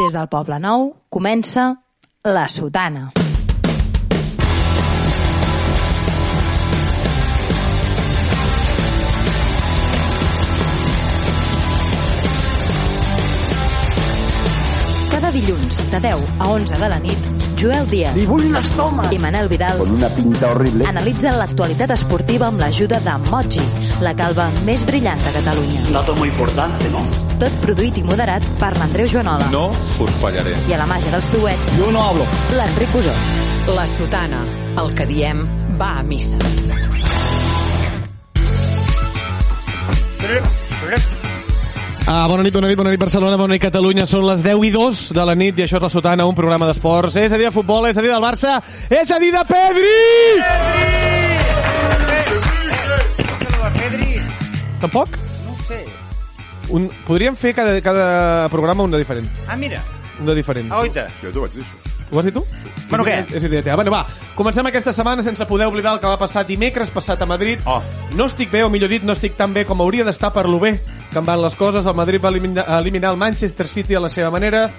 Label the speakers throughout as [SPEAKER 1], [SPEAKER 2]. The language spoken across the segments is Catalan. [SPEAKER 1] Des del Poble Nou comença La Sotana. Cada dilluns, de 10 a 11 de la nit, Joel Díaz
[SPEAKER 2] vull un estómac.
[SPEAKER 1] i Manel Vidal
[SPEAKER 2] Con una pinta horrible.
[SPEAKER 1] analitzen l'actualitat esportiva amb l'ajuda de Moji, la calva més brillant de Catalunya.
[SPEAKER 3] dato muy importante, ¿no?
[SPEAKER 1] Tot produït i moderat per l'Andreu Joanola
[SPEAKER 4] No us fallaré.
[SPEAKER 1] i a la màgia dels duets,
[SPEAKER 2] Yo no hablo.
[SPEAKER 1] l'Enric Pujol.
[SPEAKER 5] La sotana, el que diem va a missa.
[SPEAKER 6] Ah, bona nit, bona nit, bona nit Barcelona, bona nit Catalunya. Són les 10 i 2 de la nit i això és La Sotana, un programa d'esports. És a dir de futbol, és a dir del Barça, és a dir de Pedri!
[SPEAKER 7] Pedri,
[SPEAKER 6] Tampoc?
[SPEAKER 7] no ho sé.
[SPEAKER 6] Un, podríem fer cada, cada programa un de diferent.
[SPEAKER 7] Ah, mira, Oh,
[SPEAKER 6] Un de diferent.
[SPEAKER 7] a oita.
[SPEAKER 4] Jo t'ho vaig dir, això.
[SPEAKER 6] Ho has dit tu?
[SPEAKER 7] Bueno,
[SPEAKER 6] És
[SPEAKER 7] què?
[SPEAKER 6] idea- És idea teva. Bueno, va, comencem aquesta setmana sense poder oblidar el que va passar dimecres passat a Madrid.
[SPEAKER 7] Oh.
[SPEAKER 6] No estic bé, o millor dit, no estic tan bé com hauria d'estar per lo bé que em van les coses. El Madrid va eliminar, eliminar el Manchester City a la seva manera.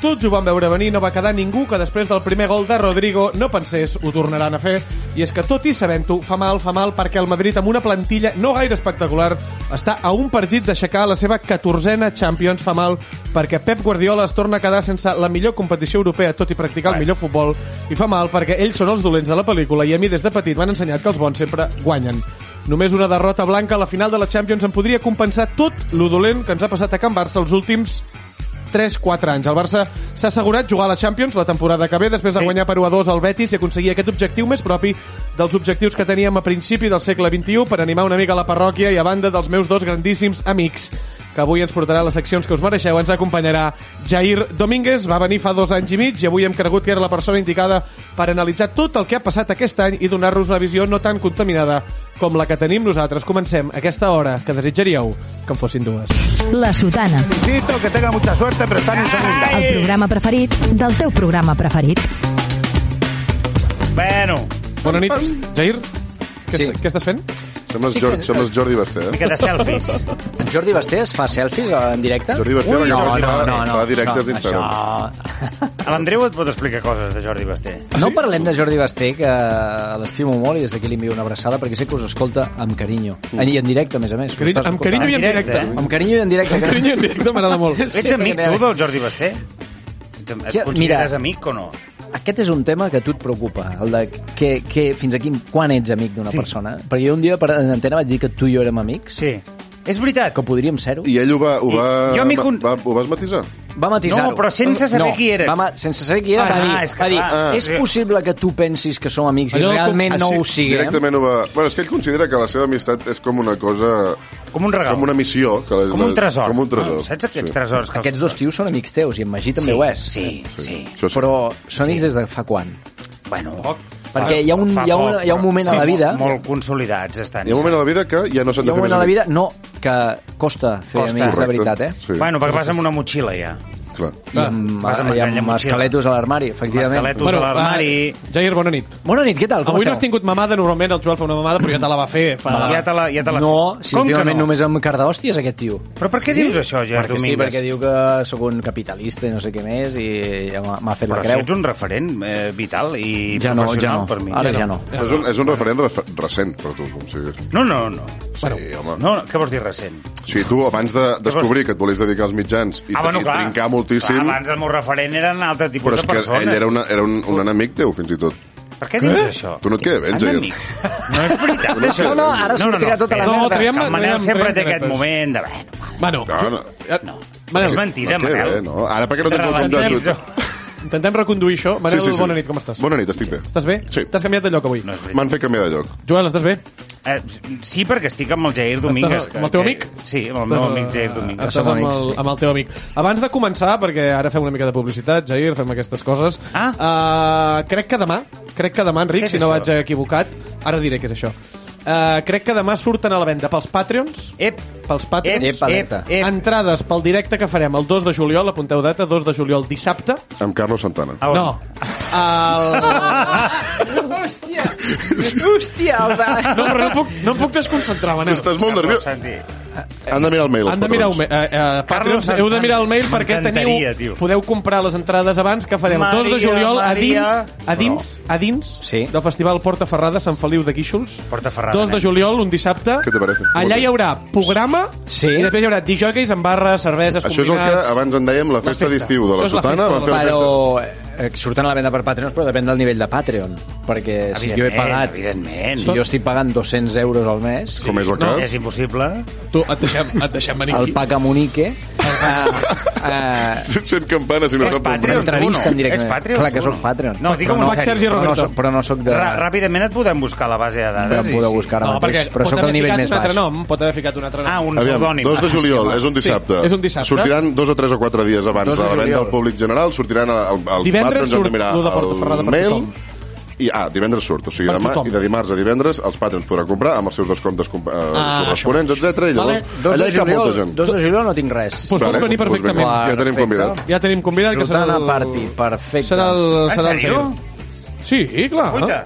[SPEAKER 6] Tots ho van veure venir, no va quedar ningú que després del primer gol de Rodrigo no pensés ho tornaran a fer. I és que, tot i sabent-ho, fa mal, fa mal, perquè el Madrid, amb una plantilla no gaire espectacular, està a un partit d'aixecar la seva 14a Champions. Fa mal perquè Pep Guardiola es torna a quedar sense la millor competició europea, tot i practicar el millor futbol. I fa mal perquè ells són els dolents de la pel·lícula i a mi des de petit m'han ensenyat que els bons sempre guanyen. Només una derrota blanca a la final de la Champions em podria compensar tot lo dolent que ens ha passat a Can Barça els últims 3-4 anys. El Barça s'ha assegurat jugar a la Champions la temporada que ve després de
[SPEAKER 7] Sí.
[SPEAKER 6] guanyar per 1 a 2 al Betis i aconseguir aquest objectiu més propi dels objectius que teníem a principi del segle XXI per animar una mica la parròquia i a banda dels meus dos grandíssims amics que avui ens portarà les seccions que us mereixeu. Ens acompanyarà Jair Domínguez, va venir fa dos anys i mig i avui hem cregut que era la persona indicada per analitzar tot el que ha passat aquest any i donar-nos una visió no tan contaminada com la que tenim nosaltres. Comencem aquesta hora, que desitjaríeu que en fossin dues.
[SPEAKER 1] La Sotana,
[SPEAKER 2] Tito, que tenga mucha suerte, pero están en segunda.
[SPEAKER 1] el programa preferit del teu programa preferit.
[SPEAKER 7] Bueno,
[SPEAKER 6] Bona nit, Jair. Què,
[SPEAKER 8] Sí.
[SPEAKER 6] est- què estàs fent?
[SPEAKER 4] Som els, Jordi, som els Jordi Basté,
[SPEAKER 7] una
[SPEAKER 4] eh?
[SPEAKER 7] mica de selfies.
[SPEAKER 8] En Jordi Basté es fa selfies eh, en directe?
[SPEAKER 4] Jordi Basté
[SPEAKER 8] Ui,
[SPEAKER 4] la
[SPEAKER 8] no,
[SPEAKER 4] que
[SPEAKER 8] no,
[SPEAKER 4] fa-
[SPEAKER 8] no, no,
[SPEAKER 4] fa directes
[SPEAKER 8] això-
[SPEAKER 4] d'Instagram.
[SPEAKER 8] això-
[SPEAKER 7] A l'Andreu et pot explicar coses de Jordi Basté.
[SPEAKER 8] No parlem de Jordi Basté, que l'estimo molt i des d'aquí li envio una abraçada perquè sé que us escolta amb carinyo.
[SPEAKER 4] Mm.
[SPEAKER 8] Eh, I en directe, a més a més.
[SPEAKER 6] Carinyo,
[SPEAKER 8] M'estàs
[SPEAKER 6] amb carinyo i en
[SPEAKER 7] En
[SPEAKER 6] directe.
[SPEAKER 7] directe,
[SPEAKER 8] escoltant. Amb carinyo i en directe.
[SPEAKER 6] Amb carinyo i en directe m'agrada molt.
[SPEAKER 8] Sí,
[SPEAKER 7] Ets amic
[SPEAKER 8] perquè-
[SPEAKER 7] tu del Jordi Basté? Ets am- Et
[SPEAKER 8] Ja,
[SPEAKER 7] consideres
[SPEAKER 8] mira.
[SPEAKER 7] amic o no?
[SPEAKER 8] Aquest és un tema que a tu et preocupa, el de que, que, fins a quin, quan ets amic d'una
[SPEAKER 7] Sí.
[SPEAKER 8] persona. Perquè jo un dia per en antena vaig dir que tu i jo érem amics,
[SPEAKER 7] Sí. És veritat.
[SPEAKER 8] que podríem ser-ho.
[SPEAKER 4] I ell ho va... Ho,
[SPEAKER 7] I-
[SPEAKER 4] va,
[SPEAKER 7] jo m'hi
[SPEAKER 4] va-
[SPEAKER 7] con-
[SPEAKER 4] va, ho vas matisar?
[SPEAKER 8] Va matisar-ho.
[SPEAKER 7] No, però sense saber qui eres.
[SPEAKER 8] Va, ma- sense saber qui era,
[SPEAKER 7] Ah,
[SPEAKER 8] va dir,
[SPEAKER 7] és
[SPEAKER 8] és,
[SPEAKER 7] que
[SPEAKER 8] va dir
[SPEAKER 7] clar.
[SPEAKER 8] és possible que tu pensis que som amics i
[SPEAKER 6] Allò com-
[SPEAKER 8] realment
[SPEAKER 7] Ah,
[SPEAKER 8] no ho
[SPEAKER 7] eh?
[SPEAKER 8] siguem?
[SPEAKER 4] Directament ho va... Bueno, és que ell considera que la seva amistat és com una cosa...
[SPEAKER 7] Com un regal.
[SPEAKER 4] Com una missió. Que la,
[SPEAKER 7] Com un tresor.
[SPEAKER 4] Com un tresor.
[SPEAKER 7] No, saps aquests tresors? Que...
[SPEAKER 8] Aquests dos tios són amics teus, i en Magí també
[SPEAKER 7] Sí,
[SPEAKER 8] ho és.
[SPEAKER 7] sí, sí.
[SPEAKER 4] Això sí.
[SPEAKER 8] Però són amics des de fa quan?
[SPEAKER 7] Bueno,
[SPEAKER 8] Perquè hi ha un-
[SPEAKER 7] Ah, fa
[SPEAKER 8] hi ha una-
[SPEAKER 7] poc,
[SPEAKER 8] hi ha un moment
[SPEAKER 7] però-
[SPEAKER 8] a la
[SPEAKER 7] sí,
[SPEAKER 8] vida-
[SPEAKER 7] Molt consolidats estan.
[SPEAKER 4] Hi ha un moment a la vida que ja no s'han
[SPEAKER 8] Hi
[SPEAKER 4] de
[SPEAKER 8] ha
[SPEAKER 4] fer
[SPEAKER 8] un moment a la vida, no, que costa fer
[SPEAKER 7] Costa.
[SPEAKER 8] amics de
[SPEAKER 4] Correcte.
[SPEAKER 8] veritat, eh?
[SPEAKER 4] Sí,
[SPEAKER 7] Bueno, perquè vas amb una motxilla ja.
[SPEAKER 4] clar.
[SPEAKER 8] I amb,
[SPEAKER 7] Vas amb
[SPEAKER 8] i
[SPEAKER 7] aquella
[SPEAKER 8] amb
[SPEAKER 7] motxilla.
[SPEAKER 8] esqueletos a l'armari, efectivament.
[SPEAKER 7] Esqueletos. Bueno, a l'armari.
[SPEAKER 6] ah, Jair, bona nit.
[SPEAKER 8] Bona nit, què tal? Com
[SPEAKER 6] Avui no
[SPEAKER 8] esteu?
[SPEAKER 6] has tingut mamada, normalment el Joel fa una mamada, però ja te la va fer. Fa...
[SPEAKER 7] Ja te la, ja te la...
[SPEAKER 8] No, si
[SPEAKER 7] Com que
[SPEAKER 8] últimament
[SPEAKER 7] no?
[SPEAKER 8] només amb car d'hòsties, aquest tio.
[SPEAKER 7] Però per què dius això, Gerard
[SPEAKER 8] Perquè sí,
[SPEAKER 7] Domínguez?
[SPEAKER 8] perquè diu que sóc un capitalista i no sé què més, i ja m'ha m'ha fet
[SPEAKER 7] Però
[SPEAKER 8] la creu.
[SPEAKER 7] si ets un referent eh, vital i
[SPEAKER 8] Ja no, ja
[SPEAKER 7] professional
[SPEAKER 8] no.
[SPEAKER 7] per mi.
[SPEAKER 8] Ara ja no.
[SPEAKER 4] És un, és un referent refe- recent per tu, com siguis.
[SPEAKER 7] No, no, no.
[SPEAKER 4] Sí, home.
[SPEAKER 7] No, no, què vols dir recent?
[SPEAKER 4] O sigui, tu, abans de descobrir que et volies dedicar als mitjans i, i trincar moltíssim...
[SPEAKER 7] Ah, Clar, abans el meu referent era un altre tipus
[SPEAKER 4] Però és
[SPEAKER 7] de
[SPEAKER 4] que
[SPEAKER 7] persona.
[SPEAKER 4] ell era, una, era un, un enemic teu, fins i tot.
[SPEAKER 7] Per què dius això?
[SPEAKER 4] Tu no et queda bé, en Jair.
[SPEAKER 7] Enemic. No és veritat,
[SPEAKER 4] No,
[SPEAKER 7] això.
[SPEAKER 4] no, no, ara
[SPEAKER 8] sortirà tota la
[SPEAKER 7] espera,
[SPEAKER 6] merda.
[SPEAKER 7] que el Manel
[SPEAKER 6] Traiem-
[SPEAKER 7] sempre
[SPEAKER 6] traiem
[SPEAKER 7] té aquest
[SPEAKER 6] dretes.
[SPEAKER 7] moment de... Bueno,
[SPEAKER 6] Bueno,
[SPEAKER 4] No, no.
[SPEAKER 6] no.
[SPEAKER 7] és
[SPEAKER 6] Manel,
[SPEAKER 7] mentida,
[SPEAKER 4] no et queda
[SPEAKER 7] Manel.
[SPEAKER 4] bé, no? Ara perquè no tens el compte
[SPEAKER 7] Relaxem.
[SPEAKER 4] de tu.
[SPEAKER 6] intentem reconduir això. Manel, sí, sí, sí. bona nit, com estàs?
[SPEAKER 4] Bona nit, estic bé.
[SPEAKER 6] Estàs bé?
[SPEAKER 4] Sí.
[SPEAKER 6] T'has canviat de lloc avui?
[SPEAKER 7] No és veritat.
[SPEAKER 4] M'han fet canviar de lloc.
[SPEAKER 6] Joel, estàs bé?
[SPEAKER 7] Eh, sí, perquè estic amb el Jair Domínguez.
[SPEAKER 6] Estàs
[SPEAKER 7] que-
[SPEAKER 6] amb el teu
[SPEAKER 7] que-
[SPEAKER 6] amic?
[SPEAKER 7] Sí, amb el meu
[SPEAKER 6] Estàs,
[SPEAKER 7] amic Jair
[SPEAKER 6] eh,
[SPEAKER 7] Domínguez.
[SPEAKER 6] Estàs
[SPEAKER 8] Som
[SPEAKER 6] amb el,
[SPEAKER 8] amics, sí.
[SPEAKER 6] amb el teu amic. Abans de començar, perquè ara fem una mica de publicitat, Jair, fem aquestes coses, ah. uh, crec que demà, crec que demà,
[SPEAKER 7] Què
[SPEAKER 6] Enric,
[SPEAKER 7] és
[SPEAKER 6] si no
[SPEAKER 7] això?
[SPEAKER 6] vaig equivocat, ara diré què és això, uh, crec que demà surten a la venda pels Patreons,
[SPEAKER 7] Ep,
[SPEAKER 6] pels
[SPEAKER 7] Eh, ep,
[SPEAKER 6] Patreons,
[SPEAKER 8] Ep,
[SPEAKER 7] ep,
[SPEAKER 8] alerta.
[SPEAKER 7] ep.
[SPEAKER 6] entrades pel directe que farem el 2 de juliol, apunteu data, 2 de juliol dissabte,
[SPEAKER 4] Ah,
[SPEAKER 7] Ah,
[SPEAKER 4] Amb Carlos Santana.
[SPEAKER 7] A on?
[SPEAKER 6] no, el...
[SPEAKER 5] Hòstia, home.
[SPEAKER 6] No, però no, puc, no em puc desconcentrar, Manel.
[SPEAKER 4] Estàs molt
[SPEAKER 7] Carlos
[SPEAKER 4] nerviós.
[SPEAKER 7] Santi.
[SPEAKER 4] Han de mirar el mail, els
[SPEAKER 6] Han de mirar el mail. Eh, eh, Carlos, heu de mirar el mail perquè
[SPEAKER 7] M'encantaria,
[SPEAKER 6] teniu,
[SPEAKER 7] tio.
[SPEAKER 6] podeu comprar les entrades abans que farem el 2 de
[SPEAKER 7] Maria,
[SPEAKER 6] juliol a
[SPEAKER 7] Maria.
[SPEAKER 6] dins, a dins, a dins
[SPEAKER 8] Sí.
[SPEAKER 6] del Festival Porta Ferrada Sant Feliu de Guíxols.
[SPEAKER 7] Porta Ferrada,
[SPEAKER 6] 2 de
[SPEAKER 7] nen.
[SPEAKER 6] juliol, un dissabte.
[SPEAKER 4] Què te parece?
[SPEAKER 6] Allà hi haurà programa
[SPEAKER 8] Sí.
[SPEAKER 6] i després hi haurà dijòqueis amb barres, cerveses,
[SPEAKER 4] Això és el que
[SPEAKER 6] combinats.
[SPEAKER 4] abans en dèiem la festa
[SPEAKER 6] festa.
[SPEAKER 4] d'estiu de
[SPEAKER 6] Això
[SPEAKER 4] la
[SPEAKER 6] és la
[SPEAKER 4] Sotana.
[SPEAKER 6] festa
[SPEAKER 4] Van
[SPEAKER 6] de
[SPEAKER 4] fer
[SPEAKER 6] la-
[SPEAKER 4] la festa...
[SPEAKER 8] Però eh, surten a la venda per Patreons, però depèn del nivell de Patreon. Perquè si jo he
[SPEAKER 7] Evidentment,
[SPEAKER 8] pagat...
[SPEAKER 7] evidentment.
[SPEAKER 8] Si jo estic pagant 200 euros al mes,
[SPEAKER 4] Com és el
[SPEAKER 7] No,
[SPEAKER 4] cas?
[SPEAKER 7] és impossible.
[SPEAKER 6] Tu, et deixem, et deixem venir
[SPEAKER 8] el
[SPEAKER 6] aquí.
[SPEAKER 8] Paca Munique... Eh, eh,
[SPEAKER 4] Sent campana si no sap on
[SPEAKER 7] Patreon,
[SPEAKER 8] entrevista
[SPEAKER 7] tu
[SPEAKER 8] en directe.
[SPEAKER 7] Ets Patreon,
[SPEAKER 8] Clar que
[SPEAKER 7] tu
[SPEAKER 8] sóc Patreon.
[SPEAKER 7] No, digue'm
[SPEAKER 6] Però
[SPEAKER 7] una
[SPEAKER 6] no,
[SPEAKER 7] sèrie.
[SPEAKER 6] Sergi
[SPEAKER 8] però, no, soc- però no sóc de...
[SPEAKER 7] Ra- Ràpidament et podem buscar la base de
[SPEAKER 8] no
[SPEAKER 7] dades.
[SPEAKER 8] em
[SPEAKER 7] i
[SPEAKER 8] podeu
[SPEAKER 7] sí.
[SPEAKER 8] buscar ara
[SPEAKER 6] No, perquè
[SPEAKER 8] mateix, però
[SPEAKER 6] pot
[SPEAKER 8] sóc
[SPEAKER 6] haver
[SPEAKER 8] el nivell
[SPEAKER 6] ficat
[SPEAKER 8] més
[SPEAKER 6] un altre
[SPEAKER 8] baix.
[SPEAKER 6] nom, pot haver ficat un altre nom.
[SPEAKER 7] Ah, un
[SPEAKER 4] Aviam,
[SPEAKER 7] pseudònim.
[SPEAKER 4] 2 de juliol, és un dissabte.
[SPEAKER 6] és un dissabte.
[SPEAKER 4] Sortiran dos o tres o quatre dies abans
[SPEAKER 8] Dos
[SPEAKER 4] de
[SPEAKER 8] de
[SPEAKER 4] la venda
[SPEAKER 8] juliol.
[SPEAKER 4] al públic general, sortiran al, al, al
[SPEAKER 6] Divendres
[SPEAKER 4] Patreons,
[SPEAKER 6] surt
[SPEAKER 4] hem de mirar
[SPEAKER 6] lo de Porta Ferrada
[SPEAKER 4] el
[SPEAKER 6] per
[SPEAKER 4] mail.
[SPEAKER 6] tothom.
[SPEAKER 4] I, ah, divendres surt, o sigui,
[SPEAKER 6] Per
[SPEAKER 4] demà
[SPEAKER 6] tothom.
[SPEAKER 4] i de dimarts a divendres els Patreons podran comprar amb els seus descomptes comp- eh,
[SPEAKER 6] Ah,
[SPEAKER 4] corresponents, etc. I llavors,
[SPEAKER 8] Dos
[SPEAKER 4] allà
[SPEAKER 8] de
[SPEAKER 4] hi cap
[SPEAKER 8] juliol-
[SPEAKER 4] molta gent.
[SPEAKER 8] Dos de juliol no tinc res.
[SPEAKER 6] Pues pot
[SPEAKER 4] Vale,
[SPEAKER 6] venir
[SPEAKER 4] doncs vinga,
[SPEAKER 6] perfectament.
[SPEAKER 4] Ja tenim
[SPEAKER 8] Perfecte.
[SPEAKER 4] convidat.
[SPEAKER 6] Ja tenim convidat, que serà
[SPEAKER 8] Sultana
[SPEAKER 6] el...
[SPEAKER 8] Party, perfecte.
[SPEAKER 6] Serà el...
[SPEAKER 7] En
[SPEAKER 6] Serà el
[SPEAKER 7] sèrio?
[SPEAKER 6] Jair. Sí, clar.
[SPEAKER 7] Guaita.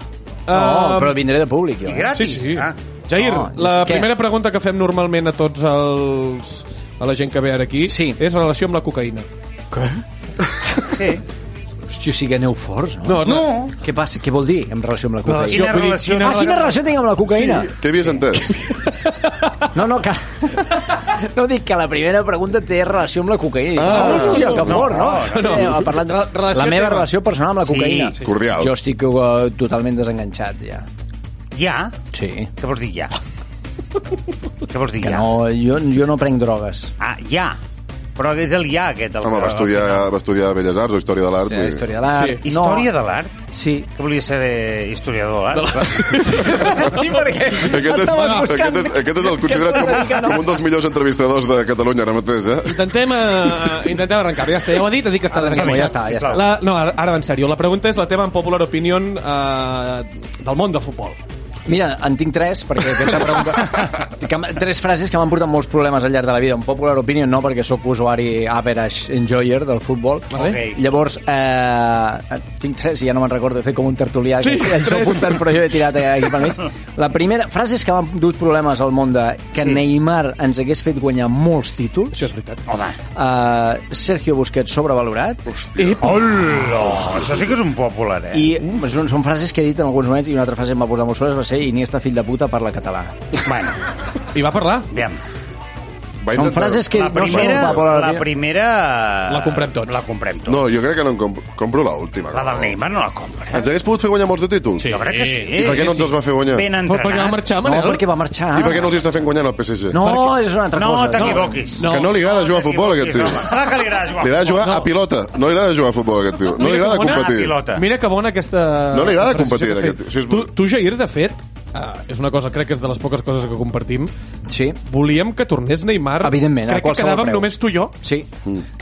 [SPEAKER 8] No,
[SPEAKER 6] Eh,
[SPEAKER 8] però vindré de públic, jo.
[SPEAKER 7] I
[SPEAKER 8] eh?
[SPEAKER 7] gratis.
[SPEAKER 6] Sí, sí.
[SPEAKER 7] Ah.
[SPEAKER 6] Jair,
[SPEAKER 8] No,
[SPEAKER 6] la
[SPEAKER 8] què?
[SPEAKER 6] primera pregunta que fem normalment a tots els a la gent que ve ara aquí
[SPEAKER 8] Sí.
[SPEAKER 6] és relació amb la cocaïna.
[SPEAKER 7] Sí.
[SPEAKER 8] Hòstia, sí que aneu forts, no?
[SPEAKER 6] no.
[SPEAKER 8] Què passa? Què vol dir en relació amb la cocaïna?
[SPEAKER 7] Quina
[SPEAKER 6] vull dir,
[SPEAKER 7] relació...
[SPEAKER 8] Ah, quina relació tinc amb la cocaïna?
[SPEAKER 4] Què havies entès?
[SPEAKER 8] No, no, que... No dic que la primera pregunta té relació amb la cocaïna.
[SPEAKER 4] Ah.
[SPEAKER 8] Ah, Hòstia, que
[SPEAKER 7] No,
[SPEAKER 8] fort, no?
[SPEAKER 7] no,
[SPEAKER 6] no.
[SPEAKER 8] Eh, ha parlat de...
[SPEAKER 6] Re- relació
[SPEAKER 8] La meva
[SPEAKER 6] teva.
[SPEAKER 8] relació personal amb la
[SPEAKER 7] Sí,
[SPEAKER 8] cocaïna.
[SPEAKER 7] sí.
[SPEAKER 4] Cordial.
[SPEAKER 8] Jo estic uh, totalment desenganxat, ja.
[SPEAKER 7] Ja?
[SPEAKER 8] Sí.
[SPEAKER 7] Què vols dir ja? Què vols dir
[SPEAKER 8] Que
[SPEAKER 7] ja?
[SPEAKER 8] no, jo, jo no prenc drogues.
[SPEAKER 7] Ah, ja. Però és el ja aquest. El
[SPEAKER 4] Home,
[SPEAKER 7] que-
[SPEAKER 4] va estudiar, va estudiar Belles Arts o Història de l'Art.
[SPEAKER 8] Sí,
[SPEAKER 4] vull dir.
[SPEAKER 8] història de l'art.
[SPEAKER 6] Sí.
[SPEAKER 8] No.
[SPEAKER 7] Història de l'art?
[SPEAKER 8] Sí.
[SPEAKER 7] Que volia ser eh, historiador de l'art?
[SPEAKER 8] sí, perquè
[SPEAKER 4] Aquest és, aquest, és, aquest és el considerat com, com un dels millors entrevistadors de Catalunya ara mateix, eh?
[SPEAKER 6] Intentem, eh, intentem arrencar. Ja està, ja ho ha dit, ha dit que està
[SPEAKER 8] Bueno,
[SPEAKER 6] desenganxat.
[SPEAKER 8] Ah, doncs ja està, ja està.
[SPEAKER 6] La, no, ara, ara va en sèrio. La pregunta és la teva en popular opinion eh, del món del futbol.
[SPEAKER 8] Mira, en tinc tres, perquè aquesta pregunta... que, m'ha- tres frases que m'han portat molts problemes al llarg de la vida. Un popular opinion no, perquè sóc usuari average enjoyer del futbol.
[SPEAKER 7] Vale. Ok.
[SPEAKER 8] Llavors, eh, tinc tres i ja no me'n recordo. He fet com un tertulià
[SPEAKER 6] Sí,
[SPEAKER 8] que sí, això
[SPEAKER 6] tres.
[SPEAKER 8] apuntant, però jo he tirat aquí per mig. La primera, frases que m'han dut problemes al món de que sí. Neymar ens hagués fet guanyar molts títols. Això és veritat.
[SPEAKER 7] Home.
[SPEAKER 8] Uh, Sergio Busquets sobrevalorat
[SPEAKER 7] Hola! Això sí que és un popular, eh?
[SPEAKER 8] i mm, són, són frases que he dit en alguns moments i una altra frase que em va portar molts problemes va ser Iniesta fill de puta parla català
[SPEAKER 7] Bueno,
[SPEAKER 6] I va parlar.
[SPEAKER 7] aviam.
[SPEAKER 4] Va
[SPEAKER 8] Són
[SPEAKER 4] intentar-
[SPEAKER 8] frases que
[SPEAKER 7] La
[SPEAKER 8] no són
[SPEAKER 7] primera...
[SPEAKER 8] popular.
[SPEAKER 7] la primera...
[SPEAKER 6] La comprem tots.
[SPEAKER 7] La comprem tots.
[SPEAKER 4] No, jo crec que no en compro, compro l'última.
[SPEAKER 7] La del Neymar no la compra.
[SPEAKER 4] Ens hagués pogut fer guanyar molts de títols?
[SPEAKER 6] Sí.
[SPEAKER 7] Jo crec que sí.
[SPEAKER 4] Ah, I per què no ens els va fer guanyar?
[SPEAKER 7] Ben
[SPEAKER 6] Però
[SPEAKER 7] entrenat.
[SPEAKER 6] perquè va
[SPEAKER 7] Ah,
[SPEAKER 6] marxar,
[SPEAKER 8] no,
[SPEAKER 6] Manel.
[SPEAKER 8] perquè va marxar
[SPEAKER 4] I per què no els hi està fent guanyar el PSG?
[SPEAKER 8] no, és una altra
[SPEAKER 7] No
[SPEAKER 8] cosa
[SPEAKER 7] t'equivoquis.
[SPEAKER 4] Que no li agrada jugar a futbol, aquest tio.
[SPEAKER 7] Clar que li agrada jugar
[SPEAKER 4] Li agrada jugar
[SPEAKER 7] futbol.
[SPEAKER 4] a pilota. No li agrada jugar a futbol, aquest tio. No
[SPEAKER 6] Mira
[SPEAKER 4] li agrada
[SPEAKER 6] com una
[SPEAKER 4] competir.
[SPEAKER 7] pilota. pilota.
[SPEAKER 6] Mira que bona aquesta...
[SPEAKER 4] No li agrada
[SPEAKER 6] apreciació
[SPEAKER 4] competir,
[SPEAKER 6] que has fet.
[SPEAKER 4] aquest. Sí, és
[SPEAKER 6] tu,
[SPEAKER 4] bo.
[SPEAKER 6] tu, Jair, de fet, eh, és una cosa, crec que és de les poques coses que compartim,
[SPEAKER 8] sí
[SPEAKER 6] volíem que tornés Neymar.
[SPEAKER 8] Evidentment, a
[SPEAKER 6] crec que
[SPEAKER 8] qualsevol
[SPEAKER 6] quedàvem
[SPEAKER 8] preu.
[SPEAKER 6] només tu i jo.
[SPEAKER 8] Sí.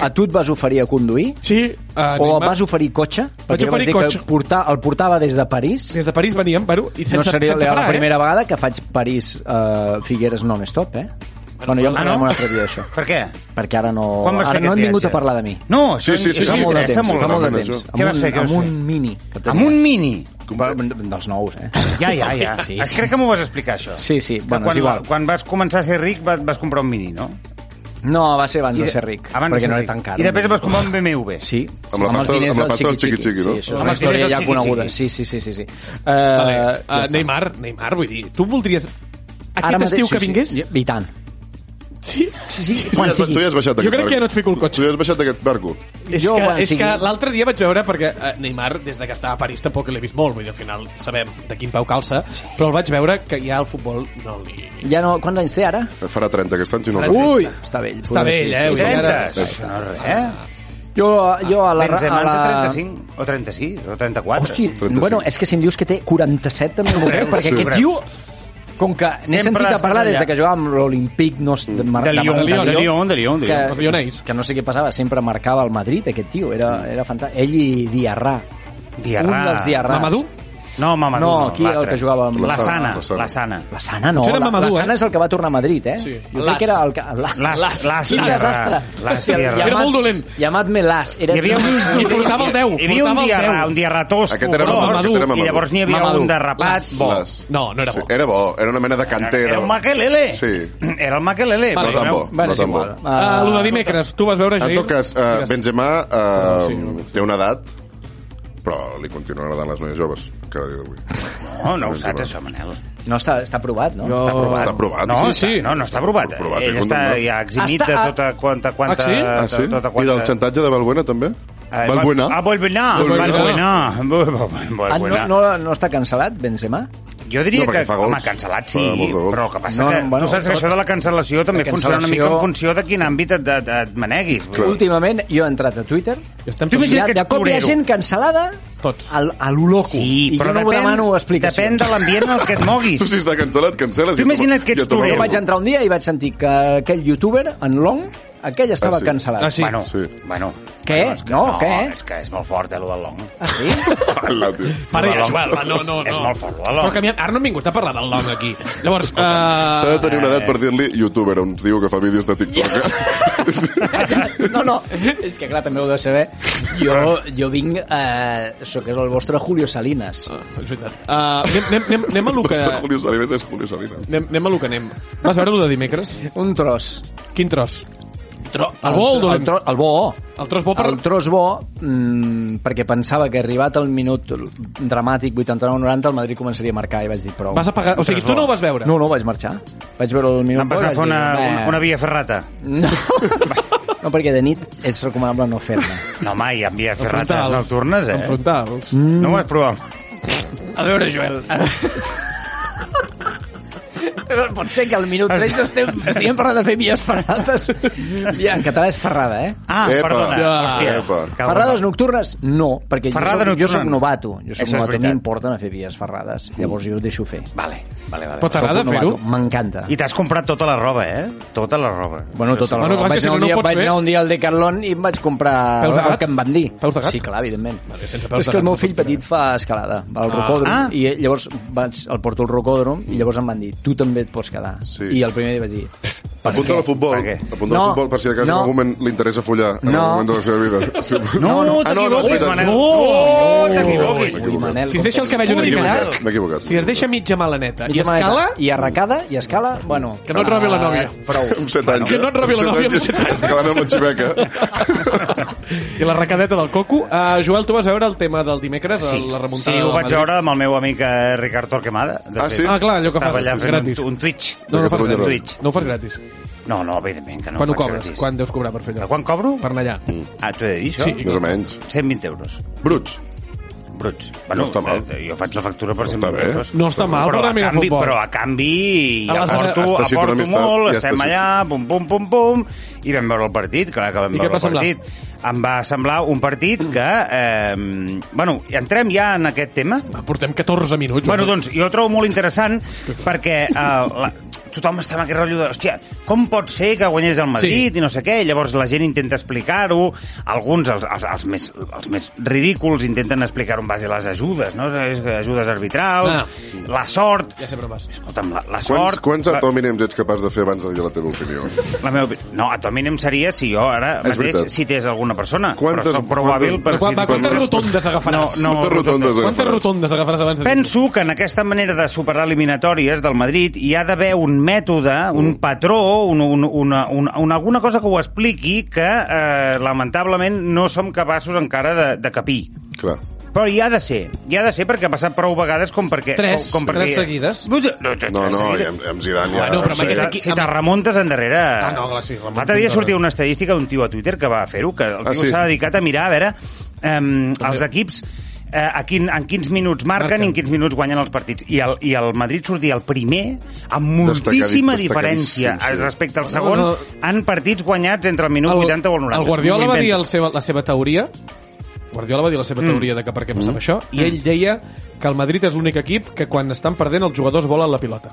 [SPEAKER 8] A tu et vas oferir a conduir?
[SPEAKER 6] Sí, eh,
[SPEAKER 8] o
[SPEAKER 6] Neymar,
[SPEAKER 8] em vas oferir cotxe? Perquè jo
[SPEAKER 6] oferir
[SPEAKER 8] dir
[SPEAKER 6] cotxe.
[SPEAKER 8] Que portar, el portava des de París.
[SPEAKER 6] des de París veníem, bueno, i sense,
[SPEAKER 8] no seria
[SPEAKER 6] sense
[SPEAKER 8] la,
[SPEAKER 7] eh?
[SPEAKER 6] parar, eh?
[SPEAKER 8] la primera vegada que faig París-Figueres non-stop, eh? Bueno, jo en
[SPEAKER 7] ah,
[SPEAKER 8] parlarem
[SPEAKER 7] no?
[SPEAKER 8] un altre dia, això.
[SPEAKER 7] Per què?
[SPEAKER 8] Perquè ara no...
[SPEAKER 7] Quan vas fer
[SPEAKER 8] Ara no
[SPEAKER 7] aquest
[SPEAKER 8] hem vingut
[SPEAKER 7] viatge?
[SPEAKER 8] a parlar de mi.
[SPEAKER 7] No, això
[SPEAKER 4] Sí, sí, sí,
[SPEAKER 7] això
[SPEAKER 8] Fa
[SPEAKER 4] sí,
[SPEAKER 8] molt de
[SPEAKER 4] interessa
[SPEAKER 8] temps,
[SPEAKER 4] molt,
[SPEAKER 8] fa molt de
[SPEAKER 4] realment,
[SPEAKER 8] temps.
[SPEAKER 4] això.
[SPEAKER 7] Què
[SPEAKER 8] Amb
[SPEAKER 7] vas
[SPEAKER 8] un,
[SPEAKER 7] fer, què vas
[SPEAKER 8] amb un
[SPEAKER 7] fer?
[SPEAKER 8] mini. Que tenia.
[SPEAKER 7] Amb un mini.
[SPEAKER 8] Però, dels nous, eh?
[SPEAKER 7] Ja, ja, ja.
[SPEAKER 8] Sí.
[SPEAKER 7] Sí. Es crec que m'ho vas explicar, això.
[SPEAKER 8] Sí, sí,
[SPEAKER 7] Que
[SPEAKER 8] bueno,
[SPEAKER 7] quan,
[SPEAKER 8] és igual.
[SPEAKER 7] Quan vas començar a ser ric, vas, vas comprar un mini, no?
[SPEAKER 8] No, va ser
[SPEAKER 7] I
[SPEAKER 8] abans de
[SPEAKER 7] de-
[SPEAKER 8] ser ric.
[SPEAKER 7] abans de
[SPEAKER 8] perquè
[SPEAKER 7] ser
[SPEAKER 8] no
[SPEAKER 7] ric.
[SPEAKER 8] era tan car.
[SPEAKER 7] I després vas comprar un BMW.
[SPEAKER 8] Sí,
[SPEAKER 4] Amb la
[SPEAKER 8] els
[SPEAKER 4] pasta-
[SPEAKER 8] diners
[SPEAKER 4] amb la pasta del
[SPEAKER 8] xiqui-xiqui,
[SPEAKER 4] xiqui-xiqui, no?
[SPEAKER 8] Sí,
[SPEAKER 7] Amb
[SPEAKER 8] això és una
[SPEAKER 7] els diners
[SPEAKER 8] història
[SPEAKER 7] del
[SPEAKER 8] ja
[SPEAKER 7] xiqui-xiqui.
[SPEAKER 8] coneguda. Sí, sí, sí, sí. sí. Uh,
[SPEAKER 6] Vale. Eh,
[SPEAKER 8] ja està.
[SPEAKER 6] Neymar, Neymar, vull dir, tu voldries... Aquest
[SPEAKER 8] Ara mateix,
[SPEAKER 6] estiu
[SPEAKER 8] sí,
[SPEAKER 6] que vingués?
[SPEAKER 8] Sí, I tant.
[SPEAKER 6] Sí.
[SPEAKER 8] Sí, sí.
[SPEAKER 4] Tu ja- Tu ja has baixat d'aquest
[SPEAKER 6] crec que
[SPEAKER 4] barco.
[SPEAKER 6] ja no et fico el cotxe.
[SPEAKER 4] Tu ja has baixat d'aquest barco.
[SPEAKER 6] És
[SPEAKER 8] Jo,
[SPEAKER 6] que,
[SPEAKER 8] quan
[SPEAKER 6] és
[SPEAKER 8] sigui-
[SPEAKER 6] que l'altre dia vaig veure, perquè eh, Neymar, des de que estava a París, tampoc l'he vist molt, vull dir, al final sabem de quin pau calça, però el vaig veure que ja el futbol no li...
[SPEAKER 8] Ja no, quants anys té ara?
[SPEAKER 4] Eh, Farà 30 aquest any, si no el recordo.
[SPEAKER 8] Ui! Està vell.
[SPEAKER 6] Està vell, eh?
[SPEAKER 8] Sí,
[SPEAKER 6] Vull
[SPEAKER 8] sí,
[SPEAKER 6] dir,
[SPEAKER 8] sí.
[SPEAKER 6] ara-
[SPEAKER 7] 30. Això no és res, eh?
[SPEAKER 8] Jo, jo a la...
[SPEAKER 7] Benzema
[SPEAKER 8] a
[SPEAKER 7] en té
[SPEAKER 8] la...
[SPEAKER 7] 35, o 36, o 34.
[SPEAKER 8] Hosti,
[SPEAKER 4] 35.
[SPEAKER 8] bueno, és que si em dius que té 47 també m'ho crec,
[SPEAKER 7] Veus,
[SPEAKER 8] perquè
[SPEAKER 7] sí.
[SPEAKER 8] aquest
[SPEAKER 7] Veus.
[SPEAKER 8] tio, com que n'he
[SPEAKER 7] Sempre
[SPEAKER 8] sentit a
[SPEAKER 7] està
[SPEAKER 8] parlar des
[SPEAKER 7] allà.
[SPEAKER 8] de que jugava amb l'Olímpic, no, de, Mar-
[SPEAKER 7] De Lyon,
[SPEAKER 8] Mar-
[SPEAKER 7] de Lyon, de Lyon, de Lyon.
[SPEAKER 6] Els lionells.
[SPEAKER 8] que, que no sé què passava, sempre marcava el Madrid, aquest tio, era, era fantàstic. Ell i Diarrà.
[SPEAKER 7] Diarra.
[SPEAKER 8] Un dels Diarràs.
[SPEAKER 6] Mamadou?
[SPEAKER 7] No, Mamadou,
[SPEAKER 8] No,
[SPEAKER 7] no,
[SPEAKER 8] aquí el
[SPEAKER 7] l'altre.
[SPEAKER 8] que jugava amb...
[SPEAKER 7] La
[SPEAKER 4] La
[SPEAKER 7] sana,
[SPEAKER 4] Sana,
[SPEAKER 7] la sana.
[SPEAKER 8] Ah. La Sana no,
[SPEAKER 6] Potser era
[SPEAKER 8] la,
[SPEAKER 6] Mamadou,
[SPEAKER 8] la Sana
[SPEAKER 6] eh?
[SPEAKER 8] és el que va tornar a Madrid, eh?
[SPEAKER 6] Sí.
[SPEAKER 8] Jo crec que era el que... La,
[SPEAKER 7] Las, Las
[SPEAKER 8] Quin
[SPEAKER 7] Sierra.
[SPEAKER 8] desastre.
[SPEAKER 7] Las Sierra.
[SPEAKER 8] Llamat-
[SPEAKER 6] Era molt dolent.
[SPEAKER 8] Llamat-me Las. Era
[SPEAKER 7] Hi havia un,
[SPEAKER 6] I portava el deu,
[SPEAKER 7] Hi havia un
[SPEAKER 6] portava el
[SPEAKER 7] dia,
[SPEAKER 6] deu.
[SPEAKER 7] ra- un dia ratós,
[SPEAKER 4] Aquest era
[SPEAKER 7] pobrós,
[SPEAKER 4] Mamadou, aquest era
[SPEAKER 7] i
[SPEAKER 4] Mamadou.
[SPEAKER 7] llavors n'hi havia
[SPEAKER 8] Mamadou.
[SPEAKER 7] un de rapat bo.
[SPEAKER 4] Les.
[SPEAKER 6] No, no era
[SPEAKER 4] Sí,
[SPEAKER 6] bo.
[SPEAKER 4] era bo, era una mena de cantero.
[SPEAKER 7] Era el Maquelele.
[SPEAKER 4] Sí,
[SPEAKER 7] Era el Maquelele.
[SPEAKER 4] no tan bo.
[SPEAKER 8] Bueno,
[SPEAKER 4] no
[SPEAKER 8] és
[SPEAKER 4] tan bo.
[SPEAKER 8] igual.
[SPEAKER 6] Ah, lo de dimecres, tu vas veure,
[SPEAKER 4] En
[SPEAKER 6] Jair?
[SPEAKER 4] tot cas, eh,
[SPEAKER 6] Digues.
[SPEAKER 4] Benzema
[SPEAKER 6] Ah,
[SPEAKER 4] eh,
[SPEAKER 6] sí, no.
[SPEAKER 4] té una edat, però li continuen agradant les noies joves, cada dia d'avui.
[SPEAKER 7] No, no ho saps, això, Manel.
[SPEAKER 8] Ah, No, està, està aprovat, no?
[SPEAKER 6] Jo-
[SPEAKER 7] Està aprovat.
[SPEAKER 4] Està aprovat,
[SPEAKER 7] No,
[SPEAKER 4] sí,
[SPEAKER 7] sí,
[SPEAKER 6] sí.
[SPEAKER 7] no, no està aprovat.
[SPEAKER 4] Està aprovat,
[SPEAKER 7] Ell
[SPEAKER 4] és
[SPEAKER 7] està
[SPEAKER 4] condemnat.
[SPEAKER 7] ja eximit
[SPEAKER 8] Està-
[SPEAKER 7] de tota quanta... quanta
[SPEAKER 6] Ah, sí?
[SPEAKER 4] Ah, sí?
[SPEAKER 7] de tota
[SPEAKER 4] I
[SPEAKER 7] quanta...
[SPEAKER 4] del xantatge de Balbuena, també?
[SPEAKER 7] Eh,
[SPEAKER 4] Balbuena?
[SPEAKER 7] Ah, Balbuena.
[SPEAKER 6] Balbuena.
[SPEAKER 7] Balbuena. Balbuena.
[SPEAKER 8] Ah, no, no, no està cancel·lat, Benzema?
[SPEAKER 7] Jo diria
[SPEAKER 4] No, perquè
[SPEAKER 7] que,
[SPEAKER 4] fa gols.
[SPEAKER 7] home, cancel·lat sí,
[SPEAKER 4] Fa molts de gols.
[SPEAKER 7] però el que passa no,
[SPEAKER 8] No,
[SPEAKER 7] que
[SPEAKER 8] no, bueno,
[SPEAKER 7] tu saps que
[SPEAKER 8] tot-
[SPEAKER 7] això de la cancel·lació també
[SPEAKER 8] la
[SPEAKER 7] funciona una mica
[SPEAKER 8] cancel·lació-
[SPEAKER 7] en funció de quin àmbit et, et, et maneguis.
[SPEAKER 4] Clar.
[SPEAKER 8] Últimament, jo he entrat a Twitter,
[SPEAKER 6] Estem
[SPEAKER 7] Tu
[SPEAKER 6] tots-
[SPEAKER 7] imagina't
[SPEAKER 8] de,
[SPEAKER 7] que
[SPEAKER 8] de
[SPEAKER 7] ets
[SPEAKER 8] cop hi ha
[SPEAKER 7] torero.
[SPEAKER 8] gent cancel·lada
[SPEAKER 6] Tots.
[SPEAKER 8] al, a lo loco.
[SPEAKER 7] Sí,
[SPEAKER 8] I
[SPEAKER 7] però
[SPEAKER 8] jo no
[SPEAKER 7] depèn,
[SPEAKER 8] ho demano explicacions.
[SPEAKER 7] depèn de l'ambient en el que et moguis.
[SPEAKER 4] Tu si està cancel·lat, cancel·les.
[SPEAKER 7] Tu
[SPEAKER 4] i
[SPEAKER 7] imagina't
[SPEAKER 4] toma-
[SPEAKER 7] que ets
[SPEAKER 4] i toma
[SPEAKER 7] torero.
[SPEAKER 8] Jo
[SPEAKER 4] algú.
[SPEAKER 8] vaig entrar un dia i vaig sentir que aquell youtuber, en Long, aquell estava
[SPEAKER 4] Ah, sí.
[SPEAKER 8] cancel·lat.
[SPEAKER 6] Ah, sí.
[SPEAKER 7] Bueno,
[SPEAKER 4] Sí.
[SPEAKER 7] bueno.
[SPEAKER 8] Què?
[SPEAKER 7] Bueno, és que,
[SPEAKER 8] No,
[SPEAKER 7] no,
[SPEAKER 8] què?
[SPEAKER 7] És que és molt fort, eh, lo del long.
[SPEAKER 8] Ah, sí?
[SPEAKER 4] Hola, tio.
[SPEAKER 6] Pare,
[SPEAKER 7] Lo del
[SPEAKER 6] ja,
[SPEAKER 7] long.
[SPEAKER 6] va, va, no, no, no.
[SPEAKER 7] És molt fort, lo del
[SPEAKER 6] Però
[SPEAKER 7] long.
[SPEAKER 6] que a mi- ara no hem vingut a parlar del long aquí. Llavors,
[SPEAKER 4] S'ha de
[SPEAKER 6] eh,
[SPEAKER 4] tenir una edat per dir-li youtuber, a un tio que fa vídeos de eh? TikTok.
[SPEAKER 8] No, no, és que clar, també ho heu de saber. Jo, jo vinc, eh, sóc el vostre Julio Salinas.
[SPEAKER 6] és veritat. Eh, anem, anem, anem, anem a lo que...
[SPEAKER 4] Julio Salinas és Julio Salinas.
[SPEAKER 6] Anem, anem a lo que anem. Vas veure lo de dimecres?
[SPEAKER 8] Un tros.
[SPEAKER 6] Quin tros?
[SPEAKER 8] Tro,
[SPEAKER 6] El bo o el dolent?
[SPEAKER 8] el, tro, el bo.
[SPEAKER 6] El tros bo per...
[SPEAKER 8] El tros bo, mmm, perquè pensava que arribat al minut dramàtic 89-90 el Madrid començaria a marcar i vaig dir prou.
[SPEAKER 6] Vas apagar... O sigui, tu no ho vas veure.
[SPEAKER 8] No, no, vaig marxar. Vaig veure el minut
[SPEAKER 7] Em vas
[SPEAKER 8] bo i vaig
[SPEAKER 7] agafar una,
[SPEAKER 8] dir,
[SPEAKER 7] una,
[SPEAKER 8] "Bé".
[SPEAKER 7] una via ferrata.
[SPEAKER 8] No. no, perquè de nit és recomanable no fer-ne.
[SPEAKER 7] No, mai, amb via ferrates
[SPEAKER 6] Enfrontals.
[SPEAKER 7] nocturnes, eh?
[SPEAKER 6] Enfrontals.
[SPEAKER 7] No ho vas provar.
[SPEAKER 6] A veure, Joel.
[SPEAKER 8] Però pot ser que al minut 13 estem, estiguem parlant de fer vies ferrades. Via, en català és ferrada, eh?
[SPEAKER 7] Ah,
[SPEAKER 4] Epa.
[SPEAKER 7] perdona.
[SPEAKER 4] Ja.
[SPEAKER 7] Hòstia.
[SPEAKER 4] Epa.
[SPEAKER 7] Cal-
[SPEAKER 8] ferrades nocturnes, no, perquè
[SPEAKER 7] Ferrada
[SPEAKER 8] jo, soc, jo
[SPEAKER 7] nocturna,
[SPEAKER 8] soc
[SPEAKER 7] no.
[SPEAKER 8] novato. Jo
[SPEAKER 7] Això
[SPEAKER 8] soc
[SPEAKER 7] és
[SPEAKER 8] novato, a mi
[SPEAKER 7] veritat.
[SPEAKER 8] em porten a fer vies ferrades. Llavors jo ho deixo fer.
[SPEAKER 7] Vale, vale, vale.
[SPEAKER 6] Però t'agrada
[SPEAKER 8] Soc un novato,
[SPEAKER 6] fer-ho?
[SPEAKER 8] M'encanta.
[SPEAKER 7] I t'has comprat tota la roba, eh? Tota la roba.
[SPEAKER 8] Bueno, tota la
[SPEAKER 6] Bueno,
[SPEAKER 8] bueno,
[SPEAKER 6] clar, és
[SPEAKER 8] vaig,
[SPEAKER 6] que si
[SPEAKER 8] anar un
[SPEAKER 6] no, no
[SPEAKER 8] dia,
[SPEAKER 6] ho pots
[SPEAKER 8] vaig
[SPEAKER 6] fer.
[SPEAKER 8] anar un dia al Decathlon i em vaig comprar
[SPEAKER 6] Peus de
[SPEAKER 8] el
[SPEAKER 6] gat?
[SPEAKER 8] que em van dir.
[SPEAKER 6] Peus de gat?
[SPEAKER 8] Sí, clar, evidentment. Vale,
[SPEAKER 6] sense peus de
[SPEAKER 8] és que
[SPEAKER 6] gat
[SPEAKER 8] el meu
[SPEAKER 6] no
[SPEAKER 8] fill
[SPEAKER 6] pot
[SPEAKER 8] petit fa escalada, va al rocòdrom,
[SPEAKER 7] Ah.
[SPEAKER 8] i llavors vaig, el porto al rocòdrom i llavors em van dir, tu també et pots quedar.
[SPEAKER 4] Sí.
[SPEAKER 8] I el primer dia vaig dir, per
[SPEAKER 4] Apunta
[SPEAKER 8] què?
[SPEAKER 4] al futbol.
[SPEAKER 7] Per què?
[SPEAKER 4] Apunta
[SPEAKER 8] No.
[SPEAKER 4] al futbol per si de cas en
[SPEAKER 8] No.
[SPEAKER 4] algun moment li interessa follar en
[SPEAKER 8] No.
[SPEAKER 4] algun moment de la seva vida. Sí.
[SPEAKER 7] No, no,
[SPEAKER 4] Ah, no, no,
[SPEAKER 7] t'equivoques,
[SPEAKER 4] és veritat.
[SPEAKER 7] Manel.
[SPEAKER 6] No.
[SPEAKER 7] No, t'equivoques.
[SPEAKER 8] Ui, Manel,
[SPEAKER 6] Oh, Si es deixa el cabell
[SPEAKER 4] M'he
[SPEAKER 6] una mica
[SPEAKER 4] equivocat,
[SPEAKER 6] llarg,
[SPEAKER 4] M'he equivocat.
[SPEAKER 6] si es deixa mitja malaneta i
[SPEAKER 8] Mitja maneta.
[SPEAKER 6] escala,
[SPEAKER 8] I arracada, i escala, bueno...
[SPEAKER 6] Que no et robi la nòvia.
[SPEAKER 8] Ah, Prou.
[SPEAKER 4] Amb 7 anys.
[SPEAKER 6] Que no et robi la nòvia amb set anys.
[SPEAKER 4] Que van amb la xiveca.
[SPEAKER 6] i la recadeta del coco. Uh, Joel, tu vas veure el tema del dimecres, sí. la remuntada
[SPEAKER 7] Sí, ho
[SPEAKER 6] del
[SPEAKER 7] vaig
[SPEAKER 6] Madrid?
[SPEAKER 7] veure amb el meu amic eh, Ricard Torquemada. de
[SPEAKER 4] Ah,
[SPEAKER 7] fet.
[SPEAKER 4] sí?
[SPEAKER 6] Ah, clar, allò que
[SPEAKER 7] Estava
[SPEAKER 6] fas
[SPEAKER 7] allà fent
[SPEAKER 6] gratis.
[SPEAKER 7] un, un Twitch.
[SPEAKER 6] No, no, ho fas
[SPEAKER 4] Catalunya
[SPEAKER 6] gratis.
[SPEAKER 7] Twitch.
[SPEAKER 6] no ho fas gratis.
[SPEAKER 7] No, no, evidentment que no
[SPEAKER 6] quan ho
[SPEAKER 7] faig
[SPEAKER 6] cobres?
[SPEAKER 7] gratis.
[SPEAKER 6] Quan deus cobrar per fer
[SPEAKER 7] De
[SPEAKER 6] allò?
[SPEAKER 7] quan cobro?
[SPEAKER 6] Per anar allà.
[SPEAKER 7] Ah, t'ho he de dir, això?
[SPEAKER 6] Sí.
[SPEAKER 4] Més o menys.
[SPEAKER 7] 120 euros,
[SPEAKER 4] Bruts.
[SPEAKER 7] bruts.
[SPEAKER 4] està mal.
[SPEAKER 7] eh, Jo faig la factura per
[SPEAKER 4] No
[SPEAKER 7] 120
[SPEAKER 4] està bé.
[SPEAKER 7] euros.
[SPEAKER 6] No està mal
[SPEAKER 7] però
[SPEAKER 6] per
[SPEAKER 7] a
[SPEAKER 6] una mica de
[SPEAKER 7] canvi,
[SPEAKER 6] futbol.
[SPEAKER 7] Però a canvi
[SPEAKER 6] A
[SPEAKER 7] ja
[SPEAKER 6] les-
[SPEAKER 7] aporto,
[SPEAKER 4] Està situat
[SPEAKER 7] aporto
[SPEAKER 4] amistat,
[SPEAKER 7] molt,
[SPEAKER 4] ja està
[SPEAKER 7] estem
[SPEAKER 4] situat.
[SPEAKER 7] allà, pum, pum, pum, pum, i vam veure el partit, clar que vam
[SPEAKER 6] I què et
[SPEAKER 7] veure
[SPEAKER 6] va
[SPEAKER 7] el
[SPEAKER 6] semblar?
[SPEAKER 7] partit. Em va semblar un partit que... Eh, bueno, entrem ja en aquest tema?
[SPEAKER 6] Portem 14 minuts.
[SPEAKER 7] Bueno, doncs, jo ho trobo molt interessant perquè eh, la, tothom està amb aquest rotllo de, hòstia, com pot ser que guanyés el Madrid
[SPEAKER 6] Sí.
[SPEAKER 7] sí. i no sé què? Llavors la gent intenta explicar-ho, alguns, els, els, els, més, els més ridículs, intenten explicar-ho en base a les ajudes, no? Les ajudes arbitrals,
[SPEAKER 6] Ah.
[SPEAKER 7] ah. la sort...
[SPEAKER 6] Ja sé per on vas.
[SPEAKER 7] Escolta'm, la, la
[SPEAKER 4] Quants,
[SPEAKER 7] sort...
[SPEAKER 4] quants
[SPEAKER 7] la-
[SPEAKER 4] atòminems ets capaç de fer abans de dir la teva opinió?
[SPEAKER 7] la meva... opi- No, a tu a mi em seria si jo ara
[SPEAKER 4] És
[SPEAKER 7] mateix
[SPEAKER 4] veritat.
[SPEAKER 7] cités alguna persona,
[SPEAKER 4] Quantes-
[SPEAKER 7] però soc prou hàbil
[SPEAKER 4] quantes-
[SPEAKER 7] per...
[SPEAKER 6] Però quan,
[SPEAKER 7] si-
[SPEAKER 6] va, quantes
[SPEAKER 4] quan-
[SPEAKER 6] rotondes agafaràs?
[SPEAKER 7] No, no,
[SPEAKER 4] Quantes rotondes
[SPEAKER 6] Quantes
[SPEAKER 4] agafaràs?
[SPEAKER 6] rotondes agafaràs abans de dir-ho?
[SPEAKER 7] Penso que en aquesta manera de superar eliminatòries del Madrid hi ha d'haver un mètode, un patró, un, un, una, un, una, alguna cosa que ho expliqui que, eh, lamentablement, no som capaços encara de, de capir.
[SPEAKER 4] Clar.
[SPEAKER 7] Però hi ha de ser, hi ha de ser perquè ha passat prou vegades com perquè...
[SPEAKER 6] Tres,
[SPEAKER 7] com perquè...
[SPEAKER 6] tres seguides.
[SPEAKER 7] No, no, tres
[SPEAKER 4] No, no, i
[SPEAKER 7] seguides.
[SPEAKER 4] amb, amb Zidane ja...
[SPEAKER 6] Bueno, Ah,
[SPEAKER 4] no
[SPEAKER 6] però
[SPEAKER 4] sé.
[SPEAKER 6] amb aquest
[SPEAKER 7] Si te remuntes endarrere...
[SPEAKER 6] Ah, no, clar, sí, remunto
[SPEAKER 7] L'altre dia
[SPEAKER 6] endarrere.
[SPEAKER 7] sortia una estadística d'un tio a Twitter que va fer-ho, que el
[SPEAKER 4] Ah,
[SPEAKER 7] tio
[SPEAKER 4] sí?
[SPEAKER 7] s'ha dedicat a mirar a veure um, els equips eh, a quin, en quins minuts marquen,
[SPEAKER 6] Marquen.
[SPEAKER 7] i en quins minuts guanyen els partits. I el, i el Madrid sortia el primer amb moltíssima
[SPEAKER 4] Destacadíssim,
[SPEAKER 7] diferència
[SPEAKER 4] sí.
[SPEAKER 7] respecte al
[SPEAKER 6] No,
[SPEAKER 7] segon
[SPEAKER 6] no.
[SPEAKER 7] en partits guanyats entre el minut 80 o el 90.
[SPEAKER 6] El Guardiola
[SPEAKER 7] M'ho
[SPEAKER 6] va dir
[SPEAKER 7] invento.
[SPEAKER 6] el seva, la seva teoria Guardiola va dir la seva teoria de que per què passava això i ell deia que el Madrid és l'únic equip que quan estan perdent els jugadors volen la pilota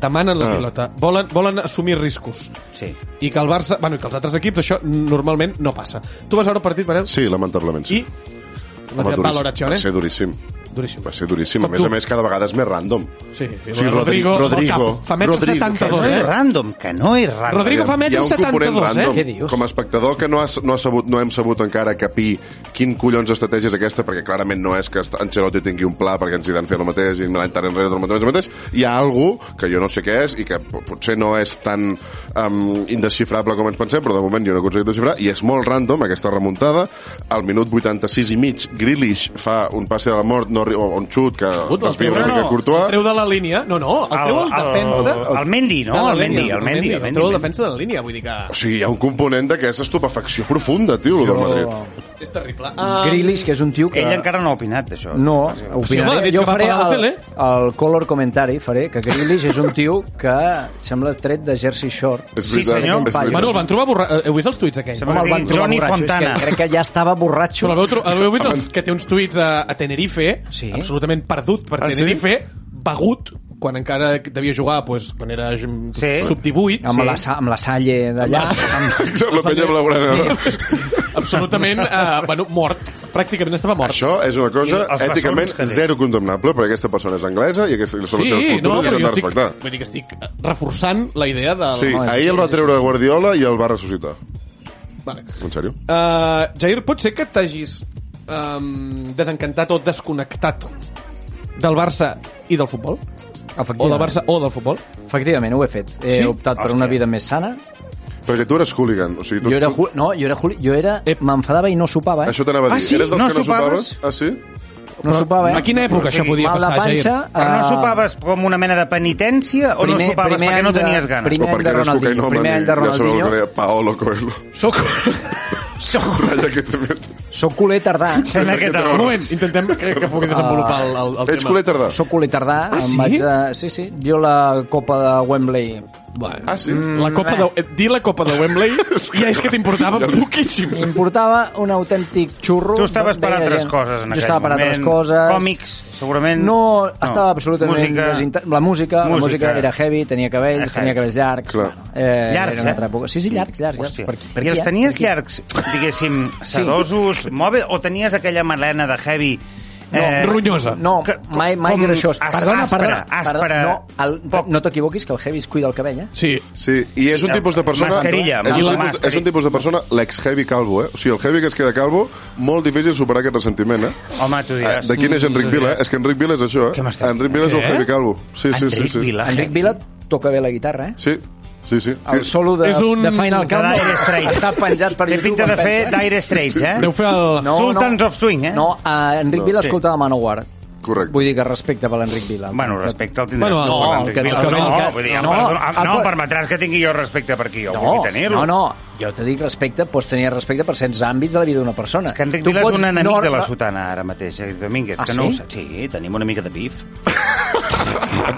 [SPEAKER 6] demanen la pilota volen, volen assumir riscos
[SPEAKER 7] Sí.
[SPEAKER 6] i que el Barça, bueno, i que els altres equips això normalment no passa tu vas veure el partit, Manel?
[SPEAKER 4] Sí, lamentablement.
[SPEAKER 6] i
[SPEAKER 4] Home,
[SPEAKER 6] la
[SPEAKER 4] duríssim.
[SPEAKER 6] valoració,
[SPEAKER 4] Va
[SPEAKER 6] eh?
[SPEAKER 4] ser duríssim.
[SPEAKER 6] duríssim.
[SPEAKER 4] Va ser duríssim. A
[SPEAKER 6] Com
[SPEAKER 4] més
[SPEAKER 6] tu.
[SPEAKER 4] a més, cada vegada és més random.
[SPEAKER 6] Sí,
[SPEAKER 4] O sigui, Rodrigo... Rodrigo...
[SPEAKER 6] Rodrigo. Fa metre
[SPEAKER 4] Rodrigo,
[SPEAKER 6] 72,
[SPEAKER 7] No és
[SPEAKER 6] eh?
[SPEAKER 7] random, que no és random.
[SPEAKER 6] Rodrigo fa
[SPEAKER 4] Hi
[SPEAKER 6] metre
[SPEAKER 4] ha un component
[SPEAKER 6] 72, eh?
[SPEAKER 4] random.
[SPEAKER 8] Què dius?
[SPEAKER 4] Com a espectador que no, has, no, has sabut, no hem sabut encara capir quin collons estratègia és aquesta, perquè clarament no és que est- Ancelotti tingui un pla perquè ens hi dan fer el mateix i l'any tant enrere del mateix, el mateix. Hi ha algú que jo no sé què és i que po- potser no és tan um, indesxifrable com ens pensem, però de moment jo no he aconseguit desxifrar, i és molt random aquesta remuntada. Al minut 86 i mig, Grealish fa un passe de la mort, no, arri- o un xut que
[SPEAKER 8] el
[SPEAKER 4] desvia
[SPEAKER 7] treu,
[SPEAKER 4] una
[SPEAKER 7] no,
[SPEAKER 4] mica
[SPEAKER 7] no,
[SPEAKER 4] Courtois.
[SPEAKER 6] Treu de la línia. No, no, el treu el defensa...
[SPEAKER 7] El, el Mendy, no?
[SPEAKER 6] Ah,
[SPEAKER 7] el Mendy, el Mendy.
[SPEAKER 6] El treu el defensa de la línia, vull dir que...
[SPEAKER 4] O sigui, hi ha un component d'aquesta estupefacció profunda, tio, el del Madrid.
[SPEAKER 6] És terrible.
[SPEAKER 8] Ah. Grealish, que és un tio que...
[SPEAKER 7] Ell encara no ha opinat, això.
[SPEAKER 8] No,
[SPEAKER 6] home, ha
[SPEAKER 8] opinaré.
[SPEAKER 6] dit
[SPEAKER 8] jo
[SPEAKER 6] que va
[SPEAKER 8] faré
[SPEAKER 6] pagar
[SPEAKER 8] el,
[SPEAKER 6] l'hotel, eh?
[SPEAKER 8] el color commentari, faré que Grealish és un tio que sembla tret de jersey short.
[SPEAKER 4] És
[SPEAKER 7] Sí, senyor.
[SPEAKER 4] és veritat.
[SPEAKER 6] Bueno, el Eh, van trobar borratxo. Heu vist els tuits aquells?
[SPEAKER 7] Sembla-
[SPEAKER 8] el van
[SPEAKER 7] Sí,
[SPEAKER 8] trobar
[SPEAKER 7] Johnny
[SPEAKER 8] borratxo, és
[SPEAKER 7] Fontana.
[SPEAKER 8] Que crec que ja estava borratxo.
[SPEAKER 6] Però l'heu tro- l'heu vist els, que té uns tuits a, a Tenerife,
[SPEAKER 8] Sí.
[SPEAKER 6] absolutament perdut per
[SPEAKER 4] Ah, sí?
[SPEAKER 6] Tenerife, begut, quan encara devia jugar, doncs, quan era
[SPEAKER 7] Sí.
[SPEAKER 6] sub-18,
[SPEAKER 8] Amb, la, sa- amb la salle d'allà. Amb...
[SPEAKER 4] Amb la penya blaugrana.
[SPEAKER 6] absolutament eh, bueno, mort, pràcticament estava mort.
[SPEAKER 4] Això és una cosa
[SPEAKER 7] I els bessons
[SPEAKER 4] èticament
[SPEAKER 7] que té.
[SPEAKER 4] zero condemnable, perquè aquesta persona és anglesa i aquestes són les seves
[SPEAKER 6] Sí, no,
[SPEAKER 4] cultures i s'han
[SPEAKER 6] però jo
[SPEAKER 4] de
[SPEAKER 6] estic,
[SPEAKER 4] respectar.
[SPEAKER 6] vull dir que estic eh, reforçant la idea del...
[SPEAKER 4] Sí,
[SPEAKER 8] Home,
[SPEAKER 4] ahir el va treure de Guardiola i el va ressuscitar.
[SPEAKER 6] Vale.
[SPEAKER 4] En sèrio?
[SPEAKER 6] Uh, Jair, pot ser que t'hagis um, desencantat o desconnectat del Barça i del futbol? O del Barça o del futbol?
[SPEAKER 8] Efectivament, ho he fet. He
[SPEAKER 6] Sí?
[SPEAKER 8] optat per una vida més sana.
[SPEAKER 4] Perquè tu eres hooligan. O sigui, tu,
[SPEAKER 8] Jo era... Ju- No, jo era... Juli- Jo era...
[SPEAKER 6] Ep.
[SPEAKER 8] M'enfadava i no sopava, eh?
[SPEAKER 4] Això t'anava a
[SPEAKER 7] Ah,
[SPEAKER 4] dir.
[SPEAKER 7] sí?
[SPEAKER 4] Eres dels
[SPEAKER 7] No
[SPEAKER 4] que no
[SPEAKER 7] sopaves?
[SPEAKER 4] sopaves? Ah, sí?
[SPEAKER 8] No sopava, eh?
[SPEAKER 6] A quina època això podia
[SPEAKER 8] Mal de
[SPEAKER 6] passar, Jair?
[SPEAKER 8] panxa,
[SPEAKER 7] Però no
[SPEAKER 8] eh,
[SPEAKER 7] sopaves com una mena de penitència o no sopaves perquè
[SPEAKER 8] any
[SPEAKER 7] no
[SPEAKER 8] de-
[SPEAKER 7] tenies ganes?
[SPEAKER 8] Primer
[SPEAKER 4] O
[SPEAKER 8] any
[SPEAKER 4] perquè
[SPEAKER 8] de
[SPEAKER 4] eres
[SPEAKER 8] Ronaldinho.
[SPEAKER 4] cocainòman
[SPEAKER 8] Primer
[SPEAKER 4] i
[SPEAKER 8] any de
[SPEAKER 4] ja sabeu el
[SPEAKER 8] Ronaldinho.
[SPEAKER 4] que deia Paolo Coelho.
[SPEAKER 8] Soc... soc...
[SPEAKER 4] Ratlla que també...
[SPEAKER 8] Soc culer tardà.
[SPEAKER 7] En aquest
[SPEAKER 6] Un
[SPEAKER 7] hora.
[SPEAKER 6] moment, intentem que, que
[SPEAKER 7] Ah.
[SPEAKER 6] pugui desenvolupar el, el, el
[SPEAKER 4] Ets
[SPEAKER 6] tema.
[SPEAKER 4] culer tardà.
[SPEAKER 8] Soc culer tardà.
[SPEAKER 6] Ah,
[SPEAKER 8] em
[SPEAKER 6] sí?
[SPEAKER 8] Vaig a... Sí, sí. Jo la copa de Wembley... Bueno,
[SPEAKER 4] Ah, sí?
[SPEAKER 6] La copa de, eh, dir la copa de Wembley ja és que t'importava poquíssim.
[SPEAKER 8] M'importava un autèntic xurro.
[SPEAKER 7] Tu estaves per
[SPEAKER 8] Veia
[SPEAKER 7] altres
[SPEAKER 8] gent.
[SPEAKER 7] coses en
[SPEAKER 8] jo
[SPEAKER 7] aquell
[SPEAKER 8] estava per
[SPEAKER 7] moment.
[SPEAKER 8] altres coses.
[SPEAKER 7] Còmics, segurament.
[SPEAKER 8] No, estava absolutament...
[SPEAKER 7] Música.
[SPEAKER 8] desinter- La música, música, la música era heavy, tenia
[SPEAKER 7] Era
[SPEAKER 8] cabells,
[SPEAKER 7] heavy.
[SPEAKER 8] tenia cabells llargs.
[SPEAKER 4] Clar.
[SPEAKER 8] Bueno, eh,
[SPEAKER 7] Llargs,
[SPEAKER 8] era una altra
[SPEAKER 7] eh?
[SPEAKER 8] època. Sí, sí, llargs, llargs. llargs.
[SPEAKER 7] Hòstia.
[SPEAKER 8] Per, per
[SPEAKER 7] I
[SPEAKER 8] aquí,
[SPEAKER 7] els
[SPEAKER 8] eh?
[SPEAKER 7] tenies
[SPEAKER 8] Per aquí.
[SPEAKER 7] llargs, diguéssim, sedosos, mòbil, o tenies aquella melena de heavy... eh,
[SPEAKER 6] No, ronyosa.
[SPEAKER 8] No,
[SPEAKER 7] que-
[SPEAKER 8] mai, mai
[SPEAKER 7] com
[SPEAKER 8] era això.
[SPEAKER 7] as-
[SPEAKER 8] Perdona,
[SPEAKER 7] aspra,
[SPEAKER 8] perdona.
[SPEAKER 7] aspra.
[SPEAKER 8] perdona. No, el,
[SPEAKER 7] Poc.
[SPEAKER 8] no t'equivoquis, que el heavy es cuida el cabell, eh?
[SPEAKER 6] Sí.
[SPEAKER 4] Sí, i és un
[SPEAKER 7] Sí,
[SPEAKER 4] tipus de persona...
[SPEAKER 7] mascarilla,
[SPEAKER 4] és, un tipus,
[SPEAKER 7] mascarilla.
[SPEAKER 4] és un tipus de persona, l'ex-heavy calvo, eh? O sigui, el heavy que es queda calvo, molt difícil superar aquest ressentiment, eh?
[SPEAKER 7] Home, tu
[SPEAKER 4] Ah,
[SPEAKER 7] diràs... mm,
[SPEAKER 4] De quin és Enric Vila, eh? És que Enric Vila és això, eh?
[SPEAKER 7] Què m'estàs
[SPEAKER 4] Enric Vila és el
[SPEAKER 6] Què?
[SPEAKER 4] heavy calvo. Sí, sí, sí.
[SPEAKER 7] Enric
[SPEAKER 4] sí.
[SPEAKER 7] Vila.
[SPEAKER 8] Enric Vila toca bé la guitarra, eh?
[SPEAKER 4] Sí, sí, sí.
[SPEAKER 8] El solo de,
[SPEAKER 6] És un-
[SPEAKER 8] de Final
[SPEAKER 7] De
[SPEAKER 8] Countdown
[SPEAKER 7] Dire Straits.
[SPEAKER 8] està penjat per
[SPEAKER 7] Té
[SPEAKER 8] YouTube.
[SPEAKER 7] pinta
[SPEAKER 8] em
[SPEAKER 7] de fer
[SPEAKER 8] penso.
[SPEAKER 7] Dire Straits, eh?
[SPEAKER 6] Deu fer el...
[SPEAKER 8] No,
[SPEAKER 7] Sultans
[SPEAKER 8] no.
[SPEAKER 7] of Swing, eh?
[SPEAKER 8] No, a Enric
[SPEAKER 4] No,
[SPEAKER 8] Vila
[SPEAKER 7] sí.
[SPEAKER 8] escoltava Manowar.
[SPEAKER 4] Correcte.
[SPEAKER 8] Vull dir que respecte per l'Enric Vila.
[SPEAKER 7] Bueno, respecte al tindràs
[SPEAKER 6] Bueno,
[SPEAKER 7] tu,
[SPEAKER 6] no,
[SPEAKER 7] per
[SPEAKER 6] que-
[SPEAKER 7] l'Enric Vila.
[SPEAKER 6] que-
[SPEAKER 7] No,
[SPEAKER 6] que-
[SPEAKER 7] vull dir,
[SPEAKER 8] no,
[SPEAKER 7] no, perdona,
[SPEAKER 8] el-
[SPEAKER 7] no, permetràs que tingui jo respecte per aquí, jo
[SPEAKER 8] no,
[SPEAKER 7] vull tenir-lo.
[SPEAKER 8] no, no, jo te dic respecte, pots tenir respecte per certs àmbits de la vida d'una persona.
[SPEAKER 7] És que Enric
[SPEAKER 8] Tu
[SPEAKER 7] Vila és
[SPEAKER 8] pots
[SPEAKER 7] un enemic
[SPEAKER 8] no-
[SPEAKER 7] de la sotana ara mateix, eh, Domínguez,
[SPEAKER 8] Ah,
[SPEAKER 7] que no
[SPEAKER 8] sí?
[SPEAKER 7] ho saps. Sí, tenim una mica de bif.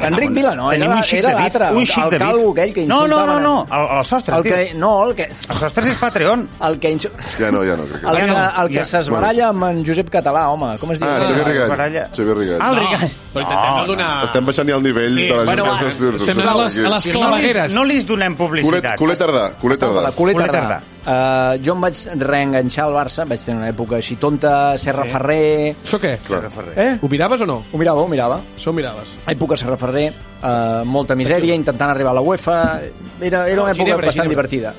[SPEAKER 8] Enric Vila no,
[SPEAKER 7] Tenim
[SPEAKER 8] era,
[SPEAKER 7] un xic
[SPEAKER 8] era
[SPEAKER 7] de bif,
[SPEAKER 8] l'altre,
[SPEAKER 7] un
[SPEAKER 8] el,
[SPEAKER 7] xic de
[SPEAKER 8] el
[SPEAKER 7] bif.
[SPEAKER 8] calvo aquell que
[SPEAKER 7] No, no, no,
[SPEAKER 8] insultaven.
[SPEAKER 7] no, el, el sostres,
[SPEAKER 8] El que,
[SPEAKER 7] tio.
[SPEAKER 8] no, el que,
[SPEAKER 7] El sostres és Patreon.
[SPEAKER 8] el que, insu-
[SPEAKER 4] Ja no, ja no. Crec que...
[SPEAKER 8] el que,
[SPEAKER 7] no,
[SPEAKER 8] el que
[SPEAKER 7] ja.
[SPEAKER 8] s'esbaralla amb en Josep Català, home, com es diu?
[SPEAKER 4] Ah, Xavier Rigall.
[SPEAKER 7] baralla.
[SPEAKER 4] Xavier Rigall.
[SPEAKER 7] Ah, el
[SPEAKER 6] No,
[SPEAKER 7] Rigall.
[SPEAKER 6] Oh. però intentem no donar...
[SPEAKER 4] Estem baixant ja el nivell
[SPEAKER 6] Sí,
[SPEAKER 4] de la gent
[SPEAKER 6] bueno,
[SPEAKER 4] que
[SPEAKER 6] estem anant a les- a les
[SPEAKER 7] No li,
[SPEAKER 6] clavegueres.
[SPEAKER 7] no li donem
[SPEAKER 4] Culet,
[SPEAKER 7] publicitat.
[SPEAKER 4] culet tardà, culet tardà.
[SPEAKER 8] La culeta
[SPEAKER 7] Culet
[SPEAKER 8] tardà. Uh, jo em vaig reenganxar al Barça, vaig tenir una època així tonta, Serra sí. Ferrer...
[SPEAKER 6] Això què?
[SPEAKER 4] Clar.
[SPEAKER 8] Eh?
[SPEAKER 6] Ho miraves o no?
[SPEAKER 8] Ho mirava, ho mirava.
[SPEAKER 6] Això ho miraves.
[SPEAKER 8] Època Serra Ferrer, uh, molta misèria, intentant arribar a la UEFA... Era, era
[SPEAKER 6] No,
[SPEAKER 8] una època
[SPEAKER 6] Ginebra,
[SPEAKER 8] bastant
[SPEAKER 6] Ginebra.
[SPEAKER 8] divertida.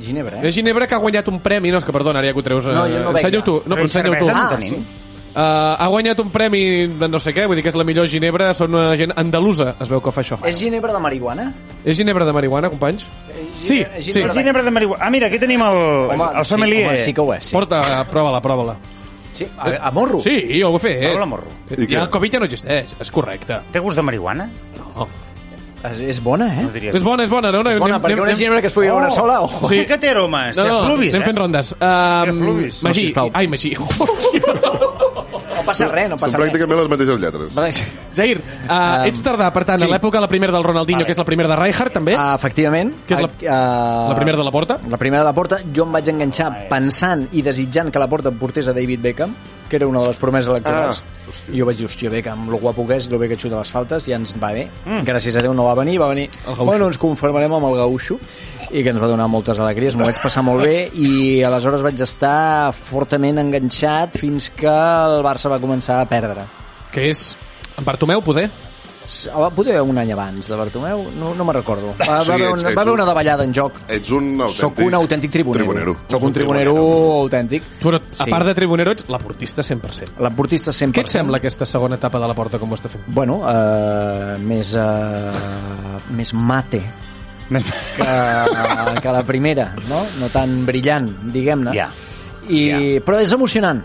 [SPEAKER 8] Ginebra, eh?
[SPEAKER 6] És Ginebra que ha guanyat un premi, no, és que perdona, ara ja que ho treus... eh,
[SPEAKER 8] No, jo no veig.
[SPEAKER 6] ensenya-ho tu. No,
[SPEAKER 7] Però
[SPEAKER 6] però
[SPEAKER 7] i
[SPEAKER 6] ensenya-ho tu.
[SPEAKER 7] cervesa no
[SPEAKER 8] Ah,
[SPEAKER 7] tenim.
[SPEAKER 8] sí.
[SPEAKER 6] Uh, ha guanyat un premi de no sé què, vull dir que és la millor Ginebra, són una gent andalusa, es veu que fa això.
[SPEAKER 8] És Ginebra de marihuana?
[SPEAKER 6] És Ginebra de marihuana, companys?
[SPEAKER 8] Gine-
[SPEAKER 6] Sí,
[SPEAKER 8] Ginebra
[SPEAKER 6] sí.
[SPEAKER 8] de-
[SPEAKER 7] El Ginebra de marihuana. Ah, mira, aquí tenim el, el
[SPEAKER 8] sí,
[SPEAKER 7] sommelier.
[SPEAKER 8] home, sí que ho és. Sí,
[SPEAKER 6] Porta, prova-la, prova-la.
[SPEAKER 8] sí a, a morro.
[SPEAKER 6] Sí, jo ho he fet.
[SPEAKER 7] Uh. Prova-la, morro.
[SPEAKER 4] I
[SPEAKER 6] Ja
[SPEAKER 4] què?
[SPEAKER 6] el Covid ja no existeix, és correcte.
[SPEAKER 7] Té gust de marihuana?
[SPEAKER 6] No.
[SPEAKER 8] És, és bona, eh?
[SPEAKER 7] No diries.
[SPEAKER 6] És bona, és bona, no?
[SPEAKER 8] És bona, perquè una Ginebra que es pugui veure
[SPEAKER 7] Oh.
[SPEAKER 8] sola... Oh.
[SPEAKER 6] Sí.
[SPEAKER 7] Sí. Que té aroma, és
[SPEAKER 6] No, no,
[SPEAKER 7] flubis,
[SPEAKER 6] anem
[SPEAKER 7] eh?
[SPEAKER 6] fent rondes.
[SPEAKER 7] Que
[SPEAKER 6] Um,
[SPEAKER 7] fluvis. No,
[SPEAKER 6] Magí,
[SPEAKER 8] sisplau.
[SPEAKER 6] ai, Magí. Hòstia.
[SPEAKER 8] No passa res, no
[SPEAKER 4] Són
[SPEAKER 8] passa res.
[SPEAKER 4] pràcticament les mateixes lletres.
[SPEAKER 6] Jair, uh, ets tardà, per tant,
[SPEAKER 8] sí.
[SPEAKER 6] a l'època la primera del Ronaldinho, que és la primera de Rijkaard, també?
[SPEAKER 8] Ah, efectivament.
[SPEAKER 6] Què Eh? és la-
[SPEAKER 8] ah,
[SPEAKER 6] la primera de la Porta?
[SPEAKER 8] La primera de la porta. Jo em vaig enganxar
[SPEAKER 4] Ah,
[SPEAKER 8] pensant i desitjant que la porta em portés a David Beckham, que era una de les promeses electorals.
[SPEAKER 4] Ah,
[SPEAKER 8] Ah, I jo vaig dir, hòstia, Beckham, lo guapo que és, lo bé que xuta les faltes, ja ens va bé. Mm. Gràcies a Déu no va venir, va venir...
[SPEAKER 6] gaucho.
[SPEAKER 8] Bueno, ens conformarem amb el gauxo, i que ens va donar moltes alegries, m'ho vaig passar molt bé, i aleshores vaig estar fortament enganxat fins que el Barça va començar a perdre.
[SPEAKER 6] que és en Bartomeu, poder?
[SPEAKER 8] Ah, Poder un any abans de Bartomeu, no, no me'n recordo. Va, va,
[SPEAKER 4] Sí,
[SPEAKER 8] haver
[SPEAKER 4] ets-
[SPEAKER 8] una,
[SPEAKER 4] ets
[SPEAKER 8] va haver
[SPEAKER 4] un-
[SPEAKER 8] una davallada en joc.
[SPEAKER 4] Ets un autèntic...
[SPEAKER 8] Sóc un autèntic tribunero.
[SPEAKER 4] Tribunero.
[SPEAKER 8] Sóc un tribunero autèntic.
[SPEAKER 6] Però, a part de Tribunero, ets la portista 100%.
[SPEAKER 8] L'emportista 100%.
[SPEAKER 6] Què et sembla aquesta segona etapa de la porta com ho està fent?
[SPEAKER 8] Bueno, uh, més, uh, més mate que, que la primera, no? No tan brillant, diguem-ne.
[SPEAKER 7] Ja.
[SPEAKER 8] I, Però és emocionant.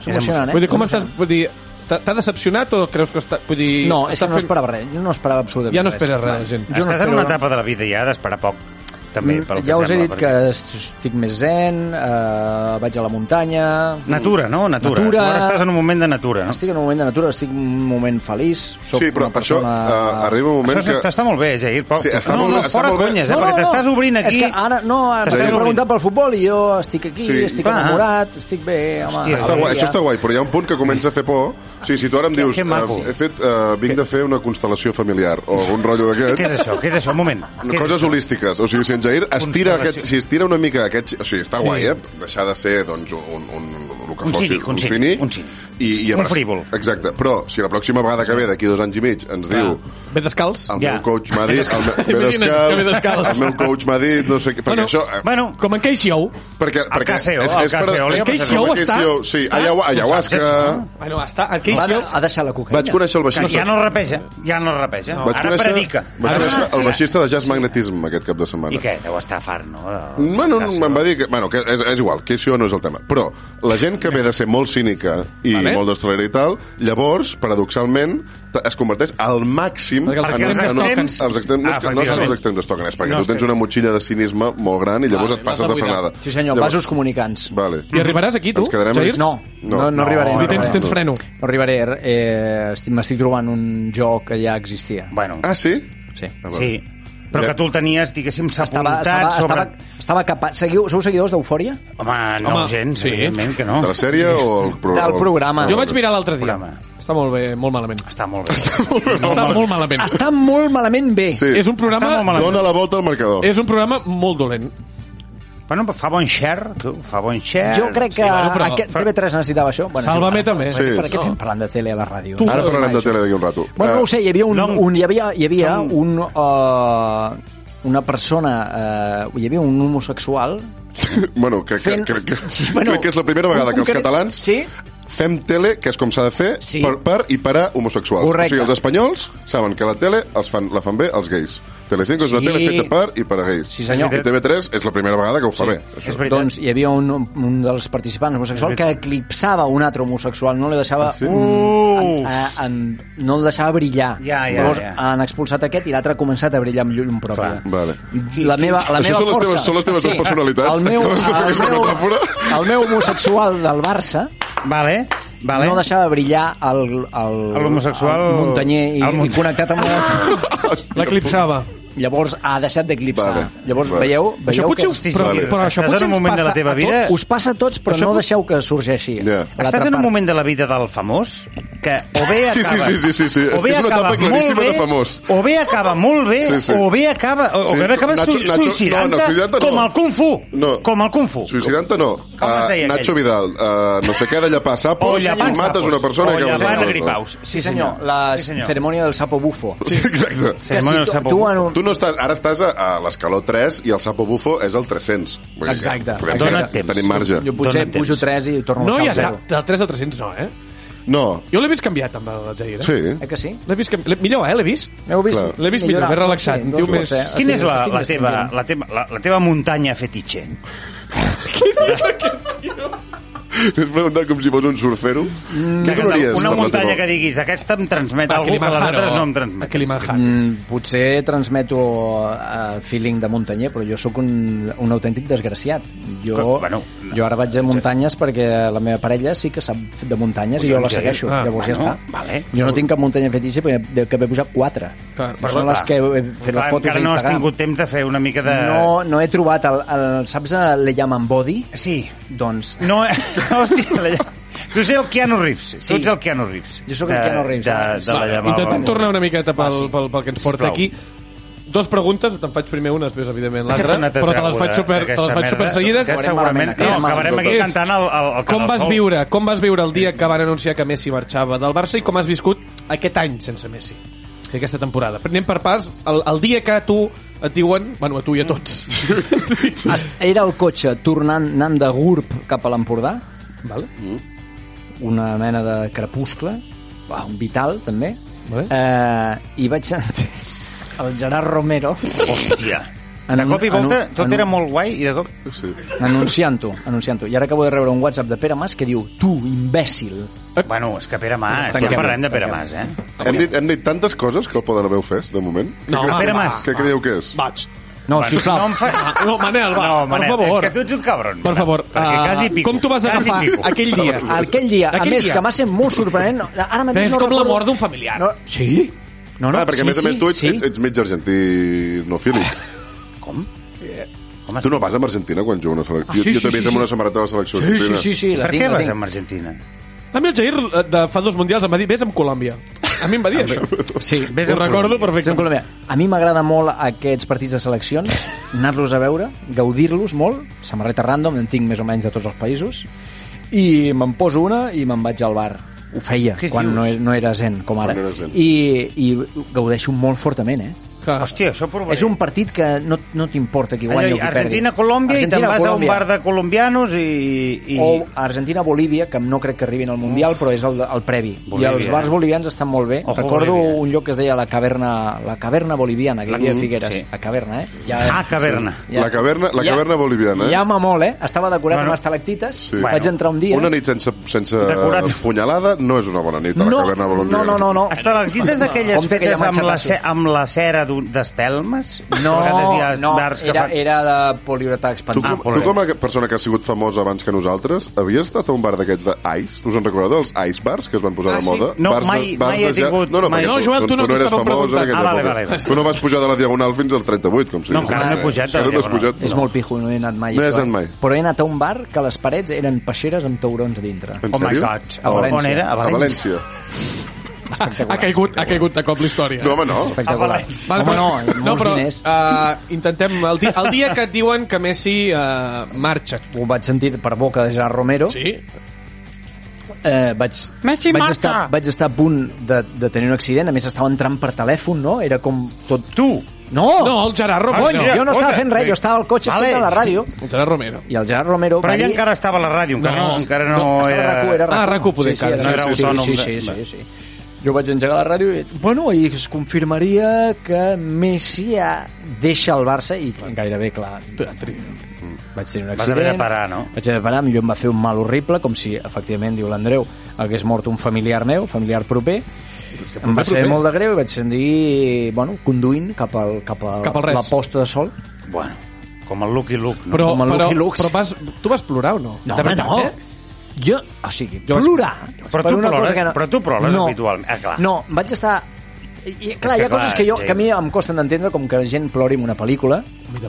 [SPEAKER 8] És,
[SPEAKER 7] És
[SPEAKER 8] emocionant, eh?
[SPEAKER 6] Vull dir, com estàs... Vull dir, t'ha t'ha decepcionat o creus que està... Vull dir,
[SPEAKER 8] No, és
[SPEAKER 6] està
[SPEAKER 8] que no esperava res. Jo no esperava absolutament
[SPEAKER 6] Ja no esperes res, gent.
[SPEAKER 8] Jo no
[SPEAKER 7] Estàs en
[SPEAKER 8] espero-
[SPEAKER 7] una etapa de la vida ja d'esperar poc, també,
[SPEAKER 8] Mm,
[SPEAKER 7] pel que
[SPEAKER 8] ja us
[SPEAKER 7] sembla,
[SPEAKER 8] he dit que estic més zen, eh, vaig a la muntanya...
[SPEAKER 7] Natura, no? Natura.
[SPEAKER 8] Mm. Natura.
[SPEAKER 7] Tu ara estàs en un moment de natura, no?
[SPEAKER 8] Estic en un moment de natura, estic en un moment feliç. Soc
[SPEAKER 4] Sí, però
[SPEAKER 8] una
[SPEAKER 4] per això
[SPEAKER 8] persona...
[SPEAKER 4] eh, arriba un moment
[SPEAKER 7] Això
[SPEAKER 4] que...
[SPEAKER 7] que... està molt bé, Jair. Però...
[SPEAKER 4] Sí, està
[SPEAKER 7] no,
[SPEAKER 4] molt bé,
[SPEAKER 7] no,
[SPEAKER 4] està
[SPEAKER 7] fora
[SPEAKER 4] molt bé.
[SPEAKER 7] conyes, eh? perquè t'estàs obrint aquí...
[SPEAKER 8] És que ara, no, ara
[SPEAKER 4] T'estàs
[SPEAKER 8] m'estàs
[SPEAKER 4] obrint.
[SPEAKER 8] preguntant pel futbol i jo estic aquí,
[SPEAKER 4] Sí,
[SPEAKER 8] estic
[SPEAKER 7] va.
[SPEAKER 8] enamorat, estic bé, home.
[SPEAKER 7] Hòstia,
[SPEAKER 4] Està guai, això està guai, però hi ha un punt que comença a fer por. O sigui, si tu ara em dius,
[SPEAKER 7] que maco.
[SPEAKER 4] eh, he fet, eh, vinc de fer una constel·lació familiar o un rotllo
[SPEAKER 7] Què
[SPEAKER 4] d'aquest,
[SPEAKER 7] és això? Què és això? Un moment. Què és
[SPEAKER 4] coses
[SPEAKER 7] això?
[SPEAKER 4] holístiques. O sigui, si en Jair estira
[SPEAKER 7] Constel·lació.
[SPEAKER 4] aquest, si estira una mica aquest... O sigui, està guai, eh? Deixar de ser, doncs, un... un, un, que
[SPEAKER 7] Un
[SPEAKER 4] fossi,
[SPEAKER 7] cínic, un cínic, un cínic.
[SPEAKER 4] I, i
[SPEAKER 7] Un
[SPEAKER 4] abraç-
[SPEAKER 7] frívol.
[SPEAKER 4] Exacte. Però, si la pròxima vegada que ve, d'aquí dos anys i mig, ens diu...
[SPEAKER 6] Ve descalç?
[SPEAKER 4] El
[SPEAKER 7] Ja.
[SPEAKER 4] meu coach m'ha dit... El, me, ve
[SPEAKER 6] Imagina't que ve
[SPEAKER 4] descalç,
[SPEAKER 6] descalç.
[SPEAKER 4] el meu coach m'ha dit... No sé què, perquè
[SPEAKER 6] Bueno,
[SPEAKER 4] això... eh,
[SPEAKER 7] Bueno,
[SPEAKER 6] Com en Casey Ou.
[SPEAKER 4] perquè,
[SPEAKER 7] el
[SPEAKER 4] perquè
[SPEAKER 7] Casey Ou, el Casey Ou, li ha
[SPEAKER 4] per-
[SPEAKER 7] passat
[SPEAKER 6] alguna cosa.
[SPEAKER 4] Casey Ou, Sí, ayahu- ayahuasca...
[SPEAKER 7] Doncs Saps,
[SPEAKER 6] Bueno, està, en
[SPEAKER 8] Va,
[SPEAKER 6] Casey Ou...
[SPEAKER 8] ha deixat la cocaïna.
[SPEAKER 4] Vaig conèixer el
[SPEAKER 7] que
[SPEAKER 4] baixista...
[SPEAKER 7] ja no rapeja, ja no rapeja.
[SPEAKER 4] Vaig
[SPEAKER 7] Ara predica.
[SPEAKER 4] Vaig
[SPEAKER 7] Ara-
[SPEAKER 4] conèixer el
[SPEAKER 7] sí.
[SPEAKER 4] baixista de Jazz Magnetism aquest cap de setmana.
[SPEAKER 7] I què? Deu estar fart, no? De-
[SPEAKER 4] Bueno,
[SPEAKER 7] de-
[SPEAKER 4] em va dir que... Bueno, que és, és igual, que això no és el tema. Però la gent que ve de ser molt cínica i
[SPEAKER 6] Vale.
[SPEAKER 4] molt d'estrelera i tal, llavors, paradoxalment, t- es converteix al màxim...
[SPEAKER 6] Perquè els extrems
[SPEAKER 4] en,
[SPEAKER 6] es
[SPEAKER 4] en,
[SPEAKER 6] toquen.
[SPEAKER 4] Els extrems, no,
[SPEAKER 7] Ah,
[SPEAKER 4] és que, no és que
[SPEAKER 7] efectivament.
[SPEAKER 4] els extrems es toquen, és perquè
[SPEAKER 7] No,
[SPEAKER 4] no, tu
[SPEAKER 7] és
[SPEAKER 4] tens una motxilla de cinisme molt gran i llavors
[SPEAKER 6] Vale,
[SPEAKER 4] et passes
[SPEAKER 6] l'has
[SPEAKER 4] de
[SPEAKER 6] de buidar.
[SPEAKER 4] frenada.
[SPEAKER 8] Sí senyor,
[SPEAKER 4] Llavors-
[SPEAKER 8] vasos comunicants.
[SPEAKER 4] Vale.
[SPEAKER 6] I arribaràs aquí, tu,
[SPEAKER 4] Ens quedarem...
[SPEAKER 6] Jair?
[SPEAKER 8] No, no, no, no arribaré.
[SPEAKER 6] Ni
[SPEAKER 8] No,
[SPEAKER 6] tens,
[SPEAKER 8] arribaré.
[SPEAKER 6] tens freno.
[SPEAKER 8] No arribaré, eh, estic- m'estic trobant un joc que ja existia.
[SPEAKER 7] Bueno,
[SPEAKER 4] Ah, sí?
[SPEAKER 8] Sí.
[SPEAKER 4] Ah, va.
[SPEAKER 7] sí. Però
[SPEAKER 4] Ja.
[SPEAKER 7] que tu el tenies, diguéssim,
[SPEAKER 8] Estava,
[SPEAKER 7] s'apuntat
[SPEAKER 8] estava,
[SPEAKER 7] sobre...
[SPEAKER 8] estava, estava capa... Seguiu, sou seguidors d'Eufòria?
[SPEAKER 7] Home, no
[SPEAKER 6] Home,
[SPEAKER 7] gens,
[SPEAKER 6] sí.
[SPEAKER 7] evidentment que no.
[SPEAKER 4] De la sèrie o el programa?
[SPEAKER 8] Del programa.
[SPEAKER 6] Jo vaig mirar l'altre dia.
[SPEAKER 7] Programa.
[SPEAKER 6] Està molt bé, molt malament.
[SPEAKER 7] Està molt bé.
[SPEAKER 6] Està molt malament.
[SPEAKER 8] Està molt malament bé.
[SPEAKER 4] Sí.
[SPEAKER 6] És un
[SPEAKER 7] Està molt
[SPEAKER 6] programa...
[SPEAKER 7] malament.
[SPEAKER 4] Dona la volta al marcador.
[SPEAKER 6] És un programa molt dolent.
[SPEAKER 7] Bueno, però fa bon share, tu, fa bon share.
[SPEAKER 8] Jo crec que
[SPEAKER 7] Sí,
[SPEAKER 6] bueno, però-
[SPEAKER 8] aquest TV3 necessitava això. Bueno,
[SPEAKER 6] Sálvame
[SPEAKER 8] és igual.
[SPEAKER 6] també.
[SPEAKER 8] Per
[SPEAKER 4] Sí.
[SPEAKER 8] què fem parlant de tele a la ràdio?
[SPEAKER 6] Tu-
[SPEAKER 4] Ara parlarem de
[SPEAKER 8] Això.
[SPEAKER 4] tele d'aquí un rato. Eh,
[SPEAKER 8] Bueno, no ho sé, hi havia un...
[SPEAKER 7] Long-
[SPEAKER 8] un hi havia, hi havia
[SPEAKER 7] Long-
[SPEAKER 8] un... Uh, una persona... Uh, hi havia un homosexual...
[SPEAKER 4] Bueno, crec,
[SPEAKER 8] Fent-
[SPEAKER 4] que, crec, que,
[SPEAKER 8] Sí, bueno,
[SPEAKER 4] crec que és la primera vegada
[SPEAKER 8] un
[SPEAKER 4] que els
[SPEAKER 8] concret-
[SPEAKER 4] catalans
[SPEAKER 8] Sí.
[SPEAKER 4] fem tele, que és com s'ha de fer,
[SPEAKER 8] Sí.
[SPEAKER 4] per, per i per a homosexuals.
[SPEAKER 8] Correcte.
[SPEAKER 4] O sigui, els espanyols saben que la tele els fan, la fan bé els gais. Telecinco és una
[SPEAKER 8] Sí.
[SPEAKER 4] tele feta per i per a gais.
[SPEAKER 8] Sí, senyor.
[SPEAKER 4] I TV3 és la primera vegada que ho fa sí. bé.
[SPEAKER 7] És veritat.
[SPEAKER 8] Doncs hi havia un, un dels participants homosexual que eclipsava un altre homosexual, no li deixava...
[SPEAKER 4] Ah, sí?
[SPEAKER 8] En, a- en, no el deixava brillar.
[SPEAKER 7] Ja, ja,
[SPEAKER 8] Llavors
[SPEAKER 7] ja.
[SPEAKER 8] han expulsat aquest i l'altre ha començat a brillar amb llum pròpia.
[SPEAKER 7] Clar.
[SPEAKER 4] Vale.
[SPEAKER 8] La meva, la
[SPEAKER 4] Això
[SPEAKER 8] meva
[SPEAKER 4] són les
[SPEAKER 8] força...
[SPEAKER 4] teves- són les teves dues personalitats?
[SPEAKER 8] El meu,
[SPEAKER 4] Acabes de fer
[SPEAKER 8] el,
[SPEAKER 4] aquesta
[SPEAKER 8] meu,
[SPEAKER 4] metàfora?
[SPEAKER 8] el meu homosexual del Barça
[SPEAKER 7] Vale, vale.
[SPEAKER 8] no deixava brillar el, el,
[SPEAKER 7] El homosexual-
[SPEAKER 8] el Muntanyer i,
[SPEAKER 7] el Mun-
[SPEAKER 8] i connectat amb la...
[SPEAKER 6] L'eclipsava.
[SPEAKER 8] Llavors ha deixat d'eclipsar.
[SPEAKER 4] Vale.
[SPEAKER 8] Llavors
[SPEAKER 4] Vale.
[SPEAKER 8] veieu...
[SPEAKER 6] Això
[SPEAKER 8] veieu
[SPEAKER 6] potser...
[SPEAKER 8] que...
[SPEAKER 6] us- Però,
[SPEAKER 4] Vale.
[SPEAKER 6] però això
[SPEAKER 7] Estàs en
[SPEAKER 6] potser ens
[SPEAKER 7] un moment de la
[SPEAKER 6] passa
[SPEAKER 7] teva
[SPEAKER 6] a
[SPEAKER 7] vida-
[SPEAKER 6] tots.
[SPEAKER 8] Us passa a tots, però
[SPEAKER 7] Això
[SPEAKER 8] no
[SPEAKER 7] pot-
[SPEAKER 8] deixeu que sorgeixi.
[SPEAKER 4] Ja.
[SPEAKER 8] L'altra
[SPEAKER 7] Estàs en un
[SPEAKER 8] part.
[SPEAKER 7] moment de la vida del famós que o bé
[SPEAKER 4] Sí, sí,
[SPEAKER 7] acaba...
[SPEAKER 4] sí, sí, sí, sí.
[SPEAKER 7] o
[SPEAKER 4] És
[SPEAKER 7] bé
[SPEAKER 4] que és una etapa
[SPEAKER 7] acaba molt
[SPEAKER 4] claríssima
[SPEAKER 7] bé,
[SPEAKER 4] de famós.
[SPEAKER 7] O bé acaba molt bé,
[SPEAKER 4] Sí, sí.
[SPEAKER 7] o bé acaba... O, o
[SPEAKER 4] Sí,
[SPEAKER 7] bé acaba
[SPEAKER 4] Nacho- Nacho-
[SPEAKER 7] su
[SPEAKER 4] no, no,
[SPEAKER 7] suïcidant-te
[SPEAKER 4] suïcidant-te no.
[SPEAKER 7] com el Kung Fu.
[SPEAKER 4] No.
[SPEAKER 7] Com el Kung Fu.
[SPEAKER 4] Suïcidant-te no.
[SPEAKER 7] Com es deia
[SPEAKER 4] Uh, Nacho
[SPEAKER 7] aquell?
[SPEAKER 4] Vidal, uh, no sé què, de llapar sapos,
[SPEAKER 7] O llepant
[SPEAKER 4] mates
[SPEAKER 7] sapos.
[SPEAKER 4] una persona
[SPEAKER 7] o
[SPEAKER 4] i acabes
[SPEAKER 7] llepant
[SPEAKER 4] amb
[SPEAKER 7] gripaus.
[SPEAKER 8] Sí, senyor. La
[SPEAKER 7] Sí, senyor.
[SPEAKER 8] cerimònia del sapo bufo.
[SPEAKER 4] Sí, exacte.
[SPEAKER 7] Sí. Cerimònia
[SPEAKER 8] Que
[SPEAKER 7] del
[SPEAKER 8] si
[SPEAKER 7] sapo
[SPEAKER 8] tu- tu
[SPEAKER 7] bufo.
[SPEAKER 8] en un-
[SPEAKER 4] Tu no estàs, ara estàs a, a l'escaló 3 i el sapo bufo és el 300. Vull dir que
[SPEAKER 8] Exacte.
[SPEAKER 4] podem-
[SPEAKER 7] Dona't temps.
[SPEAKER 4] Tenim marge.
[SPEAKER 8] Jo potser
[SPEAKER 7] Dona't
[SPEAKER 8] pujo
[SPEAKER 7] temps.
[SPEAKER 8] 3 i torno
[SPEAKER 6] No
[SPEAKER 8] a
[SPEAKER 6] hi ha
[SPEAKER 8] baixar al
[SPEAKER 6] cap... Del 3 al 300 no, eh?
[SPEAKER 4] No,
[SPEAKER 6] Jo l'he vist canviat amb el Jair, eh?
[SPEAKER 4] sí.
[SPEAKER 8] Eh que sí?
[SPEAKER 6] L'he vist canvi... l'he- Millor, eh? L'he vist?
[SPEAKER 8] Heu vist?
[SPEAKER 4] Clar.
[SPEAKER 6] L'he vist millor, més relaxat,
[SPEAKER 8] Sí,
[SPEAKER 6] diu
[SPEAKER 8] doncs
[SPEAKER 6] més-
[SPEAKER 8] potser.
[SPEAKER 7] Quina és la,
[SPEAKER 8] Estic
[SPEAKER 7] la, teva,
[SPEAKER 8] restringent.
[SPEAKER 7] la, teva, la, la teva muntanya fetitxe?
[SPEAKER 4] T'has preguntat com si fos un surfero.
[SPEAKER 8] Mm.
[SPEAKER 4] Què donaries?
[SPEAKER 7] Una
[SPEAKER 4] per la
[SPEAKER 7] muntanya
[SPEAKER 4] teva-
[SPEAKER 7] que diguis, aquesta em transmet alguna cosa que les altres no em transmet.
[SPEAKER 6] Kilimanjaro.
[SPEAKER 8] Mm, potser transmeto el feeling de muntanyer, però jo sóc un, un autèntic desgraciat. Jo,
[SPEAKER 7] Però, bueno, no.
[SPEAKER 8] jo ara vaig a muntanyes perquè la meva parella sí que sap de muntanyes i jo la
[SPEAKER 7] Collons,
[SPEAKER 8] segueixo.
[SPEAKER 6] eh? Ah,
[SPEAKER 8] llavors
[SPEAKER 7] bueno,
[SPEAKER 8] ja està.
[SPEAKER 7] vale.
[SPEAKER 8] Jo no tinc cap muntanya fetitxa perquè que m'he pujat quatre.
[SPEAKER 6] Clar,
[SPEAKER 8] Però són les
[SPEAKER 7] clar.
[SPEAKER 8] que he fet
[SPEAKER 7] Clar,
[SPEAKER 8] les fotos
[SPEAKER 7] encara
[SPEAKER 8] a
[SPEAKER 7] no has
[SPEAKER 8] Instagram.
[SPEAKER 7] tingut eh, temps de fer una mica de...
[SPEAKER 8] No, no he trobat el, el, saps el le llaman body?
[SPEAKER 7] Sí.
[SPEAKER 8] Doncs
[SPEAKER 7] No, hòstia, la... lla- Tu ets el Keanu Reeves.
[SPEAKER 8] Sí.
[SPEAKER 7] Tu ets el Keanu Reeves.
[SPEAKER 8] Jo sóc el Keanu Reeves,
[SPEAKER 7] De,
[SPEAKER 8] eh?
[SPEAKER 7] de, de la
[SPEAKER 8] Vale.
[SPEAKER 7] llamada.
[SPEAKER 6] Intentem tornar una miqueta pel, pel, pel que ens porta
[SPEAKER 7] Sisplau.
[SPEAKER 6] aquí. Dos preguntes, te'n faig primer una, després, evidentment, l'altra,
[SPEAKER 7] Aquesta
[SPEAKER 6] però
[SPEAKER 7] no
[SPEAKER 6] te les
[SPEAKER 7] t'atraguda,
[SPEAKER 6] faig super, te
[SPEAKER 7] aquesta
[SPEAKER 6] les faig
[SPEAKER 7] merda.
[SPEAKER 6] super seguides.
[SPEAKER 7] Aquesta segurament... No,
[SPEAKER 6] És-
[SPEAKER 7] acabarem aquí
[SPEAKER 6] és-
[SPEAKER 7] cantant el... el, el
[SPEAKER 6] Com vas
[SPEAKER 7] Caracol.
[SPEAKER 6] viure com vas viure el dia que van anunciar que Messi marxava del Barça i com has viscut aquest any sense Messi? Que aquesta temporada. Anem per pas, el, el dia que a tu et diuen... Bueno, a tu i a tots.
[SPEAKER 8] Es- Era el cotxe tornant, anant de Gurb cap a l'Empordà,
[SPEAKER 6] vale?
[SPEAKER 8] una mena de crepuscle, va, un vital, també,
[SPEAKER 6] Vale.
[SPEAKER 8] eh, i vaig sentir el Gerard Romero
[SPEAKER 7] Hòstia.
[SPEAKER 8] En
[SPEAKER 7] De
[SPEAKER 8] un-
[SPEAKER 7] cop i
[SPEAKER 8] en un-
[SPEAKER 7] volta
[SPEAKER 8] en
[SPEAKER 7] tot
[SPEAKER 8] un-
[SPEAKER 7] era molt guai i de cop...
[SPEAKER 4] Sí.
[SPEAKER 8] anunciant-ho, anunciant-ho. I ara acabo de rebre un WhatsApp de Pere Mas que diu tu, imbècil.
[SPEAKER 7] Bueno, és que Pere Mas, ja
[SPEAKER 8] Tanquem.
[SPEAKER 7] parlem de Pere
[SPEAKER 8] Tanquem.
[SPEAKER 7] Mas, eh?
[SPEAKER 4] Hem dit, hem dit tantes coses que el poden haver ofès, de moment.
[SPEAKER 6] No,
[SPEAKER 7] Però
[SPEAKER 6] va,
[SPEAKER 7] Pere
[SPEAKER 6] va,
[SPEAKER 7] Mas...
[SPEAKER 4] Què creieu que és?
[SPEAKER 6] Vaig.
[SPEAKER 8] No,
[SPEAKER 7] Bueno,
[SPEAKER 8] sisplau.
[SPEAKER 7] No, em fa...
[SPEAKER 6] Ah, no, Manel, va,
[SPEAKER 7] no,
[SPEAKER 6] per
[SPEAKER 7] Manel,
[SPEAKER 6] favor.
[SPEAKER 7] És que tu ets un cabron.
[SPEAKER 6] Per favor,
[SPEAKER 7] Perquè
[SPEAKER 6] ah,
[SPEAKER 7] quasi pico.
[SPEAKER 6] com t'ho vas
[SPEAKER 7] Quasi
[SPEAKER 6] agafar
[SPEAKER 7] pico.
[SPEAKER 6] aquell dia?
[SPEAKER 8] Aquell dia,
[SPEAKER 6] Aquell
[SPEAKER 8] a més,
[SPEAKER 6] dia.
[SPEAKER 8] que va ser molt sorprenent. Ara mateix
[SPEAKER 6] És
[SPEAKER 8] no
[SPEAKER 6] com la
[SPEAKER 8] recordo-
[SPEAKER 6] mort d'un familiar.
[SPEAKER 8] No, sí? No, no,
[SPEAKER 4] ah, perquè
[SPEAKER 8] sí,
[SPEAKER 4] a més a
[SPEAKER 8] sí,
[SPEAKER 4] més tu ets,
[SPEAKER 8] sí. Ah,
[SPEAKER 4] ets, ets mitjà argentí no fílic.
[SPEAKER 7] Com?
[SPEAKER 4] Tu no vas amb Argentina quan juga una selecció.
[SPEAKER 8] Ah, sí,
[SPEAKER 4] jo jo
[SPEAKER 8] sí,
[SPEAKER 4] t'he vist
[SPEAKER 8] sí,
[SPEAKER 4] amb
[SPEAKER 8] sí.
[SPEAKER 4] una samarreta de la selecció
[SPEAKER 8] Sí, sí,
[SPEAKER 4] argentina.
[SPEAKER 8] sí, sí, la
[SPEAKER 7] Per
[SPEAKER 8] tinc,
[SPEAKER 7] què
[SPEAKER 8] la
[SPEAKER 7] vas
[SPEAKER 8] tinc.
[SPEAKER 7] amb Argentina?
[SPEAKER 6] A mi el Jair, eh, de fa dos mundials, em va dir, vés amb Colòmbia. A mi em va dir això.
[SPEAKER 8] Sí,
[SPEAKER 7] Vés
[SPEAKER 6] Ho
[SPEAKER 7] amb
[SPEAKER 6] recordo
[SPEAKER 7] Colòmbia.
[SPEAKER 8] Perfecte.
[SPEAKER 6] perfectament.
[SPEAKER 8] A mi m'agrada molt aquests partits de seleccions, anar-los a veure, gaudir-los molt, samarreta random, en tinc més o menys de tots els països, i me'n poso una i me'n vaig al bar. Ho feia,
[SPEAKER 7] Què
[SPEAKER 8] quan
[SPEAKER 7] dius?
[SPEAKER 8] no, era- no era zen, com ara.
[SPEAKER 4] Quan no era zen.
[SPEAKER 8] I, I gaudeixo molt fortament, eh?
[SPEAKER 6] Clar.
[SPEAKER 7] Hòstia, això provaré.
[SPEAKER 8] És un partit que no, no t'importa qui guanyi
[SPEAKER 7] Allò,
[SPEAKER 8] o qui perdi.
[SPEAKER 7] Argentina-Colòmbia i te'n vas a un bar de colombianos i... i...
[SPEAKER 8] o Argentina-Bolívia, que no crec que arribin al Mundial, però és el, el previ.
[SPEAKER 7] Bolívia,
[SPEAKER 8] I els bars
[SPEAKER 7] eh?
[SPEAKER 8] bolivians estan molt bé.
[SPEAKER 7] Ojo,
[SPEAKER 8] Recordo
[SPEAKER 7] Bolívia.
[SPEAKER 8] un lloc que es deia la caverna, la caverna boliviana, que hi havia a
[SPEAKER 7] Mm,
[SPEAKER 8] Figueres.
[SPEAKER 7] sí.
[SPEAKER 8] A caverna, eh? Ja,
[SPEAKER 7] Ah, caverna.
[SPEAKER 4] La caverna- la caverna boliviana, eh?
[SPEAKER 8] Ja molt, eh? Estava decorat
[SPEAKER 7] Bueno.
[SPEAKER 8] amb estalactites.
[SPEAKER 4] Sí.
[SPEAKER 8] Vaig
[SPEAKER 7] Bueno.
[SPEAKER 8] entrar un dia...
[SPEAKER 4] Una nit sense, sense
[SPEAKER 7] Decorat.
[SPEAKER 4] punyalada no és una bona nit a la
[SPEAKER 8] no,
[SPEAKER 4] caverna
[SPEAKER 8] no,
[SPEAKER 4] boliviana.
[SPEAKER 8] no, no, no.
[SPEAKER 7] Estalactites d'aquelles
[SPEAKER 8] Compte que ja
[SPEAKER 7] fetes amb la,
[SPEAKER 8] m'enxatasso.
[SPEAKER 7] ce- amb la cera d'un- d'espelmes?
[SPEAKER 8] No,
[SPEAKER 7] A vegades hi ha
[SPEAKER 8] no,
[SPEAKER 7] bars que
[SPEAKER 8] era,
[SPEAKER 7] fan-
[SPEAKER 8] era de Ah, poliuretà
[SPEAKER 4] Tu,
[SPEAKER 8] expandit.
[SPEAKER 4] com, tu com a persona que ha sigut famosa abans que nosaltres, havies estat a un bar d'aquests d'Ice? Us en recordeu dels Ice Bars que es van posar
[SPEAKER 7] Ah,
[SPEAKER 4] de
[SPEAKER 7] sí?
[SPEAKER 4] moda?
[SPEAKER 7] No,
[SPEAKER 4] bars
[SPEAKER 7] mai- mai he
[SPEAKER 4] ja-
[SPEAKER 7] tingut-
[SPEAKER 4] No, no,
[SPEAKER 7] mai.
[SPEAKER 4] perquè
[SPEAKER 7] No,
[SPEAKER 6] Joan, tu no
[SPEAKER 4] tu no eres
[SPEAKER 6] t'estàvem
[SPEAKER 4] famosa en
[SPEAKER 6] preguntant.
[SPEAKER 4] aquella
[SPEAKER 7] Ah, vale,
[SPEAKER 4] època.
[SPEAKER 7] vale, vale.
[SPEAKER 4] Tu no vas pujar de la Diagonal fins als 38, com si...
[SPEAKER 7] No, encara no he pujat de la
[SPEAKER 4] Encara no has
[SPEAKER 7] Diagonal.
[SPEAKER 4] pujat.
[SPEAKER 8] És molt pijo, no he anat mai.
[SPEAKER 4] No
[SPEAKER 8] a
[SPEAKER 4] he
[SPEAKER 8] això,
[SPEAKER 4] anat
[SPEAKER 8] eh?
[SPEAKER 4] mai.
[SPEAKER 8] Però he anat a un bar que les parets eren peixeres amb taurons a dintre.
[SPEAKER 4] En
[SPEAKER 7] Oh my
[SPEAKER 4] sèrio?
[SPEAKER 7] God.
[SPEAKER 8] A València.
[SPEAKER 7] On
[SPEAKER 6] Ah,
[SPEAKER 7] era? A
[SPEAKER 4] A
[SPEAKER 7] València.
[SPEAKER 4] València.
[SPEAKER 8] Espectacular.
[SPEAKER 6] Ha caigut, ha caigut de cop la història.
[SPEAKER 4] No, home, no.
[SPEAKER 8] Espectacular.
[SPEAKER 7] A València.
[SPEAKER 8] Home, no, molts
[SPEAKER 6] no, però
[SPEAKER 8] diners.
[SPEAKER 6] uh, intentem... El, di el dia que et diuen que Messi uh, marxa,
[SPEAKER 8] Ho vaig sentir per boca de Gerard Romero.
[SPEAKER 6] sí?
[SPEAKER 8] Eh, vaig,
[SPEAKER 7] Messi
[SPEAKER 8] vaig,
[SPEAKER 7] marca!
[SPEAKER 8] estar, vaig estar a punt de, de tenir un accident. A més, estava entrant per telèfon, no? Era com tot...
[SPEAKER 7] Tu!
[SPEAKER 8] No!
[SPEAKER 6] No, el Gerard
[SPEAKER 8] Cony,
[SPEAKER 6] Romero.
[SPEAKER 7] Ah,
[SPEAKER 8] jo no estava
[SPEAKER 7] Escolta,
[SPEAKER 8] fent res,
[SPEAKER 7] eh,
[SPEAKER 8] jo estava al cotxe
[SPEAKER 7] Àlex.
[SPEAKER 8] escoltant la ràdio.
[SPEAKER 6] El Gerard Romero.
[SPEAKER 8] I el Gerard Romero
[SPEAKER 7] Però
[SPEAKER 8] va
[SPEAKER 7] ella
[SPEAKER 8] dir...
[SPEAKER 7] encara estava a la ràdio, encara no,
[SPEAKER 6] No.
[SPEAKER 7] encara no,
[SPEAKER 8] estava a RAC1, era
[SPEAKER 6] Ah,
[SPEAKER 8] RAC1.
[SPEAKER 6] RAC1 poder,
[SPEAKER 8] sí, sí,
[SPEAKER 6] encara,
[SPEAKER 7] no era
[SPEAKER 8] sí,
[SPEAKER 7] autònom eh,
[SPEAKER 8] sí,
[SPEAKER 7] de-
[SPEAKER 8] sí, sí,
[SPEAKER 7] va.
[SPEAKER 8] sí, sí. Jo vaig engegar la ràdio i... Bueno, i es confirmaria que Messi ja deixa el Barça i gairebé, clar, vaig tenir un
[SPEAKER 7] Vas
[SPEAKER 8] accident.
[SPEAKER 7] haver de parar, no?
[SPEAKER 8] Vaig haver de parar, millor em va fer un mal horrible, com si, efectivament, diu l'Andreu, hagués mort un familiar meu, familiar proper. Em va saber molt de greu i vaig sentir, bueno, conduint cap, al, cap a
[SPEAKER 6] Cap al res.
[SPEAKER 8] la posta de sol.
[SPEAKER 7] Bueno, com el Lucky Luke, no?
[SPEAKER 6] Però,
[SPEAKER 8] Com el
[SPEAKER 6] però,
[SPEAKER 8] Lucky Lux.
[SPEAKER 6] però vas, tu vas plorar o no? De
[SPEAKER 8] No, home,
[SPEAKER 6] veritat,
[SPEAKER 8] no.
[SPEAKER 6] eh?
[SPEAKER 8] Jo, o sigui,
[SPEAKER 6] Jo
[SPEAKER 8] jo
[SPEAKER 6] vaig-
[SPEAKER 8] plorar...
[SPEAKER 7] Però
[SPEAKER 8] per
[SPEAKER 7] tu
[SPEAKER 8] una cosa
[SPEAKER 7] plores-
[SPEAKER 8] que no-
[SPEAKER 7] però tu plores habitualment. Ah, clar.
[SPEAKER 8] No, vaig estar... I, i, clar,
[SPEAKER 7] que,
[SPEAKER 8] hi ha coses
[SPEAKER 7] clar,
[SPEAKER 8] que, jo,
[SPEAKER 7] James.
[SPEAKER 8] que a mi em costen d'entendre, com que la gent plori en una pel·lícula.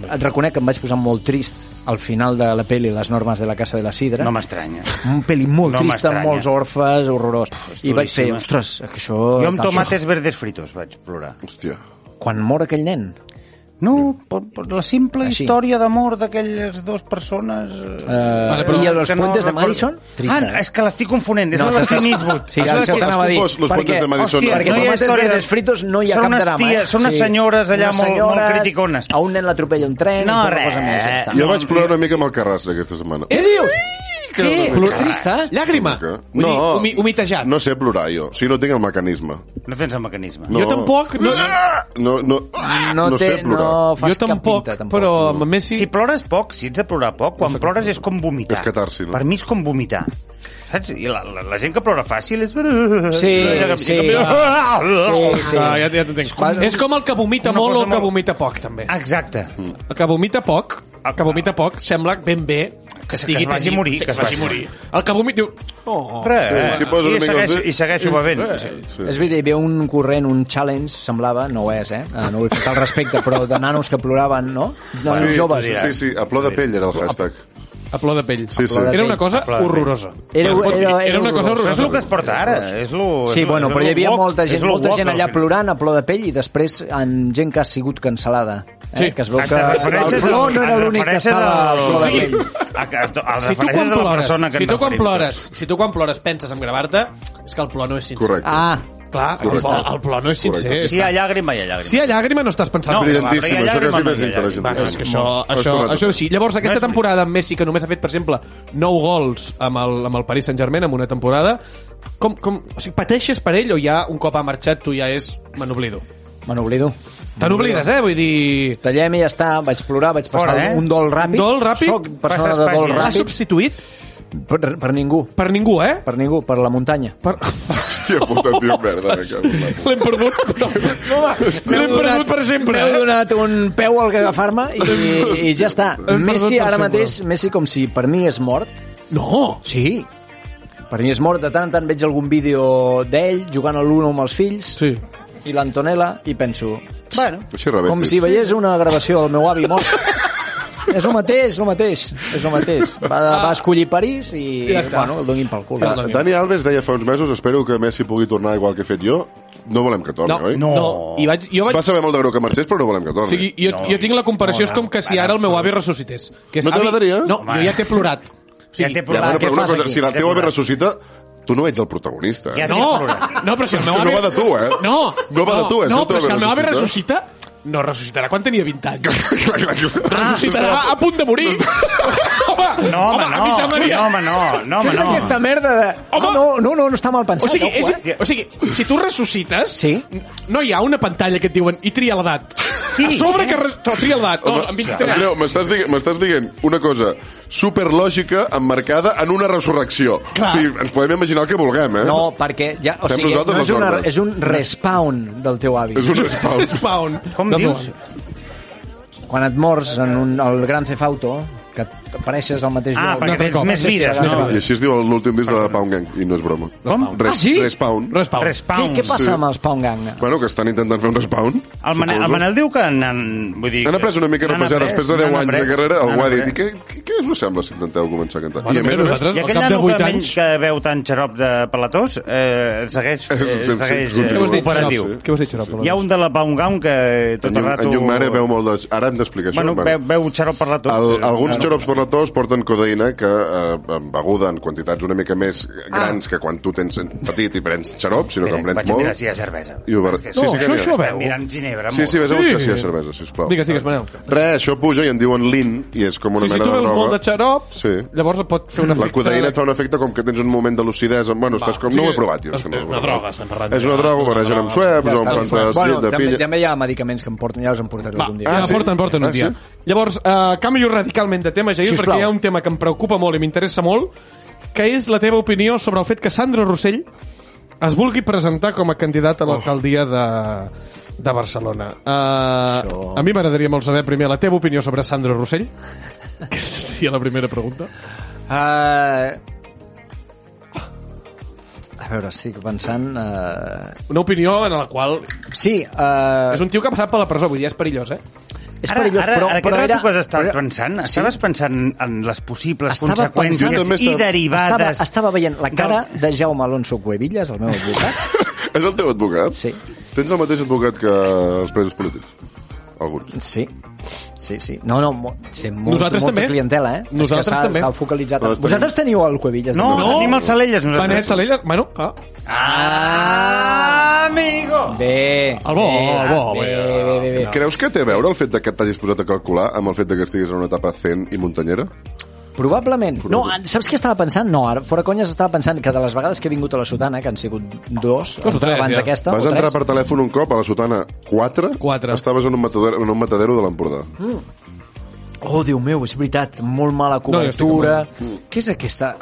[SPEAKER 8] Et reconec que em vaig posar molt trist al final de la pel·li Les normes de la Casa de la Sidra.
[SPEAKER 7] No m'estranya.
[SPEAKER 8] un peli molt
[SPEAKER 7] No
[SPEAKER 8] no trista,
[SPEAKER 7] m'estranya.
[SPEAKER 8] amb molts orfes, horrorós. Pff, I vaig fer,
[SPEAKER 7] duríssima.
[SPEAKER 8] ostres, que això...
[SPEAKER 7] Jo amb
[SPEAKER 8] cal-
[SPEAKER 7] tomates verdes fritos vaig plorar.
[SPEAKER 4] Hòstia.
[SPEAKER 8] Quan mor aquell nen.
[SPEAKER 7] No, per, per la simple
[SPEAKER 8] Així.
[SPEAKER 7] història d'amor d'aquelles dues persones...
[SPEAKER 8] Uh, vale,
[SPEAKER 6] però-
[SPEAKER 8] I a los
[SPEAKER 7] que no
[SPEAKER 8] puentes de
[SPEAKER 7] recordo.
[SPEAKER 8] Madison? Trista.
[SPEAKER 7] Ah, és que l'estic confonent, és
[SPEAKER 8] No,
[SPEAKER 7] no, la de Clint
[SPEAKER 8] t'estàs-
[SPEAKER 7] Eastwood.
[SPEAKER 8] Sí,
[SPEAKER 7] És la
[SPEAKER 8] això
[SPEAKER 7] que-
[SPEAKER 8] t'anava a dir.
[SPEAKER 4] confós, Los puentes de Madison.
[SPEAKER 8] Hòstia, perquè
[SPEAKER 7] no hi ha
[SPEAKER 8] Tomates
[SPEAKER 7] història de-
[SPEAKER 8] Verdes Fritos no hi ha
[SPEAKER 7] Són
[SPEAKER 8] cap
[SPEAKER 7] unes
[SPEAKER 8] drama.
[SPEAKER 7] ties-
[SPEAKER 8] eh?
[SPEAKER 7] són unes senyores allà molt- molt criticones.
[SPEAKER 8] A un nen l'atropella un tren...
[SPEAKER 7] No,
[SPEAKER 8] i poca
[SPEAKER 7] res.
[SPEAKER 8] cosa Més, ja està.
[SPEAKER 4] Jo
[SPEAKER 7] No,
[SPEAKER 4] vaig plorar una mica amb el Carràs aquesta setmana.
[SPEAKER 8] Què dius? Què? eh? Plus trista?
[SPEAKER 6] Llàgrima?
[SPEAKER 4] Una mica.
[SPEAKER 6] Vull dir, humi- humitejat.
[SPEAKER 4] No sé plorar, jo. O sigui, no tinc el mecanisme.
[SPEAKER 7] No tens el mecanisme.
[SPEAKER 4] No.
[SPEAKER 6] Jo tampoc, no-
[SPEAKER 4] No, no,
[SPEAKER 8] No,
[SPEAKER 4] no, no
[SPEAKER 8] té,
[SPEAKER 4] sé
[SPEAKER 8] no
[SPEAKER 4] plorar.
[SPEAKER 8] fas
[SPEAKER 6] jo tampoc,
[SPEAKER 8] cap pinta, tampoc.
[SPEAKER 6] però amb Messi...
[SPEAKER 7] Si plores poc, si ets de plorar poc, quan
[SPEAKER 6] No sé com-
[SPEAKER 7] plores és com vomitar.
[SPEAKER 4] És catarsi, no?
[SPEAKER 7] Per mi és com vomitar. Saps? I la, la, la gent que plora fàcil és...
[SPEAKER 8] Sí, sí.
[SPEAKER 7] sí.
[SPEAKER 8] Sí.
[SPEAKER 6] Ah, ja, ja t'entenc. És com el que vomita
[SPEAKER 7] Una
[SPEAKER 6] molt o
[SPEAKER 7] cosa
[SPEAKER 6] el que
[SPEAKER 7] molt-
[SPEAKER 6] vomita poc, també.
[SPEAKER 7] Exacte.
[SPEAKER 6] El que vomita poc, el que vomita poc, sembla ben bé que
[SPEAKER 7] es-
[SPEAKER 6] estigui...
[SPEAKER 7] Ah. que es vagi
[SPEAKER 6] tenint-
[SPEAKER 7] morir,
[SPEAKER 6] sí,
[SPEAKER 7] que es vagi morir.
[SPEAKER 6] El que vomita... Diu... Oh,
[SPEAKER 7] Res.
[SPEAKER 4] Sí, si poses
[SPEAKER 7] Eh, I,
[SPEAKER 4] una mica Eh.
[SPEAKER 7] segueixo,
[SPEAKER 4] de-
[SPEAKER 7] I segueixo bevent.
[SPEAKER 4] Sí.
[SPEAKER 8] És veritat, hi havia un corrent, un challenge, semblava, no ho és, eh? Eh, No vull faltar al respecte, però de nanos que ploraven, no? De nanos
[SPEAKER 4] Sí,
[SPEAKER 8] joves. eh?
[SPEAKER 4] Sí, sí, a plor de pell era el hashtag.
[SPEAKER 6] A plor de pell.
[SPEAKER 4] Sí, sí.
[SPEAKER 6] Era una cosa
[SPEAKER 7] Aplaudir.
[SPEAKER 6] horrorosa.
[SPEAKER 8] Era-
[SPEAKER 6] Es pot dir,
[SPEAKER 8] era- era
[SPEAKER 6] era una cosa
[SPEAKER 7] Però és
[SPEAKER 8] horrorosa.
[SPEAKER 6] horrorosa.
[SPEAKER 7] el que es porta ara. És lo, és
[SPEAKER 8] Sí,
[SPEAKER 7] lo-
[SPEAKER 8] bueno,
[SPEAKER 7] és
[SPEAKER 8] però
[SPEAKER 7] lo
[SPEAKER 8] hi havia
[SPEAKER 7] woke,
[SPEAKER 8] molta gent,
[SPEAKER 7] és lo
[SPEAKER 8] molta
[SPEAKER 7] woke
[SPEAKER 8] gent
[SPEAKER 7] al
[SPEAKER 8] allà
[SPEAKER 7] final.
[SPEAKER 8] plorant a plor de pell i després en gent que ha sigut cancel·lada. Eh?
[SPEAKER 6] Sí.
[SPEAKER 8] Que es veu
[SPEAKER 7] Et
[SPEAKER 8] que el
[SPEAKER 7] refereixes
[SPEAKER 8] plor
[SPEAKER 7] al-
[SPEAKER 8] no era
[SPEAKER 7] et
[SPEAKER 8] l'únic que
[SPEAKER 7] refereixes
[SPEAKER 8] estava a
[SPEAKER 7] al-
[SPEAKER 8] plor de
[SPEAKER 7] Sí.
[SPEAKER 8] pell.
[SPEAKER 7] A, a, a,
[SPEAKER 6] si tu quan
[SPEAKER 7] la
[SPEAKER 6] plores,
[SPEAKER 7] persona que
[SPEAKER 6] si
[SPEAKER 7] et
[SPEAKER 6] tu quan
[SPEAKER 7] referim.
[SPEAKER 6] plores, si tu quan plores penses en gravar-te, és que el plor no és sincer.
[SPEAKER 4] Correcte.
[SPEAKER 8] Ah,
[SPEAKER 6] Clar, el
[SPEAKER 4] Correcte.
[SPEAKER 6] plor, el plor no és sincer.
[SPEAKER 4] Correcte.
[SPEAKER 7] Si hi ha llàgrima, hi ha llàgrima.
[SPEAKER 6] Si hi ha llàgrima, no estàs pensant.
[SPEAKER 7] No,
[SPEAKER 6] en ell.
[SPEAKER 4] Brillantíssim,
[SPEAKER 7] Però hi ha
[SPEAKER 4] això que sí
[SPEAKER 7] llàgrima,
[SPEAKER 4] que és
[SPEAKER 7] no hi ha
[SPEAKER 4] interessantíssim.
[SPEAKER 7] llàgrima.
[SPEAKER 6] Bueno, és que això, això,
[SPEAKER 4] Correcte.
[SPEAKER 6] això sí. Llavors, aquesta
[SPEAKER 7] No és
[SPEAKER 6] temporada amb Messi, que només ha fet, per exemple, 9 gols amb el, amb el Paris Saint-Germain en una temporada, com, com, o sigui, pateixes per ell o ja un cop ha marxat tu ja és... Me n'oblido.
[SPEAKER 8] me n'oblido.
[SPEAKER 6] Te n'oblides, eh? Vull dir...
[SPEAKER 8] Tallem i ja està, vaig plorar, vaig passar
[SPEAKER 7] Fora, eh?
[SPEAKER 8] un dol ràpid.
[SPEAKER 6] Dol ràpid?
[SPEAKER 8] Soc persona
[SPEAKER 7] Passes
[SPEAKER 8] de dol
[SPEAKER 7] pàgina.
[SPEAKER 6] L'ha
[SPEAKER 8] ràpid
[SPEAKER 6] substituït
[SPEAKER 8] per, per ningú,
[SPEAKER 6] per ningú, eh?
[SPEAKER 8] per ningú, per la muntanya.
[SPEAKER 6] Per...
[SPEAKER 4] Hòstia puta, tio, merda. me cago en la puta.
[SPEAKER 6] L'hem perdut. L'hem
[SPEAKER 8] M'heu
[SPEAKER 6] perdut
[SPEAKER 8] donat-
[SPEAKER 6] per sempre.
[SPEAKER 8] M'heu
[SPEAKER 6] eh?
[SPEAKER 8] donat un peu al que agafar-me i, i, ja està.
[SPEAKER 6] perdut
[SPEAKER 8] Messi
[SPEAKER 6] per
[SPEAKER 8] ara
[SPEAKER 6] sempre.
[SPEAKER 8] mateix, Messi com si per mi és mort.
[SPEAKER 6] No!
[SPEAKER 8] Sí. Per mi és mort. De tant en tant veig algun vídeo d'ell jugant a l'Uno amb els fills
[SPEAKER 6] Sí.
[SPEAKER 8] i l'Antonella i penso... Bueno,
[SPEAKER 4] Així rebenti.
[SPEAKER 8] com si veiés una gravació del meu avi mort. és el mateix, el mateix. És el mateix. Va, va escollir París i,
[SPEAKER 6] Ah. Ja està.
[SPEAKER 8] bueno, el donin pel cul.
[SPEAKER 4] Ah, Dani Alves deia fa uns mesos espero que Messi pugui tornar igual que he fet jo. No volem que torni,
[SPEAKER 6] No,
[SPEAKER 4] oi?
[SPEAKER 6] no. I vaig, jo
[SPEAKER 4] Es
[SPEAKER 6] vaig
[SPEAKER 4] va saber molt de greu que marxés, però no volem que
[SPEAKER 6] O
[SPEAKER 4] torni.
[SPEAKER 6] sigui, jo,
[SPEAKER 7] No,
[SPEAKER 6] jo tinc la comparació,
[SPEAKER 7] no,
[SPEAKER 6] és com que si
[SPEAKER 7] en
[SPEAKER 6] ara el meu
[SPEAKER 7] absolut.
[SPEAKER 6] avi ressuscités. Que és,
[SPEAKER 4] No
[SPEAKER 6] "Avi,
[SPEAKER 4] t'agradaria?
[SPEAKER 6] No,
[SPEAKER 7] Home.
[SPEAKER 6] jo ja t'he plorat. O
[SPEAKER 7] Ja
[SPEAKER 6] sigui,
[SPEAKER 7] t'he
[SPEAKER 4] Ja,
[SPEAKER 7] plorat.
[SPEAKER 4] bueno,
[SPEAKER 8] què
[SPEAKER 4] però una
[SPEAKER 8] fas
[SPEAKER 4] cosa,
[SPEAKER 8] aquí?
[SPEAKER 4] si la
[SPEAKER 7] Què
[SPEAKER 4] teva
[SPEAKER 7] fas?
[SPEAKER 4] ave ressuscita, tu no ets el protagonista. eh? Ja,
[SPEAKER 7] Ja t'he
[SPEAKER 6] No,
[SPEAKER 7] plorat.
[SPEAKER 6] no, però si el meu
[SPEAKER 4] que
[SPEAKER 6] avi...
[SPEAKER 4] no va de tu, eh?
[SPEAKER 6] No,
[SPEAKER 4] No va de tu, eh, si
[SPEAKER 6] No,
[SPEAKER 4] el teu
[SPEAKER 6] però
[SPEAKER 4] avi
[SPEAKER 6] si el meu avi
[SPEAKER 4] ressuscita.
[SPEAKER 6] ressuscita, no ressuscitarà quan tenia 20 anys.
[SPEAKER 4] Ah,
[SPEAKER 6] Ressuscitarà
[SPEAKER 4] Ressuscitarà
[SPEAKER 6] a punt de morir. home,
[SPEAKER 7] No, home,
[SPEAKER 6] a mi semblaria...
[SPEAKER 7] no. No, home, no. No, home,
[SPEAKER 8] és aquesta
[SPEAKER 7] no.
[SPEAKER 8] merda de...
[SPEAKER 6] Home!
[SPEAKER 8] Ah, no, no, no, no està mal pensat.
[SPEAKER 6] O sigui, és,
[SPEAKER 8] ojo, eh?
[SPEAKER 6] o sigui, si tu ressuscites,
[SPEAKER 8] Sí.
[SPEAKER 6] no hi ha una pantalla que et diuen i tria l'edat.
[SPEAKER 7] Sí.
[SPEAKER 6] A sobre que res... no, tria l'edat. No, amb 23
[SPEAKER 4] Andreu, m'estàs dient, m'estàs dient una cosa superlògica emmarcada en una resurrecció.
[SPEAKER 6] Clar.
[SPEAKER 4] O sigui, ens podem imaginar el que vulguem, eh?
[SPEAKER 8] No, perquè ja... O
[SPEAKER 4] Fem
[SPEAKER 8] sigui,
[SPEAKER 4] nosaltres
[SPEAKER 8] no és,
[SPEAKER 4] les
[SPEAKER 8] una,
[SPEAKER 4] normes.
[SPEAKER 8] és un respawn del teu avi.
[SPEAKER 4] És un espau.
[SPEAKER 6] Spawn.
[SPEAKER 7] Com
[SPEAKER 6] Del meu
[SPEAKER 7] dius?
[SPEAKER 6] avi.
[SPEAKER 8] Quan et mors en un, el Gran Cefauto, que apareixes al mateix
[SPEAKER 7] Ah,
[SPEAKER 8] lloc...
[SPEAKER 7] perquè
[SPEAKER 6] altre
[SPEAKER 7] tens
[SPEAKER 6] cop.
[SPEAKER 7] més vides,
[SPEAKER 8] Sí, sí,
[SPEAKER 7] no?
[SPEAKER 4] I així es diu l'últim disc de la Pound Gang, i no és broma.
[SPEAKER 7] Com?
[SPEAKER 4] Res,
[SPEAKER 8] Ah, sí?
[SPEAKER 4] Respawn.
[SPEAKER 6] Respawn.
[SPEAKER 8] Què,
[SPEAKER 7] Respawns.
[SPEAKER 8] què passa
[SPEAKER 4] Sí.
[SPEAKER 8] amb els Pound Gang?
[SPEAKER 4] Bueno, que estan intentant fer un respawn.
[SPEAKER 7] El Manel, el
[SPEAKER 4] suposo.
[SPEAKER 7] Manel diu que n'han... Vull dir...
[SPEAKER 4] Han après una mica
[SPEAKER 7] n'han
[SPEAKER 4] repesar
[SPEAKER 7] après,
[SPEAKER 4] després de 10
[SPEAKER 7] n'han
[SPEAKER 4] anys de
[SPEAKER 7] après,
[SPEAKER 4] carrera. Algú
[SPEAKER 7] n'han
[SPEAKER 4] ha dit, i
[SPEAKER 7] après.
[SPEAKER 4] què, què- què us sembla si intenteu començar a cantar?
[SPEAKER 6] Bueno,
[SPEAKER 4] I a més a
[SPEAKER 6] mira,
[SPEAKER 4] més,
[SPEAKER 6] nosaltres- Al
[SPEAKER 7] I aquell
[SPEAKER 6] cap de
[SPEAKER 7] nano que,
[SPEAKER 6] vuit
[SPEAKER 7] menys
[SPEAKER 6] anys-
[SPEAKER 7] que veu tant xarop de pelatós eh, segueix,
[SPEAKER 4] Sí,
[SPEAKER 7] eh,
[SPEAKER 4] sí,
[SPEAKER 7] segueix
[SPEAKER 4] sí,
[SPEAKER 7] eh,
[SPEAKER 6] Què vols dir,
[SPEAKER 7] operatiu.
[SPEAKER 6] Xarop? Què vols dir, Xarop?
[SPEAKER 7] Hi ha un de la Paungaun que tot
[SPEAKER 4] en,
[SPEAKER 7] el
[SPEAKER 4] Llum,
[SPEAKER 7] rato...
[SPEAKER 4] en Llum Mare veu molt de... Ara hem d'explicar això.
[SPEAKER 7] Bueno, veu, veu xarop per la tot.
[SPEAKER 4] El, alguns xarops per la tos porten codeïna que, eh, en beguda en quantitats una mica més
[SPEAKER 8] Ah.
[SPEAKER 4] grans que quan tu tens petit i prens xarop, sinó que
[SPEAKER 8] Eh,
[SPEAKER 4] en
[SPEAKER 7] Vaig
[SPEAKER 4] prens
[SPEAKER 7] a mirar
[SPEAKER 4] molt.
[SPEAKER 7] si hi ha cervesa.
[SPEAKER 4] I ho ver-
[SPEAKER 7] És que
[SPEAKER 4] Sí, sí que n'hi ha.
[SPEAKER 6] No, això, això
[SPEAKER 7] Estem
[SPEAKER 6] veu.
[SPEAKER 7] mirant Ginebra.
[SPEAKER 4] Sí, sí,
[SPEAKER 7] molt.
[SPEAKER 4] vés a buscar
[SPEAKER 6] Sí.
[SPEAKER 4] si hi ha cervesa, sisplau.
[SPEAKER 6] Digues, digues, Manel.
[SPEAKER 4] Res, això puja i en diuen lin, i és com
[SPEAKER 6] Sí,
[SPEAKER 4] una
[SPEAKER 6] si
[SPEAKER 4] mena
[SPEAKER 6] tu
[SPEAKER 4] de
[SPEAKER 6] veus
[SPEAKER 4] droga.
[SPEAKER 6] molt de xarop,
[SPEAKER 4] Sí.
[SPEAKER 6] llavors et pot fer una
[SPEAKER 4] La codeïna et fa un efecte com que tens un moment de lucidesa. Bueno, estàs com... No ho he provat, jo.
[SPEAKER 6] És,
[SPEAKER 4] que no ho he
[SPEAKER 6] una
[SPEAKER 4] provat.
[SPEAKER 6] droga, estem parlant.
[SPEAKER 4] És una droga, ho barregen amb suebs, o amb fantes
[SPEAKER 8] bueno,
[SPEAKER 4] doncs, de
[SPEAKER 8] també,
[SPEAKER 4] pilla...
[SPEAKER 8] també hi ha medicaments que em porten, ja us en portaré
[SPEAKER 6] Va,
[SPEAKER 8] algun dia.
[SPEAKER 6] ah,
[SPEAKER 4] Ah,
[SPEAKER 6] ja
[SPEAKER 4] sí?
[SPEAKER 6] porten, porten un
[SPEAKER 4] Ah,
[SPEAKER 6] dia.
[SPEAKER 4] sí?
[SPEAKER 6] Llavors, eh, canvio radicalment de tema, Jair,
[SPEAKER 8] Sisplau.
[SPEAKER 6] perquè hi ha un tema que em preocupa molt i m'interessa molt, que és la teva opinió sobre el fet que Sandro Rossell es vulgui presentar com a
[SPEAKER 4] Oh.
[SPEAKER 6] candidat a l'alcaldia de, de Barcelona. Uh,
[SPEAKER 8] Això.
[SPEAKER 6] A mi m'agradaria molt saber primer la teva opinió sobre Sandro Rossell, que seria la primera pregunta.
[SPEAKER 8] Uh... A veure, estic pensant... Uh...
[SPEAKER 6] Una opinió en la qual...
[SPEAKER 8] Sí, uh...
[SPEAKER 6] És un tio que ha passat per la presó, vull dir, és perillós, eh?
[SPEAKER 8] és perillós,
[SPEAKER 7] ara,
[SPEAKER 8] però,
[SPEAKER 7] ara,
[SPEAKER 8] però era...
[SPEAKER 7] que has estat
[SPEAKER 8] però-
[SPEAKER 7] pensant, estaves pensant en les possibles
[SPEAKER 8] Estava pensant-
[SPEAKER 7] conseqüències
[SPEAKER 4] Jo també
[SPEAKER 7] i
[SPEAKER 4] estava-
[SPEAKER 8] Estava,
[SPEAKER 7] derivades...
[SPEAKER 8] estava veient la cara de Jaume Alonso Cuevillas, el meu advocat.
[SPEAKER 4] És el teu advocat?
[SPEAKER 8] Sí.
[SPEAKER 4] Tens el mateix advocat que els presos polítics? Alguns.
[SPEAKER 8] Sí. Sí, sí. No, no, mo... sí, molt,
[SPEAKER 6] Nosaltres
[SPEAKER 8] molta
[SPEAKER 6] també.
[SPEAKER 8] clientela, eh? És que
[SPEAKER 6] Nosaltres
[SPEAKER 8] s'ha-
[SPEAKER 6] també.
[SPEAKER 8] S'ha focalitzat...
[SPEAKER 4] Nosaltres
[SPEAKER 8] Vosaltres teniu el Cuevillas?
[SPEAKER 7] No,
[SPEAKER 8] també?
[SPEAKER 7] no, tenim els Salelles, nosaltres.
[SPEAKER 6] Benet Salella... Bueno, ah,
[SPEAKER 7] Ah, amigo!
[SPEAKER 8] Bé,
[SPEAKER 6] El bo,
[SPEAKER 8] bé, ah,
[SPEAKER 6] el bo,
[SPEAKER 8] bé,
[SPEAKER 6] bé, eh.
[SPEAKER 8] bé, bé, bé.
[SPEAKER 4] Creus que té a veure el fet de que t'hagis posat a calcular amb el fet de que estiguis en una etapa zen i muntanyera?
[SPEAKER 8] Probablement. No, ah, saps què estava pensant? No, ara, fora conyes, estava pensant que de les vegades que he vingut a la Sotana, que han sigut dos,
[SPEAKER 6] Dos o tres,
[SPEAKER 8] abans
[SPEAKER 6] ja.
[SPEAKER 8] aquesta,
[SPEAKER 4] Vas
[SPEAKER 8] o
[SPEAKER 4] entrar
[SPEAKER 8] tres,
[SPEAKER 4] per telèfon un cop a la sotana 4?
[SPEAKER 6] Quatre.
[SPEAKER 4] Estaves en un matadero, en un matadero de l'Empordà.
[SPEAKER 8] Mm. Oh, Déu meu, és veritat, molt mala
[SPEAKER 6] jo estic Mm.
[SPEAKER 8] cobertura. Què és aquesta?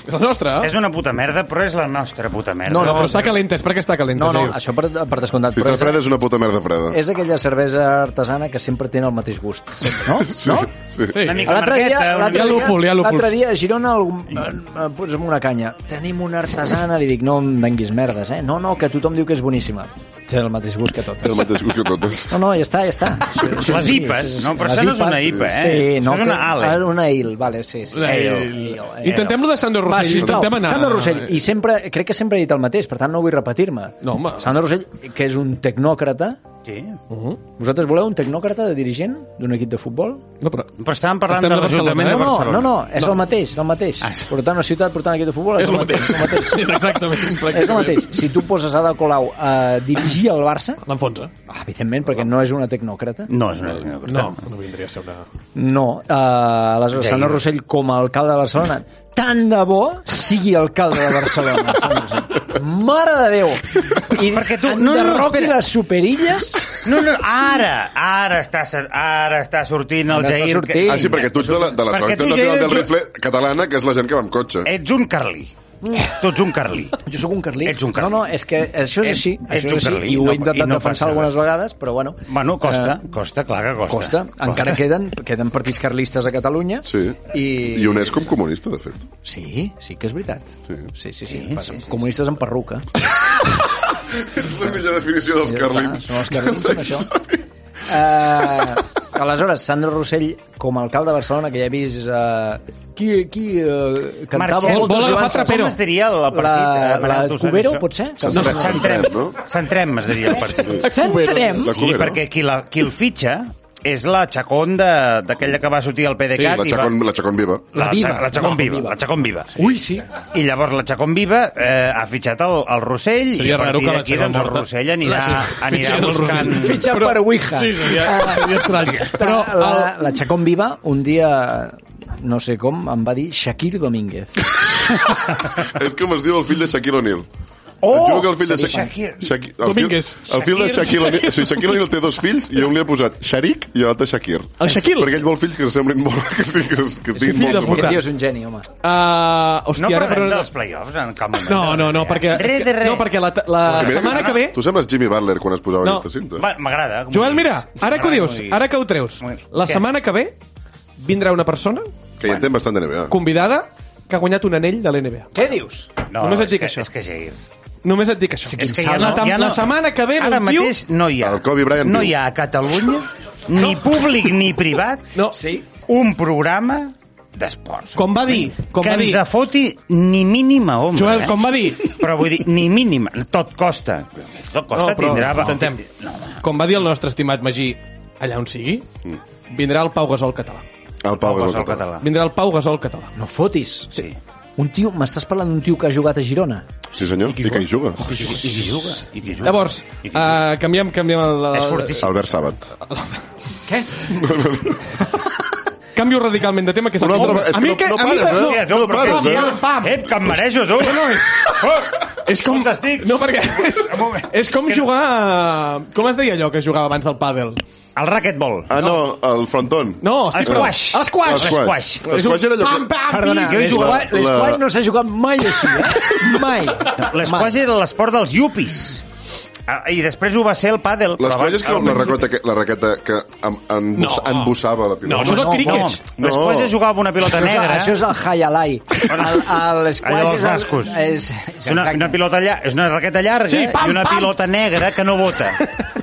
[SPEAKER 6] és la nostra, eh?
[SPEAKER 7] És una puta merda, però és la nostra puta merda.
[SPEAKER 6] No, no,
[SPEAKER 8] no,
[SPEAKER 6] però està calenta, és perquè està calenta.
[SPEAKER 8] No, no,
[SPEAKER 6] Jair.
[SPEAKER 8] això per, per descomptat,
[SPEAKER 4] Si
[SPEAKER 8] però
[SPEAKER 4] està
[SPEAKER 8] és,
[SPEAKER 4] freda és una puta merda freda.
[SPEAKER 8] és aquella cervesa artesana que sempre té el mateix gust, sempre, no?
[SPEAKER 4] Sí,
[SPEAKER 8] no?
[SPEAKER 4] sí.
[SPEAKER 6] Sí.
[SPEAKER 7] Una mica
[SPEAKER 8] L'altre dia,
[SPEAKER 7] marqueta, una
[SPEAKER 8] l'altre
[SPEAKER 6] Hi ha
[SPEAKER 8] dia-
[SPEAKER 6] lúpul, hi ha lúpul.
[SPEAKER 8] l'altre dia a Girona algú, eh, eh, posa'm una canya. Tenim una artesana, li dic, no em venguis merdes, eh? No, no, que tothom diu que és boníssima. Té el mateix gust que
[SPEAKER 4] Té
[SPEAKER 8] totes.
[SPEAKER 4] el mateix gust que totes.
[SPEAKER 8] No, no, ja està, ja està. Sí, sí,
[SPEAKER 7] Les
[SPEAKER 8] sí,
[SPEAKER 7] IPAs,
[SPEAKER 8] sí, sí,
[SPEAKER 7] no? Però
[SPEAKER 8] les
[SPEAKER 7] això no és una
[SPEAKER 8] IPAs,
[SPEAKER 7] IPA, eh?
[SPEAKER 8] Sí, no,
[SPEAKER 7] Això és una
[SPEAKER 8] que-
[SPEAKER 7] ale.
[SPEAKER 8] ah, Una ale, vale, sí. sí.
[SPEAKER 6] Una ale. Intentem-lo de Sandro
[SPEAKER 8] eh, Va,
[SPEAKER 6] Rossell,
[SPEAKER 8] sisplau,
[SPEAKER 6] intentem anar.
[SPEAKER 8] Sandro Rossell, i sempre, crec que sempre he dit el mateix, per tant no vull repetir-me.
[SPEAKER 6] No, home.
[SPEAKER 8] Sandro Rossell, que és un tecnòcrata,
[SPEAKER 7] Sí.
[SPEAKER 8] vosaltres voleu un tecnòcrata de dirigent d'un equip de futbol?
[SPEAKER 6] Eh, No, però...
[SPEAKER 7] Però estàvem parlant
[SPEAKER 6] Estem
[SPEAKER 7] de
[SPEAKER 6] de Barcelona,
[SPEAKER 7] l'Ajuntament
[SPEAKER 6] eh?
[SPEAKER 7] de
[SPEAKER 8] No, no,
[SPEAKER 7] Barcelona.
[SPEAKER 8] no, no, és el mateix, el mateix.
[SPEAKER 7] Ah, sí.
[SPEAKER 8] Portant una ciutat, portant un equip de futbol,
[SPEAKER 6] És el mateix.
[SPEAKER 8] És el mateix.
[SPEAKER 6] És exactament.
[SPEAKER 8] És el mateix. Si tu poses Ada Colau a dirigir el Barça,
[SPEAKER 6] L'enfonsa.
[SPEAKER 8] ah, evidentment, perquè no és una tecnòcrata,
[SPEAKER 7] eh? No, és una...
[SPEAKER 6] No, no vindria a ser una...
[SPEAKER 8] No, eh, aleshores, Sandro Rossell com a alcalde de Barcelona, tant de bo sigui alcalde de Barcelona. Sandro Rossell. Mare de Déu! I
[SPEAKER 7] Perquè tu-
[SPEAKER 8] no, no, no,
[SPEAKER 7] espera.
[SPEAKER 8] les superilles...
[SPEAKER 7] No, no, ara, ara està, ser- ara està sortint el
[SPEAKER 8] Ara està
[SPEAKER 7] Jair. que-
[SPEAKER 8] sortint.
[SPEAKER 4] Ah, sí, perquè tu ets de la, de la
[SPEAKER 7] Perquè
[SPEAKER 4] selecció
[SPEAKER 7] tu,
[SPEAKER 4] nacional
[SPEAKER 7] Jair,
[SPEAKER 4] del
[SPEAKER 7] ets-
[SPEAKER 4] rifle catalana, que és la gent que va amb cotxe.
[SPEAKER 8] Eh,
[SPEAKER 7] Ets un carlí. Tu ets un carlí.
[SPEAKER 8] Jo sóc un carlí.
[SPEAKER 7] Ets un carlí.
[SPEAKER 8] No, no, és que això és
[SPEAKER 7] Ets-
[SPEAKER 8] així.
[SPEAKER 7] ets
[SPEAKER 8] això
[SPEAKER 7] un
[SPEAKER 8] és així
[SPEAKER 7] carlí,
[SPEAKER 8] I ho
[SPEAKER 7] no-
[SPEAKER 8] he
[SPEAKER 7] i
[SPEAKER 8] intentat
[SPEAKER 7] no passa
[SPEAKER 8] defensar algunes vegades, però bueno...
[SPEAKER 7] Bueno, costa,
[SPEAKER 8] Eh,
[SPEAKER 7] costa, clar que costa.
[SPEAKER 8] costa. Encara queden, queden partits carlistes a Catalunya.
[SPEAKER 4] Sí.
[SPEAKER 8] I, Ah,
[SPEAKER 4] I UNESCO com comunista, de fet.
[SPEAKER 8] Sí, sí que és veritat.
[SPEAKER 4] Sí.
[SPEAKER 8] Sí, sí, sí. sí, sí, sí. Comunistes amb perruca.
[SPEAKER 4] És la millor definició dels
[SPEAKER 8] Ja està,
[SPEAKER 4] carlins.
[SPEAKER 8] Són els carlins, són això. Uh, aleshores, Sandro Rossell, com a alcalde de Barcelona, que ja he vist... Uh, qui qui uh, cantava...
[SPEAKER 7] Marcel,
[SPEAKER 8] moltes
[SPEAKER 6] vol agafar
[SPEAKER 8] lloances?
[SPEAKER 6] trapero.
[SPEAKER 7] Com es diria el partit? eh,
[SPEAKER 8] La,
[SPEAKER 7] Manel,
[SPEAKER 8] la
[SPEAKER 7] tu saps
[SPEAKER 8] Cubero,
[SPEAKER 7] això?
[SPEAKER 8] potser?
[SPEAKER 4] Centrem,
[SPEAKER 7] Centrem,
[SPEAKER 4] centrem, no?
[SPEAKER 7] Centrem, es diria el partit.
[SPEAKER 8] Eh, Centrem.
[SPEAKER 4] La
[SPEAKER 7] Sí,
[SPEAKER 4] Cubero.
[SPEAKER 7] perquè qui, la, qui el fitxa és la Chacón de- d'aquella que va sortir al
[SPEAKER 4] Sí,
[SPEAKER 7] PDeCAT.
[SPEAKER 4] la
[SPEAKER 7] i va-
[SPEAKER 4] Chacón, la Chacón viva.
[SPEAKER 8] La
[SPEAKER 7] La,
[SPEAKER 8] Viva.
[SPEAKER 7] la, la Chacón
[SPEAKER 8] La
[SPEAKER 7] Viva.
[SPEAKER 8] Viva.
[SPEAKER 7] La Chacón Viva.
[SPEAKER 8] Ui, sí.
[SPEAKER 7] I llavors la Chacón Viva eh, ha fitxat el, el Rossell i
[SPEAKER 6] Seria
[SPEAKER 7] a
[SPEAKER 6] raro
[SPEAKER 7] partir
[SPEAKER 6] que la
[SPEAKER 7] d'aquí
[SPEAKER 6] Chacón
[SPEAKER 7] doncs, el
[SPEAKER 6] morta.
[SPEAKER 7] Rossell anirà,
[SPEAKER 6] La-
[SPEAKER 7] anirà
[SPEAKER 6] fitxés el
[SPEAKER 7] buscant...
[SPEAKER 6] Rossell.
[SPEAKER 8] Fitxat
[SPEAKER 6] Però-
[SPEAKER 8] per Ouija.
[SPEAKER 6] Sí, seria, seria estrany.
[SPEAKER 8] Però
[SPEAKER 6] Però
[SPEAKER 8] la,
[SPEAKER 6] el,
[SPEAKER 8] la Chacón Viva un dia, no sé com, em va dir Shakir Domínguez.
[SPEAKER 4] És com es diu el fill de Shaquille O'Neal.
[SPEAKER 8] Oh!
[SPEAKER 4] Et juro que el fill de Shaq-
[SPEAKER 7] Shakir.
[SPEAKER 4] Shaqui- el
[SPEAKER 6] Domínguez.
[SPEAKER 4] Fill, el fill de Shaquille O'Neal... Sí, Shaquille O'Neal té dos fills i un li ha posat Sharik i l'altre Shakir.
[SPEAKER 6] El Shaquille.
[SPEAKER 4] Perquè ell vol fills que semblin molt... Que, sí, que, es- que estiguin
[SPEAKER 6] fill
[SPEAKER 4] molt...
[SPEAKER 6] de
[SPEAKER 8] Aquest
[SPEAKER 4] separats.
[SPEAKER 8] tio és un geni, home.
[SPEAKER 6] Uh, hòstia,
[SPEAKER 7] No
[SPEAKER 6] ara,
[SPEAKER 7] parlem
[SPEAKER 6] però...
[SPEAKER 7] dels play-offs en cap moment.
[SPEAKER 6] No, no, no, perquè,
[SPEAKER 7] Re de re.
[SPEAKER 6] no, perquè la, la
[SPEAKER 4] Mira,
[SPEAKER 6] setmana que ve...
[SPEAKER 4] Tu sembles Jimmy Butler quan es posava
[SPEAKER 6] No.
[SPEAKER 4] aquesta cinta.
[SPEAKER 7] Va, M'agrada. com
[SPEAKER 6] Joel,
[SPEAKER 7] ho
[SPEAKER 6] mira,
[SPEAKER 7] diguis.
[SPEAKER 6] ara que ho
[SPEAKER 7] M'agrada
[SPEAKER 6] dius,
[SPEAKER 7] diguis.
[SPEAKER 6] ara que ho treus,
[SPEAKER 7] Molt bé.
[SPEAKER 6] la
[SPEAKER 7] Què?
[SPEAKER 6] setmana que ve vindrà una persona
[SPEAKER 4] Que ja entén bastant de NBA.
[SPEAKER 6] convidada que ha guanyat un anell de l'NBA.
[SPEAKER 8] Què dius?
[SPEAKER 7] No,
[SPEAKER 6] Només
[SPEAKER 7] Només
[SPEAKER 6] et dic
[SPEAKER 7] que,
[SPEAKER 6] això.
[SPEAKER 7] És que Jair...
[SPEAKER 6] Només et dic això.
[SPEAKER 7] És que
[SPEAKER 6] la, tam- la setmana que ve
[SPEAKER 7] Ara
[SPEAKER 6] el tio...
[SPEAKER 7] mateix no hi ha.
[SPEAKER 4] El Kobe Bryant
[SPEAKER 7] no
[SPEAKER 4] viu.
[SPEAKER 7] hi ha a Catalunya, ni públic ni privat,
[SPEAKER 6] No,
[SPEAKER 8] Sí.
[SPEAKER 7] un programa d'esports.
[SPEAKER 6] com va dir, com
[SPEAKER 7] que
[SPEAKER 6] va dir,
[SPEAKER 7] ens afoti ni mínima ombra.
[SPEAKER 6] Joel,
[SPEAKER 7] eh?
[SPEAKER 6] com va dir,
[SPEAKER 7] Però vull dir, ni mínima. Tot costa. Tot costa
[SPEAKER 6] No, però
[SPEAKER 7] tindrà...
[SPEAKER 6] intentem. com va dir el nostre estimat Magí, allà on sigui, vindrà el Pau Gasol català.
[SPEAKER 4] El Pau
[SPEAKER 7] Posa
[SPEAKER 4] Gasol
[SPEAKER 7] el català.
[SPEAKER 6] Vindrà el Pau Gasol català.
[SPEAKER 8] No fotis.
[SPEAKER 7] Sí.
[SPEAKER 8] Un tio, m'estàs parlant d'un tio que ha jugat a Girona?
[SPEAKER 4] Sí, senyor. I que hi juga.
[SPEAKER 7] I qui juga? I qui juga?
[SPEAKER 6] Llavors,
[SPEAKER 7] I qui juga?
[SPEAKER 6] uh, canviem, canviem el...
[SPEAKER 7] És fortíssim.
[SPEAKER 4] Albert Sabat.
[SPEAKER 8] Què?
[SPEAKER 6] Canvio radicalment de tema, que és
[SPEAKER 4] Una altra
[SPEAKER 6] el...
[SPEAKER 4] vegada- és
[SPEAKER 6] a
[SPEAKER 4] que
[SPEAKER 6] mi
[SPEAKER 4] no-
[SPEAKER 6] que...
[SPEAKER 4] no
[SPEAKER 6] a mi
[SPEAKER 4] pares,
[SPEAKER 6] que-
[SPEAKER 4] eh?
[SPEAKER 7] Hòstia, tu,
[SPEAKER 4] No
[SPEAKER 7] però
[SPEAKER 4] pares,
[SPEAKER 7] què
[SPEAKER 4] eh?
[SPEAKER 7] dius? Ep, que em mereixo, tu! Oh, No, és...
[SPEAKER 6] És com...
[SPEAKER 7] On estic?
[SPEAKER 6] No, perquè és,
[SPEAKER 7] Un moment.
[SPEAKER 6] és com jugar... a- Com es deia allò que es jugava abans del pàdel?
[SPEAKER 7] El racquetball.
[SPEAKER 4] Ah, no, el fronton.
[SPEAKER 6] No, sí, però...
[SPEAKER 7] Squash.
[SPEAKER 6] Esquaix.
[SPEAKER 4] L'esquaix.
[SPEAKER 7] L'esquaix.
[SPEAKER 4] L'esquaix era allò
[SPEAKER 6] Pam,
[SPEAKER 4] que...
[SPEAKER 6] pam,
[SPEAKER 8] Perdona,
[SPEAKER 6] pim.
[SPEAKER 7] jo he
[SPEAKER 4] jugat- la-
[SPEAKER 8] l'esquai l'esquai no s'ha jugat mai així, eh? Mai.
[SPEAKER 7] L'esquaix era l'esport dels yupis. Ah, I després ho va ser el pàdel. però
[SPEAKER 4] L'esquaix és
[SPEAKER 7] abans-
[SPEAKER 4] com la raqueta que, la raqueta que em, em,
[SPEAKER 6] No.
[SPEAKER 4] embossava la
[SPEAKER 6] No,
[SPEAKER 4] pilota.
[SPEAKER 6] això és el
[SPEAKER 8] no,
[SPEAKER 6] críquet.
[SPEAKER 7] No, l'esquaix és jugar amb una pilota
[SPEAKER 8] Això és,
[SPEAKER 7] negra.
[SPEAKER 8] això és el Hayalai. L'esquai
[SPEAKER 7] Allò dels
[SPEAKER 8] és... el-
[SPEAKER 7] bascos.
[SPEAKER 8] És,
[SPEAKER 7] És una, una pilota llarga, és una raqueta llarga eh?
[SPEAKER 6] Sí, pam,
[SPEAKER 7] i una
[SPEAKER 6] pam.
[SPEAKER 7] pilota negra que no vota.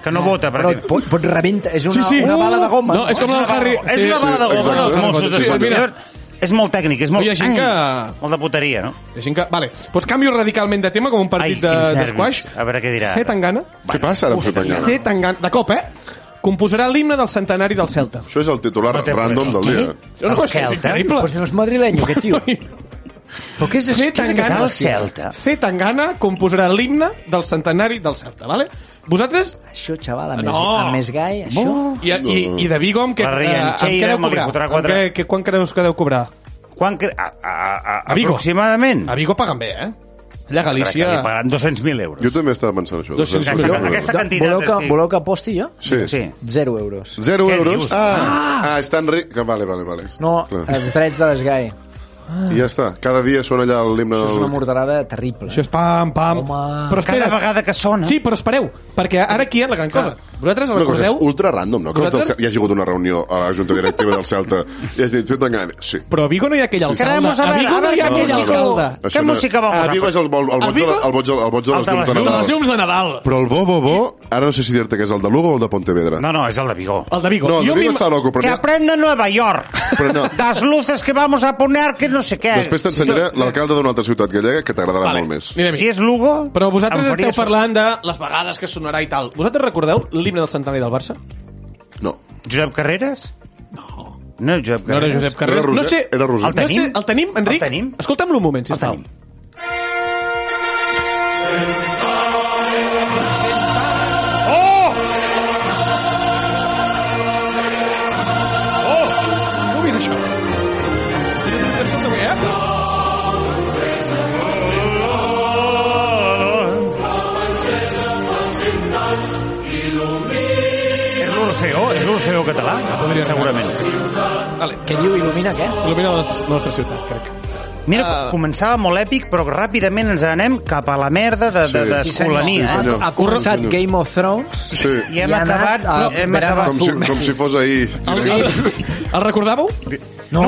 [SPEAKER 7] Que no vota, per
[SPEAKER 8] Però et
[SPEAKER 7] exemple.
[SPEAKER 8] pot, pot rebentar. És una,
[SPEAKER 6] Sí, sí.
[SPEAKER 8] una
[SPEAKER 6] Uh!
[SPEAKER 8] bala de goma.
[SPEAKER 6] No, és com la del Harry...
[SPEAKER 7] És una bala de goma
[SPEAKER 4] exacte.
[SPEAKER 7] dels Mossos
[SPEAKER 6] Sí, mira.
[SPEAKER 7] d'Esquadra. És molt tècnic, és molt...
[SPEAKER 6] Hi ha gent
[SPEAKER 7] Ai,
[SPEAKER 6] que-
[SPEAKER 7] Molt de puteria, no?
[SPEAKER 6] Deixem que... Vale, doncs canvio radicalment de tema com un
[SPEAKER 7] Ai,
[SPEAKER 6] partit
[SPEAKER 7] quins
[SPEAKER 6] de- d'esquaix.
[SPEAKER 7] nervis. A veure què dirà.
[SPEAKER 6] Fer tan gana.
[SPEAKER 4] Què passa ara amb Fetanyana?
[SPEAKER 6] Fer tan gana. De cop, eh? Composarà l'himne del centenari del Celta.
[SPEAKER 4] Això és el titular
[SPEAKER 7] No té
[SPEAKER 4] random del dia.
[SPEAKER 7] El
[SPEAKER 6] No, no, és
[SPEAKER 7] Celta?
[SPEAKER 6] increïble.
[SPEAKER 8] Pues no és madrilenyo, aquest tio. Però què és això?
[SPEAKER 6] Fer
[SPEAKER 8] Què és
[SPEAKER 6] tan
[SPEAKER 8] aquesta
[SPEAKER 6] gana...
[SPEAKER 7] del
[SPEAKER 8] hòstia?
[SPEAKER 7] Celta.
[SPEAKER 6] Fer tan gana composarà l'himne del centenari del Celta, vale? Vosaltres
[SPEAKER 8] Això, xaval, a més,
[SPEAKER 6] No.
[SPEAKER 8] a més gai, això...
[SPEAKER 6] I, i, i de Vigo amb què, eh,
[SPEAKER 7] La
[SPEAKER 6] amb
[SPEAKER 7] Riancheira
[SPEAKER 6] què deu
[SPEAKER 7] me li
[SPEAKER 6] cobrar?
[SPEAKER 7] fotrà
[SPEAKER 6] Amb
[SPEAKER 7] quatre.
[SPEAKER 6] què- que, quan creus que deu cobrar?
[SPEAKER 7] Quan... cre- A, a, a,
[SPEAKER 6] A Vigo.
[SPEAKER 7] Aproximadament.
[SPEAKER 6] A Vigo paguen bé, eh? Allà a
[SPEAKER 7] Crec que li
[SPEAKER 6] Galícia...
[SPEAKER 7] pagaran 200.000 euros.
[SPEAKER 4] Jo també estava pensant això.
[SPEAKER 6] 200
[SPEAKER 4] 200
[SPEAKER 7] milions.
[SPEAKER 4] euros.
[SPEAKER 7] Aquesta quantitat
[SPEAKER 8] voleu, que,
[SPEAKER 7] estic.
[SPEAKER 8] voleu que aposti jo?
[SPEAKER 4] Sí.
[SPEAKER 7] Sí.
[SPEAKER 8] Zero euros.
[SPEAKER 4] Zero
[SPEAKER 7] Què
[SPEAKER 4] euros.
[SPEAKER 7] dius?
[SPEAKER 4] Ah, ah, és tan ric... que Vale, vale, vale.
[SPEAKER 8] No, eh,
[SPEAKER 4] Clar.
[SPEAKER 8] els drets de les gai.
[SPEAKER 4] I ja està. Cada dia sona allà l'himne
[SPEAKER 8] Això és una
[SPEAKER 4] del...
[SPEAKER 8] morterada terrible.
[SPEAKER 6] Això és pam, pam.
[SPEAKER 8] Home.
[SPEAKER 6] Però
[SPEAKER 7] Cada
[SPEAKER 6] espera,
[SPEAKER 7] vegada que sona...
[SPEAKER 6] sí, però espereu, perquè ara aquí hi ha la gran cosa. Vosaltres
[SPEAKER 4] Una cosa,
[SPEAKER 6] recordeu...
[SPEAKER 4] és ultra random, no? Que el
[SPEAKER 6] Vosaltres?
[SPEAKER 4] Cel- hi ha hagut una reunió a la Junta Directiva del Celta i has dit, tu t'enganyes. Sí.
[SPEAKER 6] Però a Vigo no hi ha aquell alcalde.
[SPEAKER 7] Queremos a
[SPEAKER 6] A
[SPEAKER 7] veure,
[SPEAKER 6] Vigo
[SPEAKER 7] a
[SPEAKER 6] no hi
[SPEAKER 7] veure
[SPEAKER 6] ha
[SPEAKER 7] què
[SPEAKER 6] aquell
[SPEAKER 7] música-
[SPEAKER 6] alcalde.
[SPEAKER 4] Això
[SPEAKER 7] Què
[SPEAKER 4] no-
[SPEAKER 7] música va
[SPEAKER 4] A
[SPEAKER 7] posar?
[SPEAKER 4] Vigo és Ah, el, el, el,
[SPEAKER 6] A
[SPEAKER 4] boig, de,
[SPEAKER 6] Vigo?
[SPEAKER 4] el, boig, de- el boig de
[SPEAKER 7] El
[SPEAKER 4] les
[SPEAKER 7] de
[SPEAKER 4] llums
[SPEAKER 7] les
[SPEAKER 4] de
[SPEAKER 7] llums.
[SPEAKER 6] Les
[SPEAKER 4] Nadal.
[SPEAKER 6] llums de Nadal.
[SPEAKER 4] Però el bo, bo, bo, ara no sé si dir-te que és el de Lugo o el de Pontevedra.
[SPEAKER 7] No, no, és el de Vigo.
[SPEAKER 6] El de Vigo.
[SPEAKER 4] No, el de
[SPEAKER 6] Jo
[SPEAKER 4] Vigo
[SPEAKER 6] m'im-
[SPEAKER 4] està loco,
[SPEAKER 7] Que
[SPEAKER 4] però...
[SPEAKER 7] aprenda Nueva York.
[SPEAKER 4] Però no.
[SPEAKER 7] Das luces que vamos a poner que no sé què.
[SPEAKER 4] Després t'ensenyaré l'alcalde d'una altra ciutat gallega que t'agradarà molt més.
[SPEAKER 6] Anem-hi.
[SPEAKER 7] Si és Lugo...
[SPEAKER 6] Però vosaltres
[SPEAKER 7] em faria
[SPEAKER 6] esteu
[SPEAKER 7] so-
[SPEAKER 6] parlant de les vegades que sonarà i tal. Vosaltres recordeu l'himne del centenari del Barça?
[SPEAKER 4] No.
[SPEAKER 7] Josep Carreras? No. No és Josep
[SPEAKER 6] No
[SPEAKER 7] Carreras.
[SPEAKER 6] era Josep Carreras.
[SPEAKER 4] Roser-
[SPEAKER 6] no sé,
[SPEAKER 4] era Roser.
[SPEAKER 6] El tenim? No sé, el tenim, Enric?
[SPEAKER 7] El tenim.
[SPEAKER 6] Escolta'm-lo un moment, sisplau.
[SPEAKER 7] tenim.
[SPEAKER 6] Heu vist això? Escolta bé, eh?
[SPEAKER 7] És l'Orfeó, és l'Orfeó català.
[SPEAKER 6] podria ser.
[SPEAKER 7] Segurament.
[SPEAKER 6] Vale.
[SPEAKER 8] Què diu? Il·lumina què?
[SPEAKER 6] Il·lumina la nostra, nostra ciutat, crec.
[SPEAKER 7] Mira,
[SPEAKER 6] Ah.
[SPEAKER 7] començava molt èpic, però ràpidament ens anem cap a la merda de, de,
[SPEAKER 4] Sí.
[SPEAKER 7] de
[SPEAKER 4] Sí,
[SPEAKER 7] escolania.
[SPEAKER 4] Sí,
[SPEAKER 7] eh?
[SPEAKER 4] senyor.
[SPEAKER 8] Ha començat Game of Thrones
[SPEAKER 4] Sí.
[SPEAKER 7] I hem
[SPEAKER 8] I ha anat
[SPEAKER 7] acabat...
[SPEAKER 8] a
[SPEAKER 7] hem
[SPEAKER 8] Verano
[SPEAKER 7] acabat...
[SPEAKER 4] Com si, com si fos ahir.
[SPEAKER 6] El recordàveu?
[SPEAKER 7] No,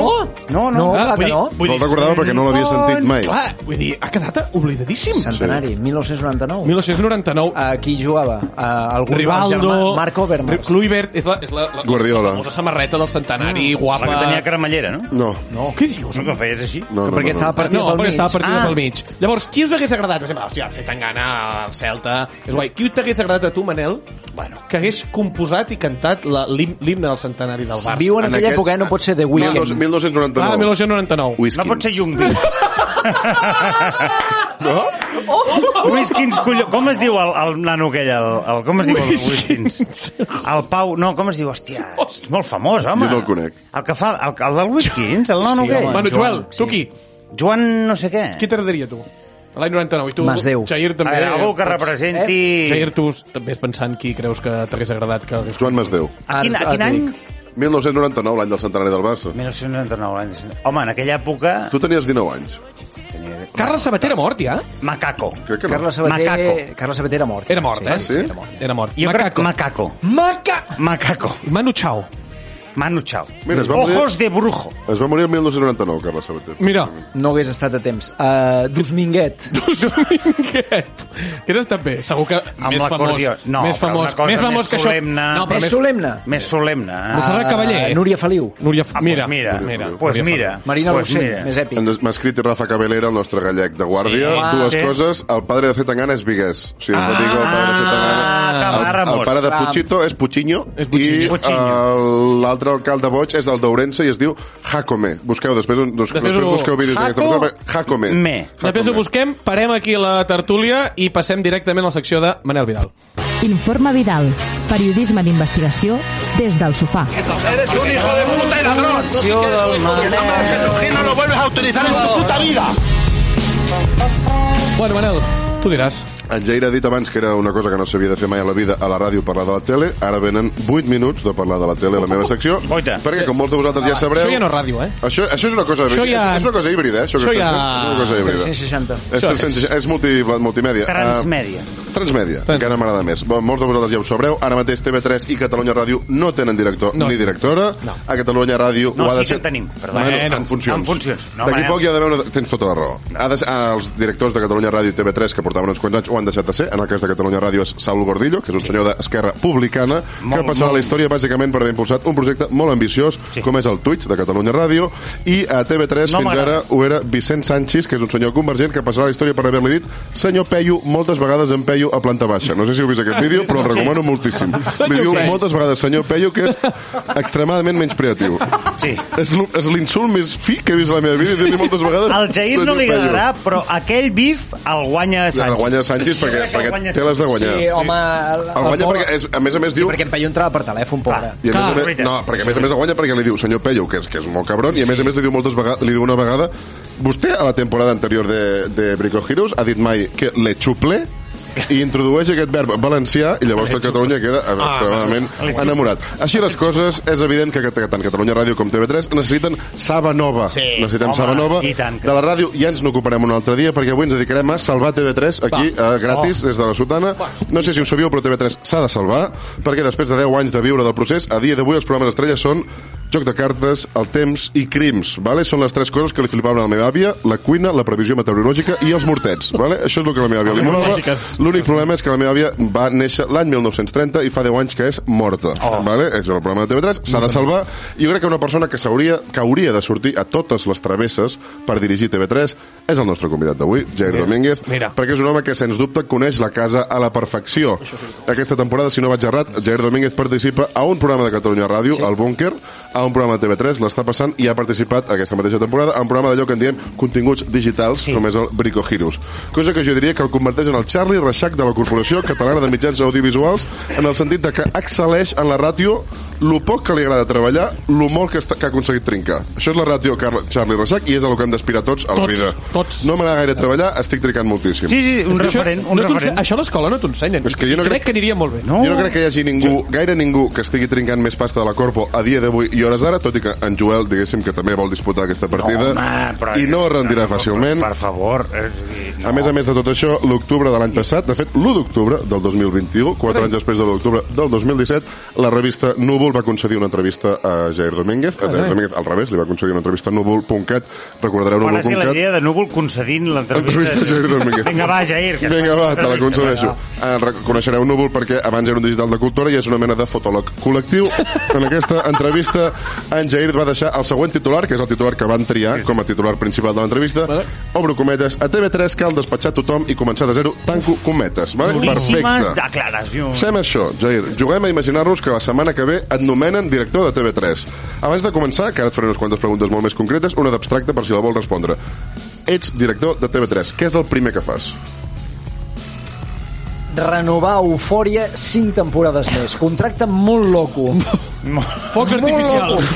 [SPEAKER 7] no, no.
[SPEAKER 8] No, clar
[SPEAKER 6] vull
[SPEAKER 8] que
[SPEAKER 6] dir-
[SPEAKER 8] no.
[SPEAKER 6] vull
[SPEAKER 4] No
[SPEAKER 6] dir-
[SPEAKER 4] el recordava perquè no l'havia sentit mai.
[SPEAKER 6] Clar, vull dir, ha quedat oblidadíssim.
[SPEAKER 8] Centenari, 1999.
[SPEAKER 6] 1999.
[SPEAKER 8] Uh, qui jugava? Uh, algun
[SPEAKER 6] Rivaldo,
[SPEAKER 8] germà- Marco Vermars.
[SPEAKER 6] Kluivert, és la, és la, la,
[SPEAKER 4] Guardiola.
[SPEAKER 6] la famosa samarreta del centenari,
[SPEAKER 7] La
[SPEAKER 6] guapa.
[SPEAKER 7] que tenia cremallera, no?
[SPEAKER 4] No.
[SPEAKER 6] No. Què dius?
[SPEAKER 7] No, que feies així.
[SPEAKER 4] No, no,
[SPEAKER 8] perquè
[SPEAKER 4] no,
[SPEAKER 8] estava
[SPEAKER 4] no.
[SPEAKER 8] partit
[SPEAKER 6] no,
[SPEAKER 8] pel
[SPEAKER 6] perquè
[SPEAKER 8] mig.
[SPEAKER 6] estava partida
[SPEAKER 7] Ah.
[SPEAKER 6] pel mig. Llavors, qui us hagués agradat? Per exemple, hòstia, fer tan gana al Celta. És guai. Qui t'hagués agradat a tu, Manel,
[SPEAKER 7] Bueno.
[SPEAKER 6] que hagués composat i cantat la- l'him- l'himne del centenari del Barça?
[SPEAKER 8] Viu en, aquella època, eh? no pot ser The Weeknd.
[SPEAKER 4] 1299.
[SPEAKER 6] Ah, 1999.
[SPEAKER 4] Whisky.
[SPEAKER 7] No pot ser Jungbi. no? Oh! Whiskins, colló... Com es diu el, el nano aquell? El, el, com es diu el Whiskins? El Pau... No, com es diu? Hòstia, és molt famós, home.
[SPEAKER 4] Jo no el conec.
[SPEAKER 7] El que fa... El, el del Whiskins, el nano
[SPEAKER 8] Sí,
[SPEAKER 7] aquell.
[SPEAKER 8] home.
[SPEAKER 6] Bueno,
[SPEAKER 8] Joan,
[SPEAKER 6] Joel, tu
[SPEAKER 8] sí.
[SPEAKER 6] qui?
[SPEAKER 7] Joan no sé què.
[SPEAKER 6] Qui t'agradaria, tu? L'any 99. I tu,
[SPEAKER 8] Masdeu.
[SPEAKER 6] Jair,
[SPEAKER 7] A
[SPEAKER 6] també.
[SPEAKER 7] veure, algú
[SPEAKER 6] Pots-
[SPEAKER 7] que
[SPEAKER 6] eh?
[SPEAKER 7] representi...
[SPEAKER 6] Jair, tu també és pensant qui creus que t'hagués agradat que hagués...
[SPEAKER 4] Joan Masdeu.
[SPEAKER 8] Art-
[SPEAKER 7] Quin, a quin any?
[SPEAKER 8] Art-
[SPEAKER 4] 1999, l'any del centenari del Barça.
[SPEAKER 7] 1999 anys. Home, en aquella època...
[SPEAKER 4] Tu tenies 19 anys.
[SPEAKER 7] Tenia...
[SPEAKER 6] Carles Sabater era mort, ja?
[SPEAKER 7] Macaco.
[SPEAKER 4] Crec que no.
[SPEAKER 8] Carles Sabater,
[SPEAKER 7] Macaco.
[SPEAKER 8] Carles Sabater era mort. Ah,
[SPEAKER 6] Era mort, eh?
[SPEAKER 4] sí?
[SPEAKER 8] Era mort.
[SPEAKER 6] Era mort.
[SPEAKER 7] Jo crec-
[SPEAKER 6] Macaco.
[SPEAKER 7] Macaco.
[SPEAKER 8] Maca!
[SPEAKER 7] Macaco.
[SPEAKER 6] Manu Chao.
[SPEAKER 7] Manu Chao.
[SPEAKER 4] Mira, es va
[SPEAKER 7] Ojos
[SPEAKER 4] poder-
[SPEAKER 7] de brujo.
[SPEAKER 4] Es va morir el 1999, Carles Sabater.
[SPEAKER 6] Mira.
[SPEAKER 8] No hagués estat a temps. Uh, Dosminguet.
[SPEAKER 6] Dos dominguets. Què n'està bé? Segur que
[SPEAKER 7] Amb
[SPEAKER 6] més famós.
[SPEAKER 7] l'acordió. No,
[SPEAKER 6] més
[SPEAKER 7] però una
[SPEAKER 6] famós,
[SPEAKER 7] cosa
[SPEAKER 6] més famós
[SPEAKER 7] més
[SPEAKER 6] que això.
[SPEAKER 7] solemne.
[SPEAKER 6] No, però
[SPEAKER 8] Més
[SPEAKER 6] més...
[SPEAKER 8] solemne.
[SPEAKER 7] Més solemne. Eh?
[SPEAKER 6] Montserrat Cavaller.
[SPEAKER 8] Eh, Núria Feliu.
[SPEAKER 6] Núria...
[SPEAKER 7] Ah,
[SPEAKER 6] mira,
[SPEAKER 7] pues mira,
[SPEAKER 6] mira.
[SPEAKER 7] pues
[SPEAKER 6] Núria
[SPEAKER 7] mira.
[SPEAKER 8] Marina
[SPEAKER 7] pues
[SPEAKER 8] Lucent,
[SPEAKER 7] mira.
[SPEAKER 8] més èpic.
[SPEAKER 4] Ens- M'ha escrit Rafa Cabelera, el nostre gallec de guàrdia.
[SPEAKER 6] Ah,
[SPEAKER 7] Sí.
[SPEAKER 4] Dues
[SPEAKER 7] Sí.
[SPEAKER 4] coses. El padre de Zetangana és Vigués. O sigui, ah, digo, el padre de
[SPEAKER 7] Ah,
[SPEAKER 4] Zetangana...
[SPEAKER 7] acabar
[SPEAKER 4] El, el pare de
[SPEAKER 8] Ram.
[SPEAKER 4] Puchito és Puchinho.
[SPEAKER 6] És Puchinho.
[SPEAKER 4] I el- l'altre alcalde boig és del d'Ourense i es diu Jacome. Busqueu, després, un- doncs,
[SPEAKER 6] Després
[SPEAKER 4] després,
[SPEAKER 6] ho-
[SPEAKER 4] busqueu vídeos d'aquesta
[SPEAKER 7] Jaco-
[SPEAKER 4] persona. Jacome.
[SPEAKER 7] Me.
[SPEAKER 6] Feliu. Després ho busquem, parem aquí la tertúlia i passem directament a la secció de Manel Vidal.
[SPEAKER 1] Informe Vidal. Periodisme d'investigació des del sofà.
[SPEAKER 8] Acció del
[SPEAKER 6] Bueno, Manel, tu diràs.
[SPEAKER 4] En Jair ha dit abans que era una cosa que no s'havia de fer mai a la vida, a la ràdio parlar de la tele. Ara venen 8 minuts de parlar de la tele a la meva secció.
[SPEAKER 7] Oita.
[SPEAKER 4] Perquè, com molts de vosaltres ja sabreu...
[SPEAKER 6] Ah, Això ja no és ràdio, eh?
[SPEAKER 4] Això, això és una cosa
[SPEAKER 6] Això
[SPEAKER 4] híbrida.
[SPEAKER 6] ja-
[SPEAKER 4] És, és una cosa híbrida, eh? Això,
[SPEAKER 6] Això
[SPEAKER 4] que estem
[SPEAKER 6] ja-
[SPEAKER 4] fent. És una cosa híbrida.
[SPEAKER 8] 360.
[SPEAKER 4] És, 360, és multi, multimèdia.
[SPEAKER 7] Transmèdia.
[SPEAKER 4] Uh, transmèdia, encara m'agrada més. Bon, molts de vosaltres ja ho sabreu. Ara mateix TV3 i Catalunya Ràdio no tenen director
[SPEAKER 6] No.
[SPEAKER 4] ni directora.
[SPEAKER 6] No.
[SPEAKER 4] A Catalunya Ràdio
[SPEAKER 7] No,
[SPEAKER 4] ho ha de
[SPEAKER 7] sí que
[SPEAKER 4] ser...
[SPEAKER 7] en tenim, perdó.
[SPEAKER 4] Bueno,
[SPEAKER 7] Eh, no.
[SPEAKER 4] en funcions.
[SPEAKER 7] En funcions. No,
[SPEAKER 4] D'aquí
[SPEAKER 7] home,
[SPEAKER 4] poc hi ha d'haver una... Tens tota la raó. Ha de ser... Els directors de Catalunya Ràdio i TV3 que portaven uns quants anys ho han deixat de ser. En el cas de Catalunya Ràdio és Saulo Gordillo, que és un senyor d'Esquerra Publicana,
[SPEAKER 7] Molt,
[SPEAKER 4] que passarà
[SPEAKER 7] molt.
[SPEAKER 4] a la història bàsicament per haver impulsat un projecte molt ambiciós,
[SPEAKER 7] Sí.
[SPEAKER 4] com és el Twitch de Catalunya Ràdio, i a TV3
[SPEAKER 7] No
[SPEAKER 4] fins
[SPEAKER 7] m'agrada.
[SPEAKER 4] ara ho era Vicent Sánchez, que és un senyor convergent que passarà a la història per haver-li dit senyor Peyu, moltes vegades en Peyu a planta baixa. No sé si heu vist aquest vídeo, però el recomano moltíssim.
[SPEAKER 6] Senyor
[SPEAKER 4] Li diu
[SPEAKER 6] Peyu.
[SPEAKER 4] moltes vegades senyor Peyu, que és extremadament menyspreatiu.
[SPEAKER 7] Sí.
[SPEAKER 4] És l- és l'insult més fi que he vist a la meva vida, dir-li moltes vegades
[SPEAKER 7] Al Jair no
[SPEAKER 4] senyor
[SPEAKER 7] li
[SPEAKER 4] Peyu.
[SPEAKER 7] agradarà, però aquell bif el guanya
[SPEAKER 4] El
[SPEAKER 7] Sánchez.
[SPEAKER 4] guanya Sánchez perquè,
[SPEAKER 7] que el
[SPEAKER 4] perquè
[SPEAKER 7] guanya
[SPEAKER 4] té les de guanyar.
[SPEAKER 8] Sí, home... El,
[SPEAKER 4] El guanya perquè, és, a més a més,
[SPEAKER 8] Sí,
[SPEAKER 4] diu... Ah.
[SPEAKER 8] perquè en Peyu entrava per telèfon, pobre.
[SPEAKER 4] I a
[SPEAKER 6] Clar,
[SPEAKER 4] més a més,
[SPEAKER 7] veritat.
[SPEAKER 4] no, perquè a més a més el guanya perquè li diu senyor Peyu, que és, que és molt cabron, i a més a més li diu, moltes vegades, li diu una vegada vostè a la temporada anterior de, de Brico Heroes ha dit mai que le xuple
[SPEAKER 8] que...
[SPEAKER 4] i introdueix aquest verb valencià i llavors tot Catalunya queda
[SPEAKER 7] Ah,
[SPEAKER 4] extremadament enamorat. Així les coses, és evident que tant Catalunya Ràdio com TV3 necessiten Saba Nova.
[SPEAKER 7] Sí,
[SPEAKER 4] Necessitem
[SPEAKER 7] home,
[SPEAKER 4] Saba Nova.
[SPEAKER 7] i tant que
[SPEAKER 4] De la ràdio ja ens n'ocuparem un altre dia perquè avui ens dedicarem a salvar TV3 aquí eh, gratis des de la Sotana. No sé si ho sabíeu, però TV3 s'ha de salvar perquè després de 10 anys de viure del procés, a dia d'avui els programes estrella són Joc de cartes, el temps i crims, vale? Són les tres coses que li flipaven a la meva àvia, la cuina, la previsió meteorològica i els mortets, vale? Això és el que a la meva àvia li molava. L'únic problema és que la meva àvia va néixer l'any 1930 i fa 10 anys que és morta, oh. vale? És el programa de TV3, s'ha de salvar. I jo crec que una persona que s'hauria que hauria de sortir a totes les travesses per dirigir TV3 és el nostre convidat d'avui, Jair Domínguez,
[SPEAKER 6] mira.
[SPEAKER 4] perquè és un home que, sens dubte, coneix la casa a la perfecció. Aquesta temporada, si no vaig errat, Jair Domínguez participa a un programa de Catalunya Ràdio, sí. El Búnquer, a un programa de TV3, l'està passant, i ha participat aquesta mateixa temporada a un programa d'allò que en diem continguts digitals, sí. com és el Brico Heroes. Cosa que jo diria que el converteix en el Charlie Reixac de la Corporació Catalana de Mitjans Audiovisuals, en el sentit de que excel·leix en la ràtio lo poc que li agrada treballar, lo molt que, està, que ha aconseguit trincar. Això és la ràtio Car Charlie Reixac i és el que hem d'aspirar tots a la
[SPEAKER 6] Tots,
[SPEAKER 4] vida.
[SPEAKER 6] tots.
[SPEAKER 4] No m'agrada gaire treballar, estic tricant moltíssim.
[SPEAKER 7] Sí, sí, un referent,
[SPEAKER 6] això,
[SPEAKER 7] un
[SPEAKER 6] no t'ense-
[SPEAKER 7] referent.
[SPEAKER 6] Això a l'escola no t'ensenyen.
[SPEAKER 4] És que jo no crec-
[SPEAKER 6] crec que aniria molt bé.
[SPEAKER 7] No.
[SPEAKER 4] Jo no crec que hi hagi ningú, gaire ningú, que estigui trincant més pasta de la Corpo a dia d'avui i hores d'ara, tot i que en Joel, diguéssim, que també vol disputar aquesta partida i no es rendirà fàcilment.
[SPEAKER 7] Per favor. és dir, No.
[SPEAKER 4] A més a més de tot això, l'octubre de l'any passat, de fet, l'1 d'octubre del 2021, quatre anys després de l'1 d'octubre del 2017, la revista Núvol va concedir una entrevista a Jair Domínguez. A Jair Domínguez, al revés, li va concedir una entrevista a núvol.cat. Recordareu
[SPEAKER 7] Farà ser la
[SPEAKER 4] núvol.cat?
[SPEAKER 7] idea de Núvol concedint
[SPEAKER 4] Entrevista
[SPEAKER 7] l'entrevista.
[SPEAKER 4] a Jair Domínguez.
[SPEAKER 7] Vinga, va, Jair. que
[SPEAKER 4] Vinga, va, te la
[SPEAKER 7] entrevista,
[SPEAKER 4] concedeixo.
[SPEAKER 7] va.
[SPEAKER 4] Eh, reconeixereu Núvol perquè abans era un digital de cultura i és una mena de fotòleg col·lectiu. En aquesta entrevista, en Jair va deixar el següent titular, que és el titular que van triar com a titular principal de l'entrevista. Obro cometes. A TV3 cal despatxar tothom i començar de zero. Tanco cometes. Vale?
[SPEAKER 7] Duríssimes
[SPEAKER 4] Perfecte.
[SPEAKER 7] declaracions.
[SPEAKER 4] Fem això, Jair. Juguem a imaginar-nos que la setmana que ve et nomenen director de TV3. Abans de començar, que ara et faré unes quantes preguntes molt més concretes, una d'abstracta per si la vols respondre. Ets director de TV3. Què és el primer que fas?
[SPEAKER 8] Renovar Eufòria 5 temporades més. Contracte molt loco.
[SPEAKER 6] Focs artificials.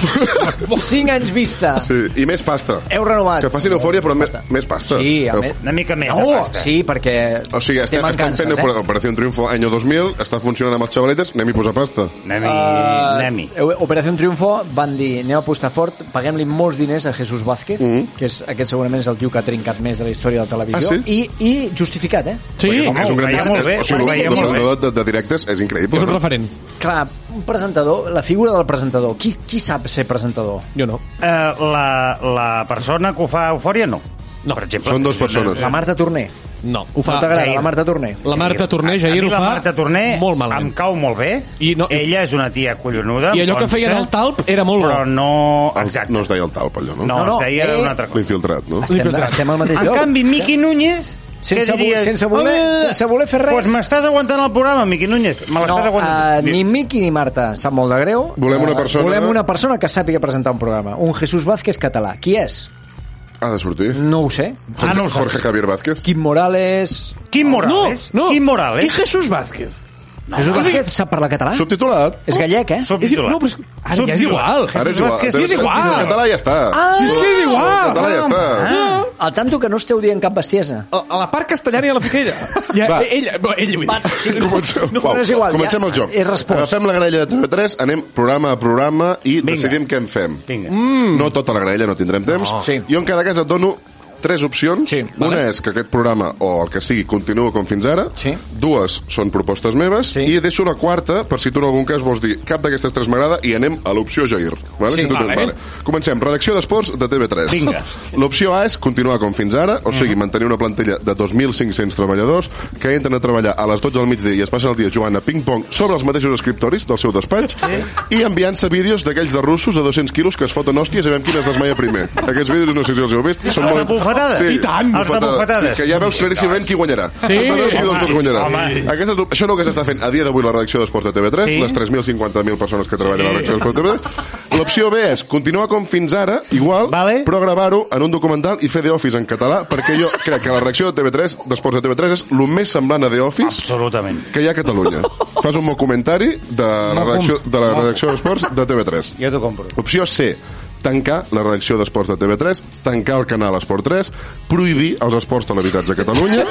[SPEAKER 8] 5 anys vista.
[SPEAKER 4] Sí, i més pasta.
[SPEAKER 8] Heu renovat.
[SPEAKER 4] Que facin eufòria, però més, més pasta.
[SPEAKER 8] Sí, a
[SPEAKER 4] Euf-
[SPEAKER 8] més-
[SPEAKER 7] Una mica més de
[SPEAKER 8] No,
[SPEAKER 7] pasta.
[SPEAKER 8] sí, perquè...
[SPEAKER 4] O sigui, estem, estem
[SPEAKER 8] té
[SPEAKER 4] fent
[SPEAKER 8] mancances,
[SPEAKER 4] eh? Operació Triunfo any 2000, està funcionant amb els xavaletes, anem hi a posar pasta.
[SPEAKER 7] Anem-hi, anem-hi.
[SPEAKER 8] Eh, Operació Triunfo van dir anem a apostar fort, paguem-li molts diners a Jesús Vázquez, mm -hmm. que és, aquest segurament és el tio que ha trincat més de la història de la televisió,
[SPEAKER 4] Ah, sí?
[SPEAKER 8] i, i justificat, eh?
[SPEAKER 6] Sí,
[SPEAKER 7] home,
[SPEAKER 4] és un gran
[SPEAKER 7] ho feia molt bé,
[SPEAKER 4] O sigui,
[SPEAKER 7] ho feia
[SPEAKER 4] un
[SPEAKER 7] molt bé.
[SPEAKER 4] presentador de, de directes és increïble.
[SPEAKER 6] és un
[SPEAKER 4] no?
[SPEAKER 6] referent.
[SPEAKER 8] Clar, un presentador, la figura del presentador, qui, qui sap ser presentador?
[SPEAKER 6] Jo no.
[SPEAKER 7] Eh, la, la persona que ho fa eufòria, no.
[SPEAKER 6] No.
[SPEAKER 7] Per exemple.
[SPEAKER 4] Són dues persones.
[SPEAKER 8] La Marta Torner.
[SPEAKER 6] No, ho
[SPEAKER 8] No
[SPEAKER 6] fa...
[SPEAKER 8] t'agrada,
[SPEAKER 7] Jair.
[SPEAKER 8] tota la Marta Torner?
[SPEAKER 6] la Marta Torner,
[SPEAKER 7] A- a
[SPEAKER 6] Jair,
[SPEAKER 7] mi
[SPEAKER 6] ho fa
[SPEAKER 7] la Marta Torner
[SPEAKER 6] molt
[SPEAKER 7] em
[SPEAKER 6] malament.
[SPEAKER 7] cau molt bé.
[SPEAKER 6] I no-
[SPEAKER 7] Ella és una tia collonuda. doncs
[SPEAKER 6] I allò que feia del talp era molt bo.
[SPEAKER 7] Però no...
[SPEAKER 4] El-
[SPEAKER 7] Exacte.
[SPEAKER 4] Ah, No es deia el talp, allò, no?
[SPEAKER 7] No,
[SPEAKER 8] No,
[SPEAKER 7] no,
[SPEAKER 8] no,
[SPEAKER 7] es deia
[SPEAKER 8] eh,
[SPEAKER 7] una altra cosa.
[SPEAKER 4] L'infiltrat, no?
[SPEAKER 8] Estem, estem al mateix
[SPEAKER 7] En
[SPEAKER 8] lloc.
[SPEAKER 7] canvi, Miqui Núñez...
[SPEAKER 8] Sense
[SPEAKER 7] què
[SPEAKER 8] vo- sense voler-
[SPEAKER 7] "Home,
[SPEAKER 8] sense voler fer res."
[SPEAKER 7] Doncs m'estàs aguantant el programa, Miqui Núñez. Me
[SPEAKER 8] No,
[SPEAKER 7] l'estàs
[SPEAKER 8] uh,
[SPEAKER 7] aguantant.
[SPEAKER 8] ni Miqui ni Marta, sap molt de greu.
[SPEAKER 4] Volem una
[SPEAKER 8] Eh,
[SPEAKER 4] persona-
[SPEAKER 8] Volem una persona que sàpiga presentar un programa. Un Jesús Vázquez català. Qui és?
[SPEAKER 4] Ha de sortir.
[SPEAKER 8] No ho sé.
[SPEAKER 7] Ah, no ho saps.
[SPEAKER 4] Jorge Javier Vázquez.
[SPEAKER 8] Quim Morales...
[SPEAKER 7] Quim Morales.
[SPEAKER 6] No, no.
[SPEAKER 7] Quim Morales.
[SPEAKER 6] I Jesús Vázquez.
[SPEAKER 8] No, Jesús Vázquez sap parlar català?
[SPEAKER 4] Subtitulat.
[SPEAKER 8] Ah. És gallec, eh?
[SPEAKER 6] És,
[SPEAKER 7] Subtitulat.
[SPEAKER 6] no, però és, ara ja és
[SPEAKER 7] Subtitulat.
[SPEAKER 6] igual.
[SPEAKER 4] Ara és igual.
[SPEAKER 7] Vázquez,
[SPEAKER 6] és igual.
[SPEAKER 4] El català ja està. Ah,
[SPEAKER 6] Si és que és igual.
[SPEAKER 4] El català ja està.
[SPEAKER 7] Ah,
[SPEAKER 8] Al tanto que no esteu dient cap bestiesa.
[SPEAKER 6] A, a la part castellana i a la fiquera. Ja,
[SPEAKER 4] Va.
[SPEAKER 6] ell, ell, ell, vull dir.
[SPEAKER 8] Va, sí,
[SPEAKER 4] Comencem,
[SPEAKER 8] no,
[SPEAKER 4] Uau,
[SPEAKER 8] però és igual.
[SPEAKER 4] Comencem
[SPEAKER 8] ja,
[SPEAKER 4] el joc.
[SPEAKER 8] He respost.
[SPEAKER 4] Agafem la grella de TV3, anem programa a programa i
[SPEAKER 7] Vinga.
[SPEAKER 4] decidim què en fem.
[SPEAKER 7] Vinga.
[SPEAKER 4] Mm. No tota la grella, no tindrem temps.
[SPEAKER 8] No. Sí.
[SPEAKER 4] Jo en cada cas et dono tres opcions.
[SPEAKER 8] Sí,
[SPEAKER 4] Una és que aquest programa, o el que sigui, continua com fins ara.
[SPEAKER 8] Sí.
[SPEAKER 4] Dues són propostes meves.
[SPEAKER 8] Sí.
[SPEAKER 4] I deixo la quarta, per si tu en algun cas vols dir cap d'aquestes tres m'agrada, i anem a l'opció Jair. Vale?
[SPEAKER 8] Sí.
[SPEAKER 4] si tu tens,
[SPEAKER 6] Vale.
[SPEAKER 4] vale. Comencem. Redacció d'esports de TV3.
[SPEAKER 7] Vinga. Mhm.
[SPEAKER 4] L'opció A és continuar com fins ara, o sigui, mantenir una plantilla de 2.500 treballadors que entren a treballar a les 12 del migdia i es passen el dia jugant a ping-pong sobre els mateixos escriptoris del seu despatx sí. i enviant-se vídeos d'aquells de russos de 200 quilos que es foten hòsties i veiem qui es desmaia primer. Aquests vídeos no sé si els heu vist.
[SPEAKER 7] Els de bufetada?
[SPEAKER 4] Sí,
[SPEAKER 7] I tant. Els de bufetades.
[SPEAKER 4] Sí, que ja veus claríssimament qui guanyarà.
[SPEAKER 6] Sí.
[SPEAKER 4] Ja veus qui dels dos
[SPEAKER 7] Home,
[SPEAKER 4] guanyarà.
[SPEAKER 7] home.
[SPEAKER 4] Aquesta, és- això és el que s'està fent a dia d'avui la redacció d'Esports de TV3,
[SPEAKER 7] Sí.
[SPEAKER 4] les 3.050.000 persones que treballen a la redacció d'Esports de TV3. L'opció B és continuar com fins ara, igual,
[SPEAKER 7] Vale.
[SPEAKER 4] però gravar-ho en un documental i fer The Office en català, perquè jo crec que la reacció de TV3, d'Esports de TV3, és el més semblant a The Office
[SPEAKER 7] Absolutament.
[SPEAKER 4] que hi ha a Catalunya. Fas un comentari de la redacció de la redacció d'Esports de TV3.
[SPEAKER 7] Jo t'ho compro.
[SPEAKER 4] Opció C, tancar la redacció d'esports de TV3, tancar el canal Esport 3, prohibir els esports televisats a Catalunya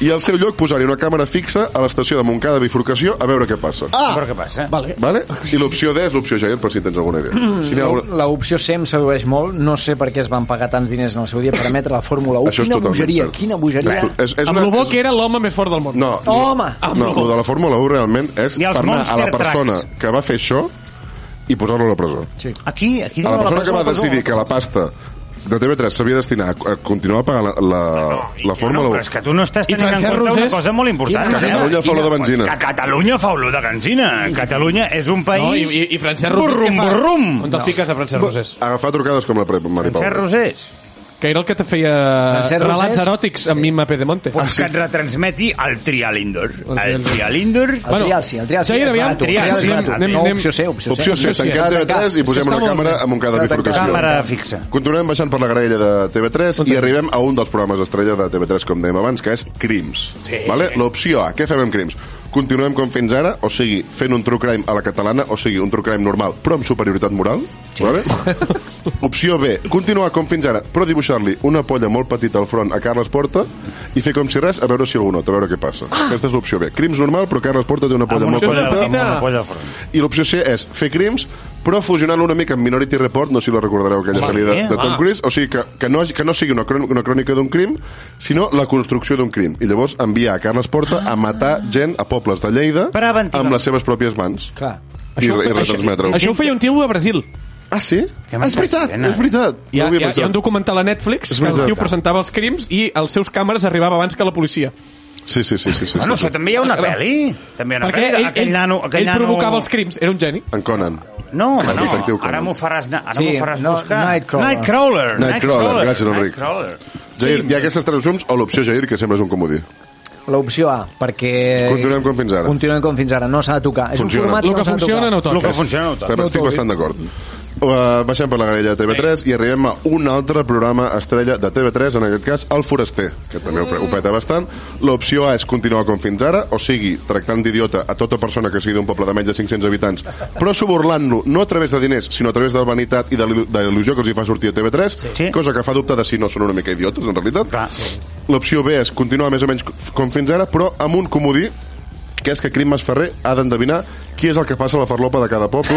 [SPEAKER 4] i al seu lloc posar-hi una càmera fixa a l'estació de Montcada Bifurcació a veure què passa.
[SPEAKER 7] Ah. Però què passa?
[SPEAKER 3] Vale.
[SPEAKER 4] Vale? I l'opció D és l'opció Jair, per si tens alguna idea.
[SPEAKER 7] Mm.
[SPEAKER 4] Si n'hi ha alguna...
[SPEAKER 8] L'opció C em sedueix molt. No sé per què es van pagar tants diners en el seu dia per emetre la Fórmula 1.
[SPEAKER 4] Això és
[SPEAKER 8] quina
[SPEAKER 4] totalment
[SPEAKER 8] bogeria,
[SPEAKER 4] cert.
[SPEAKER 8] quina bogeria.
[SPEAKER 4] És- És, és
[SPEAKER 6] Amb
[SPEAKER 4] una...
[SPEAKER 6] lo bo que era l'home més fort del món.
[SPEAKER 4] No,
[SPEAKER 8] Home!
[SPEAKER 4] no, el de la Fórmula 1 realment és
[SPEAKER 7] I els
[SPEAKER 4] parlar a la
[SPEAKER 7] Monster
[SPEAKER 4] persona
[SPEAKER 7] Trucks.
[SPEAKER 4] que va fer això i posar-lo a la presó. Sí.
[SPEAKER 7] Aquí,
[SPEAKER 4] A
[SPEAKER 7] aquí diu
[SPEAKER 4] la persona que va
[SPEAKER 7] presó.
[SPEAKER 4] decidir que la pasta de TV3 s'havia destinat a a continuar pagant la, la, la
[SPEAKER 7] no,
[SPEAKER 4] Fórmula
[SPEAKER 7] però
[SPEAKER 4] 1.
[SPEAKER 7] és que tu no estàs
[SPEAKER 6] I
[SPEAKER 7] tenint en
[SPEAKER 6] Francesc
[SPEAKER 7] compte una
[SPEAKER 6] Rosés?
[SPEAKER 7] cosa molt important.
[SPEAKER 4] Que Catalunya fa olor de benzina.
[SPEAKER 7] Que Catalunya fa olor de benzina. Catalunya és un país...
[SPEAKER 6] No, i, i, i Francesc Rosés
[SPEAKER 7] Burrum,
[SPEAKER 6] què fas?
[SPEAKER 7] burrum.
[SPEAKER 6] On te'l fiques a Francesc Rosés?
[SPEAKER 4] Agafar trucades com la Pre- Mari Pau.
[SPEAKER 7] Francesc Rosés.
[SPEAKER 6] Que era el que te feia
[SPEAKER 8] Francesc Rosés?
[SPEAKER 6] relats eròtics amb Mimma Pedemonte.
[SPEAKER 4] Ah,
[SPEAKER 7] Pues que et retransmeti el Trial Indoor. El
[SPEAKER 6] Trial.
[SPEAKER 7] Trial
[SPEAKER 4] Ah,
[SPEAKER 7] Indoor...
[SPEAKER 8] El bueno, trial sí, el trial sí.
[SPEAKER 6] Jair,
[SPEAKER 8] és
[SPEAKER 6] aviam,
[SPEAKER 8] barato, el
[SPEAKER 7] Trial,
[SPEAKER 8] trial és
[SPEAKER 7] anem-
[SPEAKER 8] barato.
[SPEAKER 7] anem-
[SPEAKER 8] no,
[SPEAKER 6] anem-
[SPEAKER 8] opció C, opció C.
[SPEAKER 4] Opció C,
[SPEAKER 6] Opció C.
[SPEAKER 4] tanquem TV3 i posem
[SPEAKER 6] Està
[SPEAKER 4] una
[SPEAKER 6] molt
[SPEAKER 4] càmera
[SPEAKER 6] bé.
[SPEAKER 4] amb un cada
[SPEAKER 8] S'ha de tancar.
[SPEAKER 4] bifurcació.
[SPEAKER 7] Càmera fixa.
[SPEAKER 4] Continuem baixant per la graella de TV3 i arribem a un dels programes estrella de TV3, com dèiem abans, que és Crims. Sí. Vale? L'opció A, què fem amb Crims? Continuem com fins ara, o sigui, fent un true crime a la catalana, o sigui, un true crime normal, però amb superioritat moral. Sí. Vale? Opció B, continuar com fins ara, però dibuixar-li una polla molt petita al front a Carles Porta i fer com si res, a veure si algú nota, a veure què passa. Aquesta és l'opció B. Crims normal, però Carles Porta té una polla
[SPEAKER 7] Amb
[SPEAKER 4] molt
[SPEAKER 7] una polla,
[SPEAKER 4] petita.
[SPEAKER 7] amb una polla al front.
[SPEAKER 4] I l'opció C és fer crims, però fusionant una mica amb Minority Report, no sé si la recordareu, aquella pel·li de, de Tom Cruise, o sigui, que, que, no, hagi- que no sigui una, cròn- una crònica d'un crim, sinó la construcció d'un crim. I llavors enviar a Carles Porta a matar gent a pobles de Lleida
[SPEAKER 7] Preventiva.
[SPEAKER 4] amb les seves pròpies mans.
[SPEAKER 8] Clar.
[SPEAKER 4] I, i retransmetre-ho.
[SPEAKER 6] Això ho feia un tio a Brasil.
[SPEAKER 4] Ah, sí?
[SPEAKER 7] Què
[SPEAKER 4] Ah, és veritat,
[SPEAKER 7] m'estàs dient,
[SPEAKER 4] és veritat.
[SPEAKER 6] Hi ha,
[SPEAKER 4] ho havia
[SPEAKER 6] hi, ha, hi ha
[SPEAKER 4] pensat.
[SPEAKER 6] un documental a Netflix
[SPEAKER 4] És
[SPEAKER 6] que el
[SPEAKER 4] veritat.
[SPEAKER 6] tio presentava els crims i els seus càmeres arribava abans que la policia.
[SPEAKER 4] Sí, sí, sí. sí,
[SPEAKER 6] Ah,
[SPEAKER 4] sí,
[SPEAKER 7] Bueno,
[SPEAKER 4] sí,
[SPEAKER 7] això
[SPEAKER 4] sí.
[SPEAKER 7] també hi ha una pel·li. També hi ha una
[SPEAKER 6] Perquè
[SPEAKER 7] pel·li.
[SPEAKER 6] ell,
[SPEAKER 7] Aquell
[SPEAKER 6] ell,
[SPEAKER 7] nano... Aquell
[SPEAKER 6] ell
[SPEAKER 7] nano...
[SPEAKER 6] provocava els crims, era un geni.
[SPEAKER 4] En Conan.
[SPEAKER 7] No, home,
[SPEAKER 4] El detectiu
[SPEAKER 7] no,
[SPEAKER 4] Conan.
[SPEAKER 7] ara m'ho faràs, anar- ara
[SPEAKER 8] Sí,
[SPEAKER 7] m'ho faràs
[SPEAKER 8] no,
[SPEAKER 7] buscar.
[SPEAKER 8] Nightcrawler.
[SPEAKER 7] Nightcrawler.
[SPEAKER 4] Nightcrawler, gràcies, Enric.
[SPEAKER 7] Nightcrawler.
[SPEAKER 4] Jair, hi ha aquestes tres opcions o l'opció Jair, que sempre és un comodí.
[SPEAKER 8] L'opció A, perquè...
[SPEAKER 4] Continuem com fins ara.
[SPEAKER 8] Continuem com fins ara, no s'ha de tocar. És
[SPEAKER 4] Funciona.
[SPEAKER 8] un format
[SPEAKER 6] El
[SPEAKER 8] no
[SPEAKER 6] que
[SPEAKER 8] s'ha de
[SPEAKER 6] funciona
[SPEAKER 8] tocar.
[SPEAKER 6] no
[SPEAKER 7] El
[SPEAKER 6] toca.
[SPEAKER 7] que funciona no toca.
[SPEAKER 4] També estic bastant d'acord. Uh, baixem per la grella de TV3 i arribem a un altre programa estrella de TV3, en aquest cas El Foraster, que també ho
[SPEAKER 7] Mm.
[SPEAKER 4] pre- ho peta bastant. L'opció A és continuar com fins ara, o sigui, tractant d'idiota a tota persona que sigui d'un poble de menys de 500 habitants, però suborlant-lo no a través de diners, sinó a través de la vanitat i de l'il- de l'il·lusió que els hi fa sortir a TV3,
[SPEAKER 7] Sí.
[SPEAKER 4] cosa que fa dubte de si no són una mica idiotes, en realitat.
[SPEAKER 7] Clar, sí.
[SPEAKER 4] L'opció B és continuar més o menys com fins ara, però amb un comodí que és que Crim Mas Ferrer ha d'endevinar qui és el que passa a la farlopa de cada poble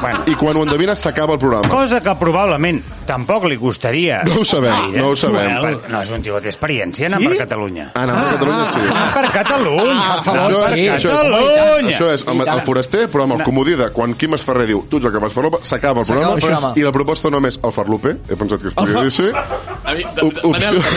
[SPEAKER 7] Bueno.
[SPEAKER 4] i quan ho endevines s'acaba el programa.
[SPEAKER 7] Cosa que probablement tampoc li costaria.
[SPEAKER 4] No ho sabem, no ho sabem.
[SPEAKER 7] Perquè No, és un tio d'experiència, anar
[SPEAKER 6] Sí?
[SPEAKER 7] per Catalunya.
[SPEAKER 4] Ah, no, ah, Catalunya sí. Ah,
[SPEAKER 7] Anar per Catalunya, per favor,
[SPEAKER 4] Això
[SPEAKER 7] per
[SPEAKER 4] és, això és,
[SPEAKER 7] Catalunya!
[SPEAKER 4] això és el, el foraster, però amb el comodí de quan Quim es Ferrer diu tu ets el que vas farlopa, s'acaba el,
[SPEAKER 8] S'acaba el
[SPEAKER 4] programa
[SPEAKER 8] programa.
[SPEAKER 4] i la proposta només el farlope, he pensat que es podia dir sí.
[SPEAKER 9] A mi, de,
[SPEAKER 4] Op-
[SPEAKER 9] de, Manel,
[SPEAKER 4] opció.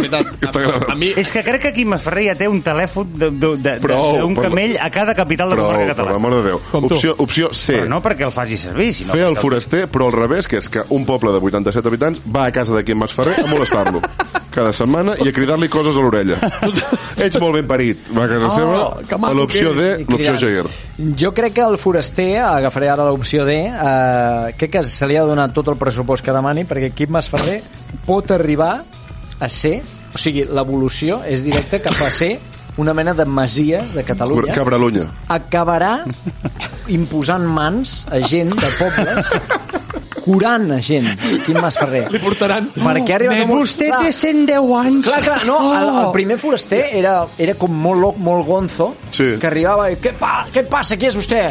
[SPEAKER 9] Manel, de
[SPEAKER 4] Que t'agrada.
[SPEAKER 9] veritat, a, a mi...
[SPEAKER 7] És que crec que Quim Ferrer ja té un telèfon de- de- de-
[SPEAKER 4] Prou,
[SPEAKER 7] de- d'un
[SPEAKER 4] per la-
[SPEAKER 7] camell a cada capital de la
[SPEAKER 4] Però,
[SPEAKER 7] comarca
[SPEAKER 4] per
[SPEAKER 7] catalana.
[SPEAKER 4] l'amor de Déu.
[SPEAKER 6] Com tu.
[SPEAKER 4] Opció, opció C.
[SPEAKER 7] Però no perquè el faci servir, sinó...
[SPEAKER 4] Fer el
[SPEAKER 7] perquè
[SPEAKER 4] foraster, però al revés, que és que un poble de 87 habitants va a casa de Quim Masferrer a molestar-lo cada setmana i a cridar-li coses a l'orella. Ets molt ben parit. Va a casa
[SPEAKER 8] Oh, que
[SPEAKER 4] seva,
[SPEAKER 8] maco
[SPEAKER 4] a l'opció
[SPEAKER 8] que
[SPEAKER 4] D,
[SPEAKER 8] eres. I
[SPEAKER 4] l'opció
[SPEAKER 8] cridant.
[SPEAKER 4] Jair.
[SPEAKER 8] Jo crec que el foraster, eh, agafaré ara l'opció D, eh, crec que se li ha de donar tot el pressupost que demani perquè Quim Masferrer pot arribar a ser, o sigui, l'evolució és directa cap a ser una mena de masies de Catalunya.
[SPEAKER 4] Cabralunya.
[SPEAKER 8] acabarà imposant mans a gent de pobles curant a gent, Quim Masferrer.
[SPEAKER 6] Li portaran...
[SPEAKER 8] Perquè ha arribat...
[SPEAKER 6] Nenos.
[SPEAKER 8] Vostè té 110 anys. Clar, clar, no, el,
[SPEAKER 7] Oh!
[SPEAKER 8] el primer foraster era, era com molt loc, molt gonzo,
[SPEAKER 4] Sí.
[SPEAKER 8] que arribava i... Què, pa, què passa? Qui és vostè?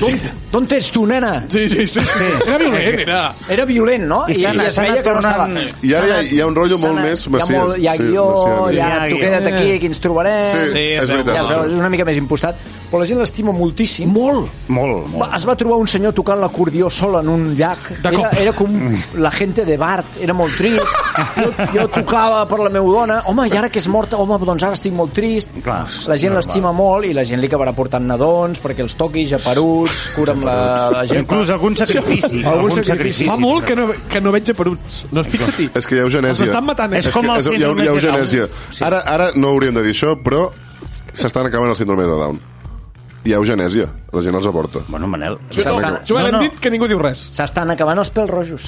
[SPEAKER 8] D'on d'on ets tu, nena?
[SPEAKER 6] Sí, sí, sí. Era violent, era...
[SPEAKER 8] Era violent, no?
[SPEAKER 7] I s'ha anat-
[SPEAKER 8] es
[SPEAKER 7] s'ha
[SPEAKER 8] veia
[SPEAKER 7] anat
[SPEAKER 8] que no estava...
[SPEAKER 7] tornant-
[SPEAKER 4] I ara hi ha, hi ha un rotllo
[SPEAKER 8] s'ha
[SPEAKER 4] molt
[SPEAKER 8] anat-
[SPEAKER 4] més
[SPEAKER 8] Hi ha,
[SPEAKER 4] macies.
[SPEAKER 8] molt, hi ha guió,
[SPEAKER 4] macies,
[SPEAKER 8] hi ha...
[SPEAKER 7] Sí, hi ha
[SPEAKER 8] Tu
[SPEAKER 7] guió.
[SPEAKER 8] queda't aquí, que ens trobarem...
[SPEAKER 4] Sí, sí, és veritat.
[SPEAKER 8] Ja es veu, és una mica més impostat. Però la gent l'estima moltíssim. Molt!
[SPEAKER 7] Molt, molt.
[SPEAKER 8] Va, es va trobar un senyor tocant l'acordió sol en un llac.
[SPEAKER 6] De
[SPEAKER 8] Era,
[SPEAKER 6] cop.
[SPEAKER 8] era com la gente de Bart, era molt trist. Jo, jo tocava per la meva dona. Home, i ara que és morta, home, doncs ara estic molt trist.
[SPEAKER 7] Clar,
[SPEAKER 8] la gent l'estima molt i la gent li acabarà portant nadons perquè els toqui, japeruts, cura amb la, la gent.
[SPEAKER 7] Inclús algun sacrifici.
[SPEAKER 8] Algun
[SPEAKER 7] Algun
[SPEAKER 8] sacrifici.
[SPEAKER 7] sacrifici.
[SPEAKER 6] Fa molt que no, que no veig peruts. No, fixa-t'hi.
[SPEAKER 4] És que hi ha
[SPEAKER 6] Els
[SPEAKER 4] eugenèsia.
[SPEAKER 6] estan matant, eh?
[SPEAKER 7] És com
[SPEAKER 4] que hi
[SPEAKER 7] el
[SPEAKER 4] ha- hi ha
[SPEAKER 7] síndrome de Down.
[SPEAKER 4] eugenèsia. Ara, ara no hauríem de dir això, però s'estan acabant el síndrome de Down. Hi ha eugenèsia. La gent els aporta.
[SPEAKER 7] Bueno, Manel...
[SPEAKER 8] S'estan
[SPEAKER 4] Sembla
[SPEAKER 8] acabant-
[SPEAKER 6] Joan,
[SPEAKER 7] No,
[SPEAKER 6] hem
[SPEAKER 7] no.
[SPEAKER 6] dit que ningú diu res.
[SPEAKER 8] S'estan acabant els pèls rojos.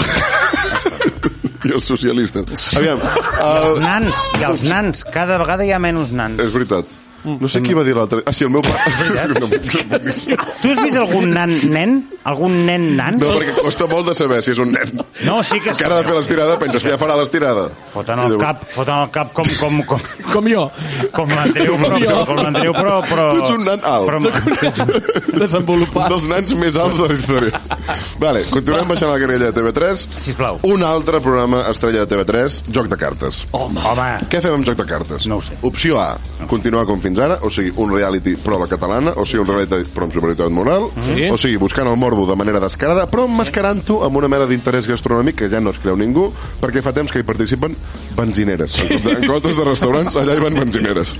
[SPEAKER 4] I els socialistes. Aviam,
[SPEAKER 7] Els
[SPEAKER 4] el...
[SPEAKER 7] nans, i els nans, cada vegada hi ha menys nans.
[SPEAKER 4] és veritat.
[SPEAKER 7] Mm.
[SPEAKER 4] No sé qui va dir l'altre... Ah, sí, el meu pare... És una bonica.
[SPEAKER 7] Tu has vist algun nan, nen? Algun nen nan?
[SPEAKER 4] No, perquè costa molt de saber si és un nen.
[SPEAKER 7] No, sí que sí.
[SPEAKER 4] Que ara de fer l'estirada penses, ja farà l'estirada.
[SPEAKER 7] Foten el cap, foten el cap com, com, com,
[SPEAKER 6] Com jo.
[SPEAKER 7] com l'Andreu, però, com l'Andreu, però, però...
[SPEAKER 4] Tu ets un nan alt. Un
[SPEAKER 6] Desenvolupat.
[SPEAKER 4] dels nans més alts de la història. Vale, continuem baixant la grella de TV3.
[SPEAKER 7] Sisplau.
[SPEAKER 4] Un altre programa estrella de TV3, Joc de Cartes.
[SPEAKER 7] Home. Home.
[SPEAKER 4] Què fem amb Joc de Cartes?
[SPEAKER 7] No ho sé.
[SPEAKER 4] Opció A, continuar com fins ara, o sigui, un reality però a la catalana, o sigui, un reality però amb superioritat moral,
[SPEAKER 7] Mm-hmm.
[SPEAKER 6] Sí.
[SPEAKER 4] o sigui, buscant el morbo de manera descarada, però emmascarant-ho amb una mena d'interès gastronòmic que ja no es creu ningú, perquè fa temps que hi participen benzineres. En comptes de- En comptes de restaurants, allà hi van benzineres.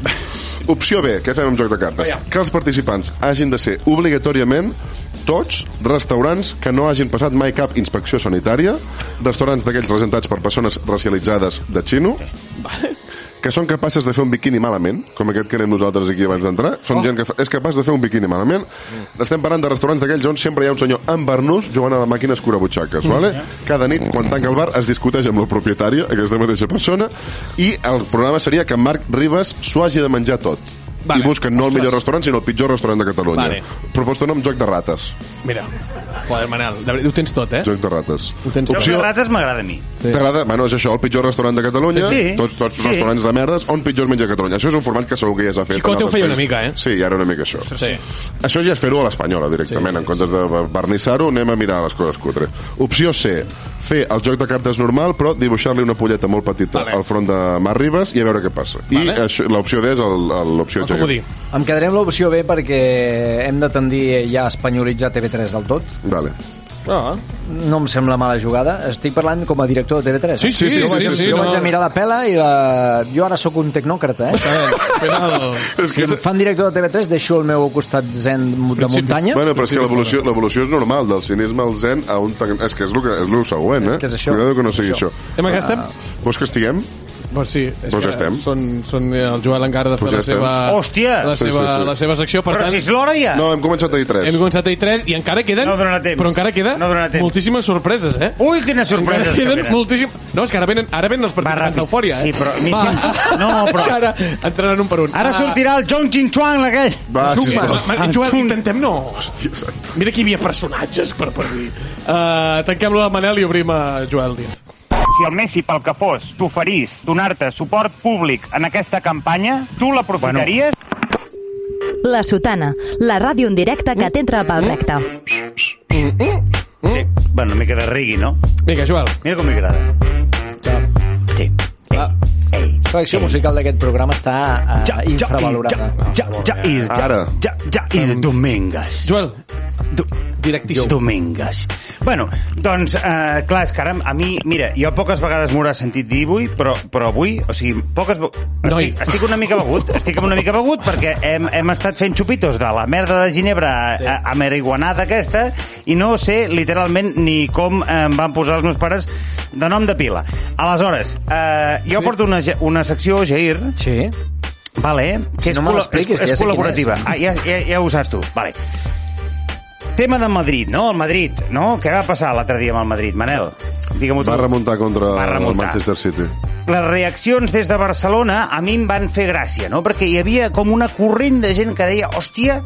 [SPEAKER 4] Opció B, què fem amb Joc de Cartes?
[SPEAKER 6] Aviam.
[SPEAKER 4] Que els participants hagin de ser obligatòriament tots restaurants que no hagin passat mai cap inspecció sanitària, restaurants d'aquells representats per persones racialitzades de xino, que són capaces de fer un biquini malament, com aquest que anem nosaltres aquí abans d'entrar, són oh. gent que fa, és capaç de fer un biquini malament. Mm. Estem parlant de restaurants d'aquells on sempre hi ha un senyor amb barnús jugant a la màquina escurabutxaques, mm. vale? Cada nit, quan tanca el bar, es discuteix amb la propietària, aquesta mateixa persona, i el programa seria que en Marc Ribas s'ho hagi de menjar tot.
[SPEAKER 6] Vale.
[SPEAKER 4] Vale. I busquen no el millor restaurant, sinó el pitjor restaurant de Catalunya.
[SPEAKER 6] Vale.
[SPEAKER 4] Proposta nom, joc de rates.
[SPEAKER 6] Mira. Joder, Manel, de veritat, ho tens tot, eh?
[SPEAKER 4] Joc de rates.
[SPEAKER 6] Ho tens
[SPEAKER 7] Opció...
[SPEAKER 4] Opció-
[SPEAKER 7] Les rates m'agrada a mi.
[SPEAKER 4] T'agrada? Bueno, és això, el pitjor restaurant de Catalunya,
[SPEAKER 7] Sí, sí.
[SPEAKER 4] tots, tots
[SPEAKER 7] Sí.
[SPEAKER 4] sí. restaurants de merdes, on pitjor es menja a Catalunya. Això és un format que segur que ja s'ha fet. en
[SPEAKER 6] Chicote ho
[SPEAKER 4] altres
[SPEAKER 6] feia una
[SPEAKER 4] països.
[SPEAKER 6] mica, eh?
[SPEAKER 4] Sí, ja era una mica això.
[SPEAKER 6] Sí.
[SPEAKER 4] Això ja és fer-ho a l'espanyola, directament. Sí, sí. En comptes de barnissar-ho, anem a mirar les coses cutre. Opció C, fer el joc de cartes normal, però dibuixar-li una polleta molt petita
[SPEAKER 6] Vale.
[SPEAKER 4] vale. al front de Mar Ribas i a veure què passa.
[SPEAKER 6] Vale.
[SPEAKER 4] I això- l'opció D és el- el- l'opció
[SPEAKER 6] El comodí.
[SPEAKER 4] gegant.
[SPEAKER 8] Em quedaré amb l'opció B perquè hem de tendir ja a espanyolitzar TV3 del tot.
[SPEAKER 4] Vale.
[SPEAKER 6] Ah.
[SPEAKER 8] No em sembla mala jugada. Estic parlant com a director de TV3.
[SPEAKER 6] Sí, sí,
[SPEAKER 4] Sí,
[SPEAKER 6] sí.
[SPEAKER 4] sí,
[SPEAKER 6] sí,
[SPEAKER 4] sí,
[SPEAKER 6] sí,
[SPEAKER 4] sí,
[SPEAKER 8] jo
[SPEAKER 4] no.
[SPEAKER 8] vaig a mirar la pela i la... jo ara sóc un tecnòcrata, eh?
[SPEAKER 6] Final...
[SPEAKER 4] És
[SPEAKER 8] Si
[SPEAKER 4] que
[SPEAKER 8] em fan director de TV3, deixo el meu costat zen de muntanya.
[SPEAKER 4] Bueno, però és que l'evolució l'evolució és normal, del cinisme al zen a un... tec- És que és el, que, és el següent, eh?
[SPEAKER 8] És que és això.
[SPEAKER 4] Cuidado que no sigui
[SPEAKER 8] Això.
[SPEAKER 4] això.
[SPEAKER 6] Estem aquí, estem?
[SPEAKER 4] Vols que estiguem?
[SPEAKER 6] Pues sí, és
[SPEAKER 4] Doncs Ah. ja
[SPEAKER 6] que
[SPEAKER 4] estem.
[SPEAKER 6] Són, són eh, el Joel encara de fer
[SPEAKER 4] Doncs ja
[SPEAKER 6] la seva...
[SPEAKER 7] estem. Hòstia!
[SPEAKER 6] La
[SPEAKER 4] Ah, Sí,
[SPEAKER 6] seva,
[SPEAKER 4] sí, sí.
[SPEAKER 6] la seva secció, per
[SPEAKER 7] Però
[SPEAKER 6] tant...
[SPEAKER 7] si és l'hora ja.
[SPEAKER 4] No, hem començat a dir tres.
[SPEAKER 6] Hem començat a 3 i encara queden...
[SPEAKER 7] No donarà temps.
[SPEAKER 6] Però encara queden
[SPEAKER 7] No donarà temps.
[SPEAKER 6] moltíssimes sorpreses, eh?
[SPEAKER 7] Ui, quina sorpresa.
[SPEAKER 6] Encara
[SPEAKER 7] que
[SPEAKER 6] queden
[SPEAKER 7] venen.
[SPEAKER 6] moltíssim... No, és que ara venen, ara venen els
[SPEAKER 7] Va, ràpid.
[SPEAKER 6] participants d'Eufòria, eh?
[SPEAKER 7] Sí, però a mi
[SPEAKER 6] Va.
[SPEAKER 7] sí- no, però-
[SPEAKER 6] Que Ara entraran un per un.
[SPEAKER 7] Ara
[SPEAKER 6] Ah,
[SPEAKER 7] sortirà Ah, el Jong Jin Chuang, aquell.
[SPEAKER 4] Va,
[SPEAKER 6] Joan,
[SPEAKER 4] sisplau.
[SPEAKER 6] ma- Joan, intentem no. Mira que hi havia personatges per per dir. Uh, tanquem-lo a Manel i obrim a Joel Díaz.
[SPEAKER 3] Si el Messi, pel que fos, t'oferís donar-te suport públic en aquesta campanya, tu l'aprofitaries? Bueno.
[SPEAKER 1] La Sotana, la ràdio en directe que t'entra pel recte.
[SPEAKER 7] Sí. Bueno, una mica de rigui, no?
[SPEAKER 6] Vinga, Joel.
[SPEAKER 7] Mira com m'agrada. Sí. Ei, ei.
[SPEAKER 8] La selecció musical d'aquest programa està uh, infravalorada.
[SPEAKER 7] Ja, ja, i, ja,
[SPEAKER 4] Ara.
[SPEAKER 7] ja, ja, i Domingues.
[SPEAKER 6] Joel,
[SPEAKER 7] Du
[SPEAKER 6] Directíssim.
[SPEAKER 7] Domingues. Bueno, doncs, eh, clar, és que ara a mi... Mira, jo poques vegades m'ho haurà sentit dir avui, però, però avui, o sigui, poques... ve-
[SPEAKER 6] Noi.
[SPEAKER 7] Estic, estic una mica begut, estic una mica begut perquè hem, hem estat fent xupitos de la merda de Ginebra sí. ameriguanada aquesta i no sé literalment ni com eh, em van posar els meus pares de nom de pila. Aleshores, eh, jo sí. porto una, ge- una secció, Jair,
[SPEAKER 8] Sí.
[SPEAKER 7] Vale, eh? que
[SPEAKER 8] Si
[SPEAKER 7] és,
[SPEAKER 8] no me
[SPEAKER 7] col·la-
[SPEAKER 8] l'expliquis, que
[SPEAKER 7] és,
[SPEAKER 8] ja
[SPEAKER 7] és
[SPEAKER 8] sé quin
[SPEAKER 7] col·laborativa.
[SPEAKER 8] és.
[SPEAKER 7] Ah, ja, ja, ja ho saps tu. Vale. Tema de Madrid, no? El Madrid, no? Què va passar l'altre dia amb el Madrid, Manel? Digue-m'ho tu.
[SPEAKER 4] Va remuntar contra
[SPEAKER 7] Va remuntar.
[SPEAKER 4] el Manchester City.
[SPEAKER 7] Les reaccions des de Barcelona a mi em van fer gràcia, no? Perquè hi havia com una corrent de gent que deia hòstia,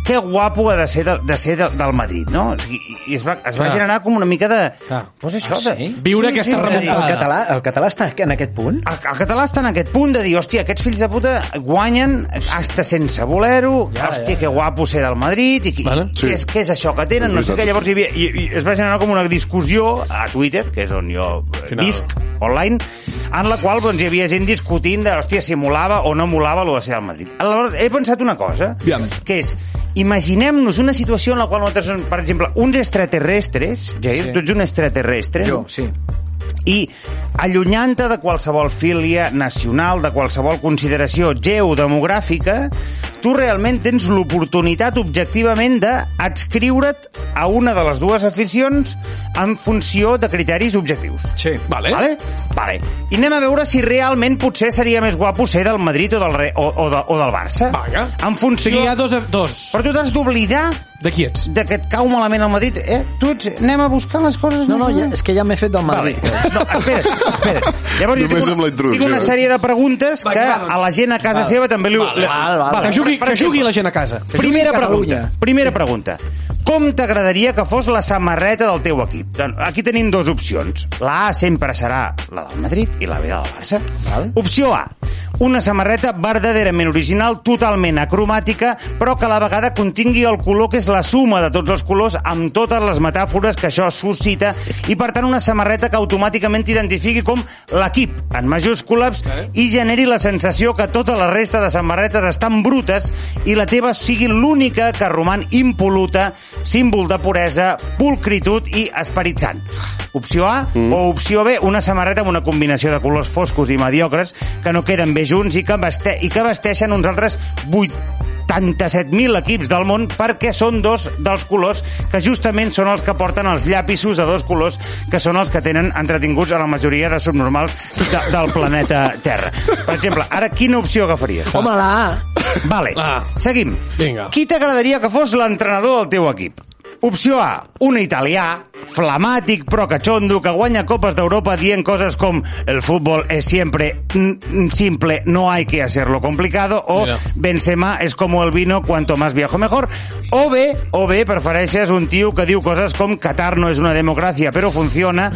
[SPEAKER 7] que guapo ha de ser, de, de ser de, del Madrid, no? O sigui, i es va, es va
[SPEAKER 6] Clar.
[SPEAKER 7] generar com una mica de...
[SPEAKER 6] Clar.
[SPEAKER 7] Pues això, de,
[SPEAKER 8] Ah, sí?
[SPEAKER 6] Viure aquesta
[SPEAKER 7] de dir,
[SPEAKER 6] remuntada.
[SPEAKER 8] El català, el català està en aquest punt?
[SPEAKER 7] el, el català està en aquest punt de dir, hòstia, aquests fills de puta guanyen hasta sense voler-ho, ja, hòstia, que guapo ser del Madrid, i, i,
[SPEAKER 6] Vale.
[SPEAKER 7] i
[SPEAKER 4] Sí.
[SPEAKER 7] què, és, què és això que tenen,
[SPEAKER 4] És
[SPEAKER 7] no sé
[SPEAKER 4] veritat,
[SPEAKER 7] què, llavors hi havia, i, i es va generar com una discussió a Twitter, que és on jo eh,
[SPEAKER 6] Final.
[SPEAKER 7] visc, online, en la qual doncs, hi havia gent discutint de, hòstia, si molava o no molava lo de ser del Madrid. Aleshores, he pensat una cosa,
[SPEAKER 6] Aviam.
[SPEAKER 7] que és, imaginem-nos una situació en la qual nosaltres som, per exemple, uns extraterrestres, Jair,
[SPEAKER 8] Sí.
[SPEAKER 7] tu ets un extraterrestre,
[SPEAKER 8] Jo, sí.
[SPEAKER 7] i allunyant-te de qualsevol filia nacional, de qualsevol consideració geodemogràfica, tu realment tens l'oportunitat objectivament d'adscriure't a una de les dues aficions en funció de criteris objectius.
[SPEAKER 8] Sí.
[SPEAKER 6] Vale.
[SPEAKER 7] Vale? Vale. I anem a veure si realment potser seria més guapo ser del Madrid o del, Re o, o, de, o del Barça.
[SPEAKER 6] Vaja.
[SPEAKER 7] En funció...
[SPEAKER 6] Sí, hi ha dos... dos.
[SPEAKER 7] Però tu t'has d'oblidar
[SPEAKER 6] De qui ets?
[SPEAKER 7] de que et cau malament el Madrid. Eh? Tu ets... Anem a buscar les coses...
[SPEAKER 8] No,
[SPEAKER 7] més
[SPEAKER 8] no,
[SPEAKER 7] o
[SPEAKER 8] ja,
[SPEAKER 7] menys.
[SPEAKER 8] és que ja m'he fet del Madrid.
[SPEAKER 7] Vale. No, espera, espera. Llavors, jo
[SPEAKER 4] Només
[SPEAKER 7] tinc
[SPEAKER 4] amb la
[SPEAKER 7] una,
[SPEAKER 4] introducció.
[SPEAKER 7] tinc una sèrie de preguntes
[SPEAKER 6] Va,
[SPEAKER 7] que
[SPEAKER 6] va, doncs.
[SPEAKER 7] a la gent a casa seva també li...
[SPEAKER 8] Val, val, val.
[SPEAKER 6] Que jugui, que jugui la gent a casa.
[SPEAKER 8] jugui
[SPEAKER 7] Primera
[SPEAKER 8] a Catalunya.
[SPEAKER 7] pregunta. Primera pregunta. Com t'agradaria que fos la samarreta del teu equip? Doncs Aquí tenim dues opcions. La A sempre serà la del Madrid i la B del Barça.
[SPEAKER 8] Val.
[SPEAKER 7] Opció A. Una samarreta verdaderament original, totalment acromàtica, però que a la vegada contingui el color que és la suma de tots els colors amb totes les metàfores que això suscita i, per tant, una samarreta que automàticament t'identifiqui com l'equip, en majúscules, i generi la sensació que tota la resta de samarretes estan brutes i la teva sigui l'única que roman impoluta, símbol de puresa, pulcritud i esperit sant. Opció A mm. o opció B, una samarreta amb una combinació de colors foscos i mediocres que no queden bé junts i que, veste i que vesteixen uns altres 87.000 equips del món perquè són dos dels colors que justament són els que porten els llapisos de dos colors que són els que tenen entretinguts a la majoria de subnormals de, del planeta Terra. Per exemple, ara quina opció agafaries?
[SPEAKER 8] Home, la A.
[SPEAKER 7] Vale,
[SPEAKER 6] Ah.
[SPEAKER 7] seguim.
[SPEAKER 6] Vinga.
[SPEAKER 7] Qui t'agradaria que fos l'entrenador del teu equip? Opció A, un italià, flamàtic però catxondo, que guanya copes d'Europa dient coses com el fútbol es siempre mm, simple, no hay que hacerlo complicado, o
[SPEAKER 6] Mira.
[SPEAKER 7] Benzema es como el vino, cuanto más viejo mejor. O bé, o bé, prefereixes un tio que diu coses com Qatar no és una democràcia però funciona,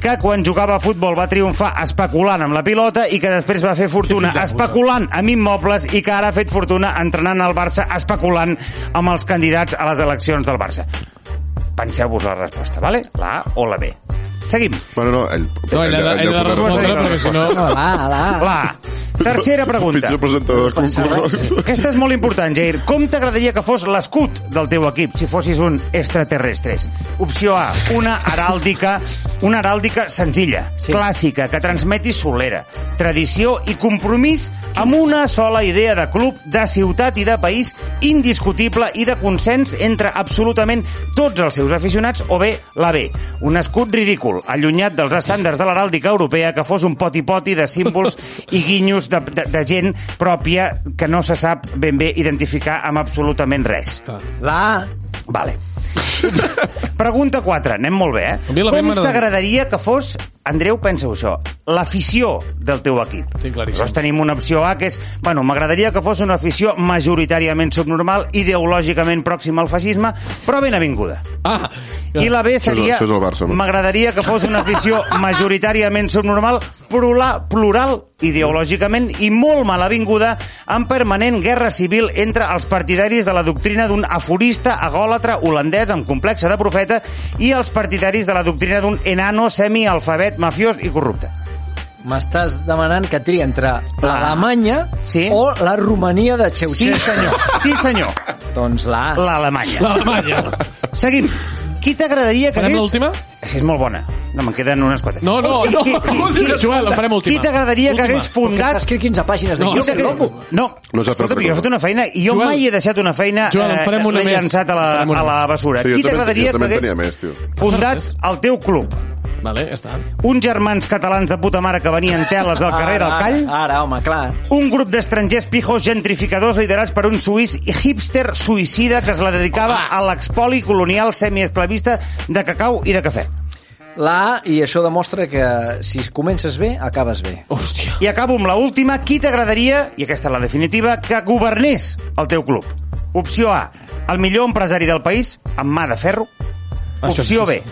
[SPEAKER 7] que quan jugava a futbol va triomfar especulant amb la pilota i que després va fer fortuna especulant amb immobles i que ara ha fet fortuna entrenant al Barça especulant amb els candidats a les eleccions del Barça. Penseu-vos la resposta, vale? la A o la B. Seguim.
[SPEAKER 4] Bueno, no, ell...
[SPEAKER 6] No, ell ha de, ell ha de respondre, perquè si no...
[SPEAKER 8] No, la A, la A.
[SPEAKER 7] La A. Tercera pregunta.
[SPEAKER 4] Pitjor presentador de concurs.
[SPEAKER 7] Aquesta és molt important, Jair. Com t'agradaria que fos l'escut del teu equip si fossis un extraterrestre? Opció A, una heràldica, una heràldica senzilla, sí. clàssica, que transmeti solera, tradició i compromís amb una sola idea de club, de ciutat i de país indiscutible i de consens entre absolutament tots els seus aficionats o bé la B. Un escut ridícul, allunyat dels estàndards de l'heràldica europea que fos un poti-poti de símbols i guinyos de, de, de gent pròpia que no se sap ben bé identificar amb absolutament res.
[SPEAKER 8] La A.
[SPEAKER 7] Vale. Pregunta 4, anem molt bé,
[SPEAKER 6] A
[SPEAKER 7] eh?
[SPEAKER 6] mi la B
[SPEAKER 7] Com
[SPEAKER 6] m'agrada.
[SPEAKER 7] t'agradaria que fos, Andreu, pensa-ho això, l'afició del teu equip?
[SPEAKER 6] Tinc claríssim.
[SPEAKER 7] Llavors tenim una opció A, que és, bueno, m'agradaria que fos una afició majoritàriament subnormal, ideològicament pròxima al feixisme, però ben avinguda.
[SPEAKER 6] Ah,
[SPEAKER 7] I la B
[SPEAKER 4] és el-
[SPEAKER 7] seria...
[SPEAKER 4] això és el Barça, no?
[SPEAKER 7] M'agradaria que fos una afició majoritàriament subnormal, plural, plural ideològicament i molt malavinguda en permanent guerra civil entre els partidaris de la doctrina d'un aforista agòlatra holandès amb complexe de profeta i els partidaris de la doctrina d'un enano semialfabet mafiós i corrupte.
[SPEAKER 8] M'estàs demanant que triï entre l'Alemanya
[SPEAKER 7] Sí.
[SPEAKER 8] o la Romania de
[SPEAKER 7] Sí,
[SPEAKER 8] Xeuxer.
[SPEAKER 7] senyor. Sí, senyor.
[SPEAKER 8] Doncs la A.
[SPEAKER 7] L'Alemanya.
[SPEAKER 6] l'Alemanya.
[SPEAKER 7] Seguim. Qui t'agradaria que
[SPEAKER 6] Farem
[SPEAKER 7] hagués...
[SPEAKER 6] l'última?
[SPEAKER 7] És molt bona. No, me'n queden unes quatre.
[SPEAKER 6] No, no, no.
[SPEAKER 7] Qui- qui- qui-
[SPEAKER 6] Joel, la farem última.
[SPEAKER 7] Qui t'agradaria que
[SPEAKER 6] Última.
[SPEAKER 7] hagués
[SPEAKER 8] Que
[SPEAKER 7] fundat
[SPEAKER 8] s'ha escrit 15 pàgines de
[SPEAKER 6] No,
[SPEAKER 7] Jo
[SPEAKER 8] guió,
[SPEAKER 7] crec
[SPEAKER 8] que
[SPEAKER 7] que...
[SPEAKER 8] loco.
[SPEAKER 7] No,
[SPEAKER 4] No s'ha fet
[SPEAKER 7] escolta,
[SPEAKER 4] res.
[SPEAKER 7] jo he fet una feina i jo
[SPEAKER 6] Joel,
[SPEAKER 7] mai he deixat una feina
[SPEAKER 6] Joel, en
[SPEAKER 7] eh,
[SPEAKER 6] farem una
[SPEAKER 7] l'he
[SPEAKER 6] més.
[SPEAKER 7] llançat a la,
[SPEAKER 6] En farem una
[SPEAKER 7] a la
[SPEAKER 6] més.
[SPEAKER 7] bessura.
[SPEAKER 4] Sí, jo
[SPEAKER 7] Qui
[SPEAKER 4] també- jo
[SPEAKER 7] t'agradaria que
[SPEAKER 4] també en tenia
[SPEAKER 7] hagués
[SPEAKER 4] més, tio.
[SPEAKER 7] fundat el teu club?
[SPEAKER 6] Vale, ja està.
[SPEAKER 7] Uns germans catalans de puta mare que venien teles al carrer del
[SPEAKER 8] Ara,
[SPEAKER 7] Call?
[SPEAKER 8] Ara, ara, home, clar.
[SPEAKER 7] Un grup d'estrangers pijos gentrificadors liderats per un suís i hipster suïcida que es la dedicava a l'expoli colonial semiesclavista de cacau i de cafè.
[SPEAKER 8] La A, i això demostra que si comences bé, acabes bé.
[SPEAKER 6] Hòstia.
[SPEAKER 7] I acabo amb la última. Qui t'agradaria, i aquesta és la definitiva, que governés el teu club? Opció A, el millor empresari del país, amb mà de ferro. Opció B,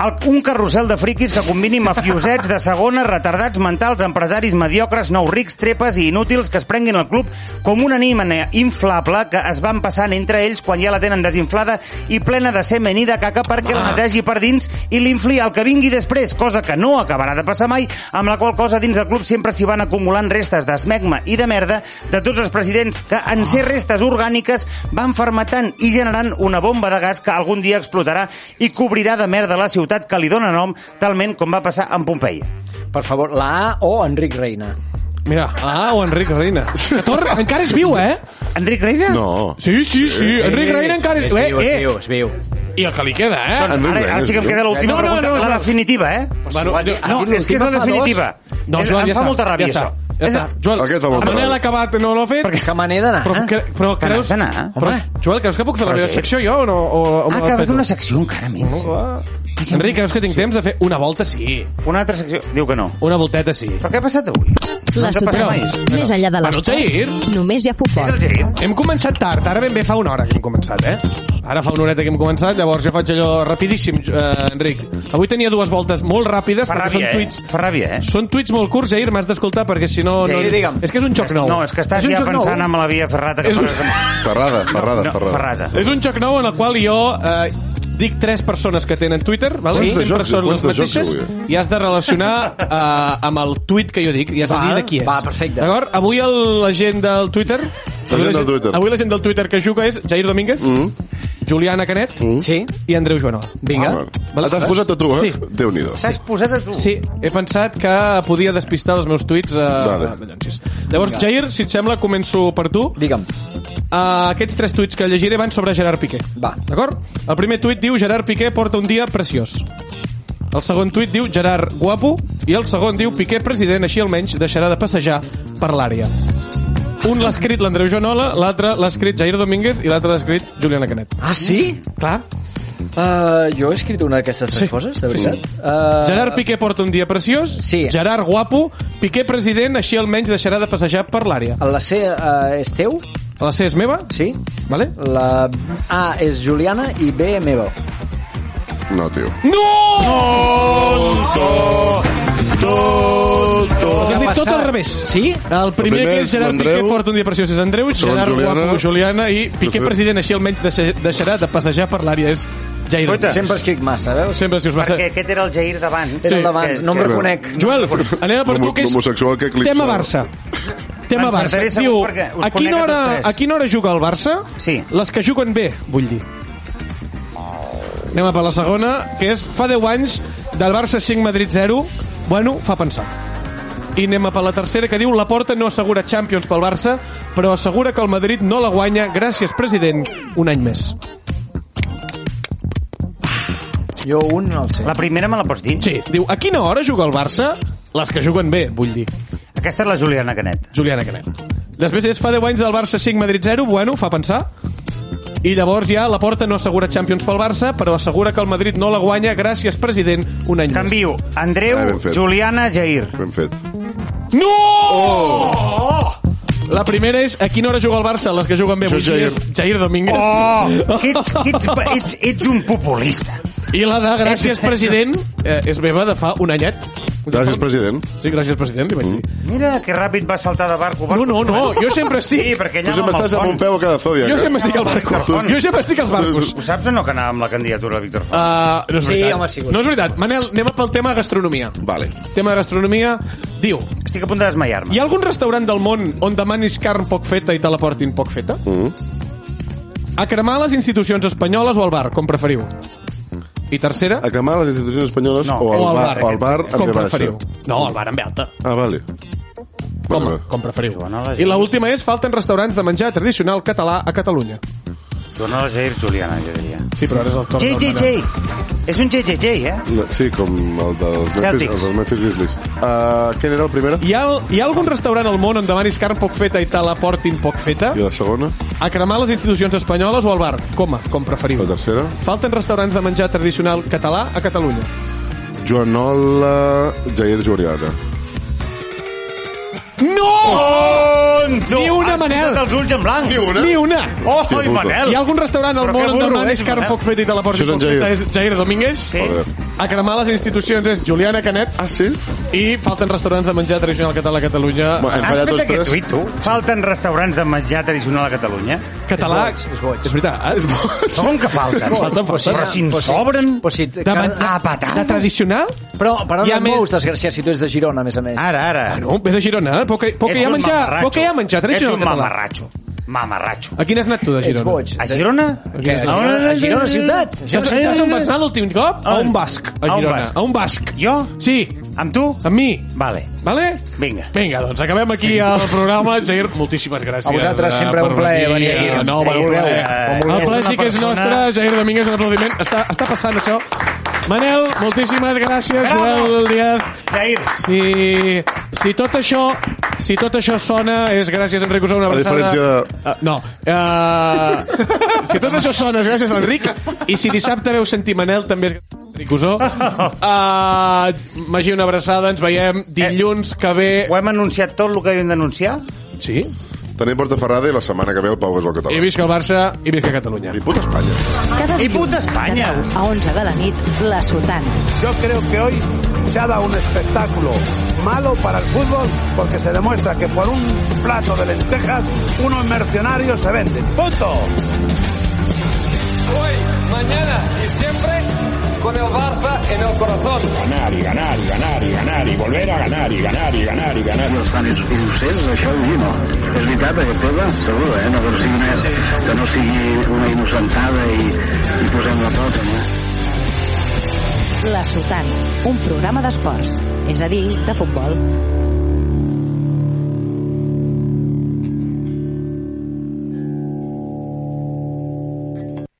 [SPEAKER 7] el, un carrusel de friquis que combini mafiosets de segona, retardats mentals, empresaris mediocres, nous rics, trepes i inútils que es prenguin el club com una ànima inflable que es van passant entre ells quan ja la tenen desinflada i plena de semen i de caca perquè la netegi per dins i l'infli el que vingui després, cosa que no acabarà de passar mai, amb la qual cosa dins del club sempre s'hi van acumulant restes d'esmegma i de merda de tots els presidents que en ser restes orgàniques van fermentant i generant una bomba de gas que algun dia explotarà i cobrirà de merda la ciutat que li dóna nom, talment com va passar amb Pompeia.
[SPEAKER 8] Per favor, la A o Enric Reina.
[SPEAKER 6] Mira, ah, o Enric Reina. Que tor... encara és viu, eh?
[SPEAKER 7] Enric Reina?
[SPEAKER 4] No.
[SPEAKER 6] Sí, sí, sí. Enric Reina encara és...
[SPEAKER 8] viu, és
[SPEAKER 6] Eh,
[SPEAKER 8] viu, és viu.
[SPEAKER 6] eh. I el que li queda, eh?
[SPEAKER 4] Enric
[SPEAKER 7] Ara,
[SPEAKER 4] Reina
[SPEAKER 7] ara
[SPEAKER 4] és
[SPEAKER 7] sí que em
[SPEAKER 4] viu?
[SPEAKER 7] queda l'última
[SPEAKER 6] No, no,
[SPEAKER 7] pregunta,
[SPEAKER 6] no,
[SPEAKER 7] la
[SPEAKER 6] Joel.
[SPEAKER 7] definitiva, eh?
[SPEAKER 6] Bueno,
[SPEAKER 8] Bueno,
[SPEAKER 6] jo-
[SPEAKER 8] ha
[SPEAKER 7] No, és
[SPEAKER 8] dit
[SPEAKER 7] que és
[SPEAKER 8] l'última
[SPEAKER 7] la
[SPEAKER 8] fa dos.
[SPEAKER 7] definitiva.
[SPEAKER 6] No,
[SPEAKER 7] Doncs És-
[SPEAKER 6] Joel, ja
[SPEAKER 7] em fa
[SPEAKER 6] està,
[SPEAKER 7] molta ràbia,
[SPEAKER 6] ja està.
[SPEAKER 7] això.
[SPEAKER 6] Ja està, Joel.
[SPEAKER 4] Aquest el vol
[SPEAKER 6] el Manel
[SPEAKER 4] parar.
[SPEAKER 6] ha acabat, no l'ha fet.
[SPEAKER 8] Que me n'he d'anar.
[SPEAKER 6] Però,
[SPEAKER 7] Ah.
[SPEAKER 8] eh?
[SPEAKER 6] cre però
[SPEAKER 7] Que
[SPEAKER 6] creus...
[SPEAKER 7] n'has d'anar,
[SPEAKER 6] Però,
[SPEAKER 7] eh? home.
[SPEAKER 6] Joel, creus que puc fer la
[SPEAKER 7] Però
[SPEAKER 6] meva
[SPEAKER 7] sí.
[SPEAKER 6] secció jo o no? O, o
[SPEAKER 7] Ah, que va fer una secció encara més.
[SPEAKER 6] Enric, creus que tinc temps de fer una volta? Sí.
[SPEAKER 7] Una altra secció... Diu que no.
[SPEAKER 6] Una volteta sí.
[SPEAKER 7] Però què ha passat avui?
[SPEAKER 6] Doncs,
[SPEAKER 7] No
[SPEAKER 1] La
[SPEAKER 7] ens ha passat
[SPEAKER 1] ciutat,
[SPEAKER 7] mai.
[SPEAKER 1] més enllà de
[SPEAKER 6] Bueno, Jair.
[SPEAKER 1] l'esport, només hi ha
[SPEAKER 7] És el
[SPEAKER 1] futbol.
[SPEAKER 7] Jair.
[SPEAKER 6] Hem començat tard, ara ben bé fa una hora que hem començat, eh? Ara fa una horeta que hem començat, llavors jo faig allò rapidíssim, eh, Enric. Avui tenia dues voltes molt ràpides,
[SPEAKER 7] Fa
[SPEAKER 6] perquè
[SPEAKER 7] ràbia,
[SPEAKER 6] són
[SPEAKER 7] eh?
[SPEAKER 6] tuits...
[SPEAKER 7] Fa ràbia, eh?
[SPEAKER 6] Són tuits molt curts, Jair, m'has d'escoltar, perquè si no... no...
[SPEAKER 7] Jair, digue'm.
[SPEAKER 6] És que és un xoc nou.
[SPEAKER 7] No, és que estàs
[SPEAKER 8] un
[SPEAKER 7] ja
[SPEAKER 8] joc
[SPEAKER 7] pensant
[SPEAKER 8] nou.
[SPEAKER 7] amb la via ferrata que
[SPEAKER 6] És un-
[SPEAKER 7] faràs.
[SPEAKER 4] Ferrada, ferrada,
[SPEAKER 7] No,
[SPEAKER 4] ferrada.
[SPEAKER 7] ferrata.
[SPEAKER 6] És un joc nou en el qual jo eh, dic tres persones que tenen Twitter, val?
[SPEAKER 4] Quants de
[SPEAKER 6] sempre
[SPEAKER 4] jocs-
[SPEAKER 6] són les
[SPEAKER 4] quants de jocs
[SPEAKER 6] mateixes,
[SPEAKER 4] avui?
[SPEAKER 6] i has de relacionar eh, amb el tuit que jo dic, i has de
[SPEAKER 8] Va,
[SPEAKER 6] dir de qui és.
[SPEAKER 8] va, perfecte.
[SPEAKER 6] D'acord? Avui el, la gent del Twitter...
[SPEAKER 4] La gent del Twitter. Mm.
[SPEAKER 6] Avui la gent del Twitter que juga és Jair Domínguez, Juliana Canet
[SPEAKER 8] Sí?
[SPEAKER 6] i Andreu Joanola.
[SPEAKER 8] Vinga.
[SPEAKER 4] Ah, vale. T'has posat a tu, eh?
[SPEAKER 6] Sí.
[SPEAKER 4] Déu-n'hi-do.
[SPEAKER 7] T'has posat a tu.
[SPEAKER 6] Sí, he pensat que podia despistar els meus tuits. Eh,
[SPEAKER 4] Vale.
[SPEAKER 6] ballonsis. Llavors, Jair, si et sembla, començo per tu.
[SPEAKER 8] Digue'm.
[SPEAKER 6] Uh, aquests tres tuits que llegiré van sobre Gerard Piqué.
[SPEAKER 8] Va.
[SPEAKER 6] D'acord? El primer tuit diu Gerard Piqué porta un dia preciós. El segon tuit diu Gerard guapo i el segon diu Piqué president, així almenys deixarà de passejar per l'àrea. Un l'ha escrit l'Andreu Joanola, l'altre l'ha escrit Jair Domínguez i l'altre l'ha escrit Juliana Canet.
[SPEAKER 8] Ah, sí?
[SPEAKER 6] Clar.
[SPEAKER 8] Uh, jo he escrit una d'aquestes tres
[SPEAKER 6] Sí.
[SPEAKER 8] coses, de
[SPEAKER 6] Sí,
[SPEAKER 8] veritat.
[SPEAKER 6] sí.
[SPEAKER 8] Uh,
[SPEAKER 6] Gerard Piqué porta un dia preciós,
[SPEAKER 8] Sí.
[SPEAKER 6] Gerard guapo, Piqué president, així almenys deixarà de passejar per l'àrea.
[SPEAKER 8] La C uh, és teu?
[SPEAKER 6] La C és meva?
[SPEAKER 8] Sí?
[SPEAKER 6] Vale?
[SPEAKER 8] La A és Juliana i B meva.
[SPEAKER 4] No, tio.
[SPEAKER 6] No! Us hem dit tot al revés.
[SPEAKER 8] Sí?
[SPEAKER 6] El primer,
[SPEAKER 4] primer
[SPEAKER 6] que
[SPEAKER 4] és
[SPEAKER 6] és Gerard
[SPEAKER 4] l'Andreu.
[SPEAKER 6] Piqué porta un dia preciós és Andreu,
[SPEAKER 4] Segon
[SPEAKER 6] Gerard
[SPEAKER 4] Juliana.
[SPEAKER 6] Guapo, Juliana i Piqué
[SPEAKER 4] Tercer.
[SPEAKER 6] president, així almenys deixa- deixarà de passejar per l'àrea. És Jair.
[SPEAKER 7] Guaita.
[SPEAKER 6] Sempre,
[SPEAKER 8] Sempre escric massa, veus?
[SPEAKER 6] sempre si us va
[SPEAKER 7] Perquè
[SPEAKER 6] ser...
[SPEAKER 7] aquest era el Jair d'abans.
[SPEAKER 8] Era el
[SPEAKER 6] Sí.
[SPEAKER 8] d'abans, no em
[SPEAKER 7] Que-
[SPEAKER 8] reconec.
[SPEAKER 6] Joel, anem a per tu,
[SPEAKER 4] L'homo-
[SPEAKER 6] que és
[SPEAKER 4] L'homosexual que eclipsa.
[SPEAKER 6] tema Barça. Tema Barça.
[SPEAKER 7] Encertaré segur
[SPEAKER 6] Diu,
[SPEAKER 7] perquè us
[SPEAKER 6] a quina,
[SPEAKER 7] conec a
[SPEAKER 6] hora,
[SPEAKER 7] tots tres.
[SPEAKER 6] a quina hora juga el Barça?
[SPEAKER 7] Sí.
[SPEAKER 6] Les que juguen bé, vull dir. Anem a per la segona, que és fa 10 anys del Barça 5 Madrid 0. Bueno, fa pensar. I anem a per la tercera, que diu la porta no assegura Champions pel Barça, però assegura que el Madrid no la guanya, gràcies president, un any més.
[SPEAKER 8] Jo un no el sé.
[SPEAKER 7] La primera me la pots dir?
[SPEAKER 6] Sí, diu, a quina hora juga el Barça? Les que juguen bé, vull dir.
[SPEAKER 7] Aquesta és la Juliana Canet.
[SPEAKER 6] Juliana Canet. Després és fa 10 anys del Barça 5, Madrid 0, bueno, fa pensar. I llavors ja la porta no assegura Champions pel Barça, però assegura que el Madrid no la guanya, gràcies president, un any
[SPEAKER 7] Canvio. Andreu,
[SPEAKER 4] Ah, ben fet.
[SPEAKER 7] Juliana, Jair.
[SPEAKER 4] Ben fet.
[SPEAKER 6] més. No! Oh! La primera és a quina hora juga el Barça, les que juguen bé
[SPEAKER 4] Això
[SPEAKER 6] avui
[SPEAKER 4] és
[SPEAKER 6] Jair.
[SPEAKER 4] Jair.
[SPEAKER 6] és Jair Domínguez.
[SPEAKER 7] Oh, que ets, que ets, ets, ets un populista.
[SPEAKER 6] I la de gràcies president eh, és meva de fa un anyet.
[SPEAKER 4] Gràcies, president.
[SPEAKER 6] Sí, gràcies president, li vaig dir.
[SPEAKER 7] Mira que ràpid va saltar de barco. barco.
[SPEAKER 6] No, no, no, jo sempre
[SPEAKER 7] Mm. Sí,
[SPEAKER 6] estic...
[SPEAKER 7] perquè
[SPEAKER 4] Tu
[SPEAKER 7] allà
[SPEAKER 4] sempre
[SPEAKER 7] amb el
[SPEAKER 4] estàs amb un
[SPEAKER 7] pont.
[SPEAKER 4] peu a eh? cada zòdia.
[SPEAKER 6] Jo sempre estic al barco. Jo sempre estic als barcos.
[SPEAKER 7] Ho saps o no que anava amb la candidatura de Víctor Font?
[SPEAKER 6] Uh, no és
[SPEAKER 8] Sí,
[SPEAKER 6] veritat.
[SPEAKER 8] home, sí,
[SPEAKER 6] no és veritat. Manel, anem a pel tema gastronomia.
[SPEAKER 4] Vale.
[SPEAKER 6] Tema de gastronomia, diu...
[SPEAKER 7] Estic a punt de desmaiar-me.
[SPEAKER 6] Hi ha algun restaurant del món on demanis carn poc feta i te la portin poc feta?
[SPEAKER 4] Mm.
[SPEAKER 6] A cremar les institucions espanyoles o al bar, com preferiu. I tercera,
[SPEAKER 4] A cremar les institucions espanyoles
[SPEAKER 7] No,
[SPEAKER 4] o al
[SPEAKER 6] o al
[SPEAKER 4] bar,
[SPEAKER 6] bar.
[SPEAKER 4] o al bar amb
[SPEAKER 6] com
[SPEAKER 4] què baixa.
[SPEAKER 6] preferiu. No, al bar amb alta.
[SPEAKER 4] Ah, vale.
[SPEAKER 6] Com,
[SPEAKER 4] Vale.
[SPEAKER 6] com preferiu.
[SPEAKER 7] Joan, a la
[SPEAKER 6] I
[SPEAKER 7] gent.
[SPEAKER 6] la última és, falten restaurants de menjar tradicional català a Catalunya.
[SPEAKER 7] Torna a Jair, Juliana, jo diria.
[SPEAKER 6] Sí, però ara és el torn. del Manel.
[SPEAKER 7] JJJ. És un JJJ, eh?
[SPEAKER 4] No, Sí, com el dels
[SPEAKER 7] Celtics.
[SPEAKER 4] Memphis, el dels Memphis Grizzlies. Uh, què era el primer?
[SPEAKER 6] Hi ha, hi ha algun restaurant al món on demanis carn poc feta i te la portin poc feta?
[SPEAKER 4] I la segona?
[SPEAKER 6] A cremar les institucions espanyoles o al bar? Coma, com preferiu.
[SPEAKER 4] La tercera?
[SPEAKER 6] Falten restaurants de menjar tradicional català a Catalunya.
[SPEAKER 4] Joanola Jair Juliana.
[SPEAKER 6] No!
[SPEAKER 7] Tonto!
[SPEAKER 6] Ni una,
[SPEAKER 7] Has
[SPEAKER 6] Manel.
[SPEAKER 7] posat els ulls en blanc. Ni
[SPEAKER 4] una.
[SPEAKER 6] Ni una!
[SPEAKER 7] Oh,
[SPEAKER 4] Hòstia
[SPEAKER 7] oi,
[SPEAKER 4] puta.
[SPEAKER 7] Manel.
[SPEAKER 6] Hi ha algun restaurant al
[SPEAKER 7] Però
[SPEAKER 6] món
[SPEAKER 7] que
[SPEAKER 6] on
[SPEAKER 7] burro
[SPEAKER 6] demanis
[SPEAKER 7] ets,
[SPEAKER 6] carn
[SPEAKER 7] Manel.
[SPEAKER 6] poc fet i te la portis
[SPEAKER 4] Això és en
[SPEAKER 6] poc feta
[SPEAKER 4] Jair.
[SPEAKER 6] és Jair Domínguez.
[SPEAKER 7] Sí.
[SPEAKER 4] Joder.
[SPEAKER 6] A cremar les institucions és Juliana Canet
[SPEAKER 4] Ah, sí?
[SPEAKER 6] i falten restaurants de menjar tradicional català a Catalunya.
[SPEAKER 4] Bueno, hem
[SPEAKER 7] Has
[SPEAKER 4] fallat
[SPEAKER 7] fet
[SPEAKER 4] tots
[SPEAKER 7] aquest
[SPEAKER 4] tres.
[SPEAKER 7] tuit, tu? Falten restaurants de menjar tradicional a Catalunya?
[SPEAKER 6] català.
[SPEAKER 8] és boig, és boig.
[SPEAKER 6] És veritat. Eh?
[SPEAKER 7] Com que falten?
[SPEAKER 6] Falten,
[SPEAKER 7] però
[SPEAKER 6] falten.
[SPEAKER 7] si en
[SPEAKER 8] Ah, Però si-
[SPEAKER 7] sobren...
[SPEAKER 8] Però si...
[SPEAKER 6] De,
[SPEAKER 8] car-
[SPEAKER 6] men-
[SPEAKER 7] Ah, patades.
[SPEAKER 6] de tradicional?
[SPEAKER 8] Però, però
[SPEAKER 6] Hi
[SPEAKER 8] no
[SPEAKER 6] ha
[SPEAKER 8] et
[SPEAKER 6] més- Ah,
[SPEAKER 8] mous, desgraciat, si tu ets de Girona, a més a més.
[SPEAKER 7] Ara, ara.
[SPEAKER 6] No, vés a Girona, eh? Poc, que- poc que
[SPEAKER 7] Ets
[SPEAKER 6] hi ha
[SPEAKER 7] un
[SPEAKER 6] menjar,
[SPEAKER 7] mamarratxo.
[SPEAKER 6] poc que hi ha menjar
[SPEAKER 7] Ets
[SPEAKER 6] tradicional
[SPEAKER 7] un
[SPEAKER 6] català.
[SPEAKER 7] mamarratxo. Mamarratxo.
[SPEAKER 6] A quin has anat tu de
[SPEAKER 8] Ets
[SPEAKER 6] Girona? Ah,
[SPEAKER 8] boig.
[SPEAKER 7] A Girona?
[SPEAKER 6] Què?
[SPEAKER 8] A Girona, a Girona ciutat. A
[SPEAKER 6] Saps,
[SPEAKER 8] Girona
[SPEAKER 6] saps on vas
[SPEAKER 8] ciutat.
[SPEAKER 6] anar l'últim cop? A un basc, a
[SPEAKER 7] A un
[SPEAKER 6] Girona.
[SPEAKER 7] basc.
[SPEAKER 6] A un basc.
[SPEAKER 7] Jo?
[SPEAKER 6] Sí,
[SPEAKER 7] Amb tu?
[SPEAKER 6] amb mi.
[SPEAKER 7] Vale.
[SPEAKER 6] Vale?
[SPEAKER 7] Vinga.
[SPEAKER 6] Vinga, doncs acabem aquí el programa. Jair, moltíssimes gràcies.
[SPEAKER 8] A vosaltres
[SPEAKER 6] eh,
[SPEAKER 8] sempre
[SPEAKER 6] per
[SPEAKER 8] un plaer venir
[SPEAKER 6] eh,
[SPEAKER 8] aquí.
[SPEAKER 6] No,
[SPEAKER 7] Jair,
[SPEAKER 6] per un plaer.
[SPEAKER 7] eh,
[SPEAKER 6] El
[SPEAKER 7] ets
[SPEAKER 6] plaer
[SPEAKER 7] una
[SPEAKER 6] sí que és
[SPEAKER 7] persona-
[SPEAKER 6] nostre. Jair Domínguez, un aplaudiment. Està, està passant això Manel, moltíssimes gràcies.
[SPEAKER 7] Bravo.
[SPEAKER 6] Joel Díaz.
[SPEAKER 7] Jairs,
[SPEAKER 6] Si, si, tot això, si tot això sona, és gràcies, Enric Usó, una
[SPEAKER 4] A
[SPEAKER 6] abraçada.
[SPEAKER 4] diferència de...
[SPEAKER 6] Uh, no. Uh, si tot això sona, és gràcies a l'Enric. I si dissabte veu sentir Manel, també és gràcies a Enric Usó. Uh, Magí, una abraçada. Ens
[SPEAKER 4] Eh.
[SPEAKER 6] veiem dilluns que ve...
[SPEAKER 7] ho hem anunciat tot el que havíem d'anunciar?
[SPEAKER 6] Sí?
[SPEAKER 4] Tenim Porta Ferrada i la setmana que ve el Pau és el català.
[SPEAKER 6] I visca el Barça i visca Catalunya.
[SPEAKER 4] I puta Espanya.
[SPEAKER 1] Cada
[SPEAKER 7] I puta
[SPEAKER 1] dilluns
[SPEAKER 7] Espanya!
[SPEAKER 1] de deu A 11 de la nit, La Sotana.
[SPEAKER 2] Yo creo que hoy se ha dado un espectáculo malo para el fútbol porque se demuestra que por un plato de lentejas unos mercenarios se venden. ¡Punto!
[SPEAKER 9] hoy, mañana y siempre con el Barça en el corazón.
[SPEAKER 10] Ganar i ganar i ganar i ganar i volver a ganar i ganar i ganar i ganar. No estan innocents, això ho diu, no. És veritat, aquest tema, segur, eh? No, que no sigui, una, que no sigui una innocentada i, i posem la pota, no?
[SPEAKER 1] La Sotana, un programa d'esports, és a dir, de futbol.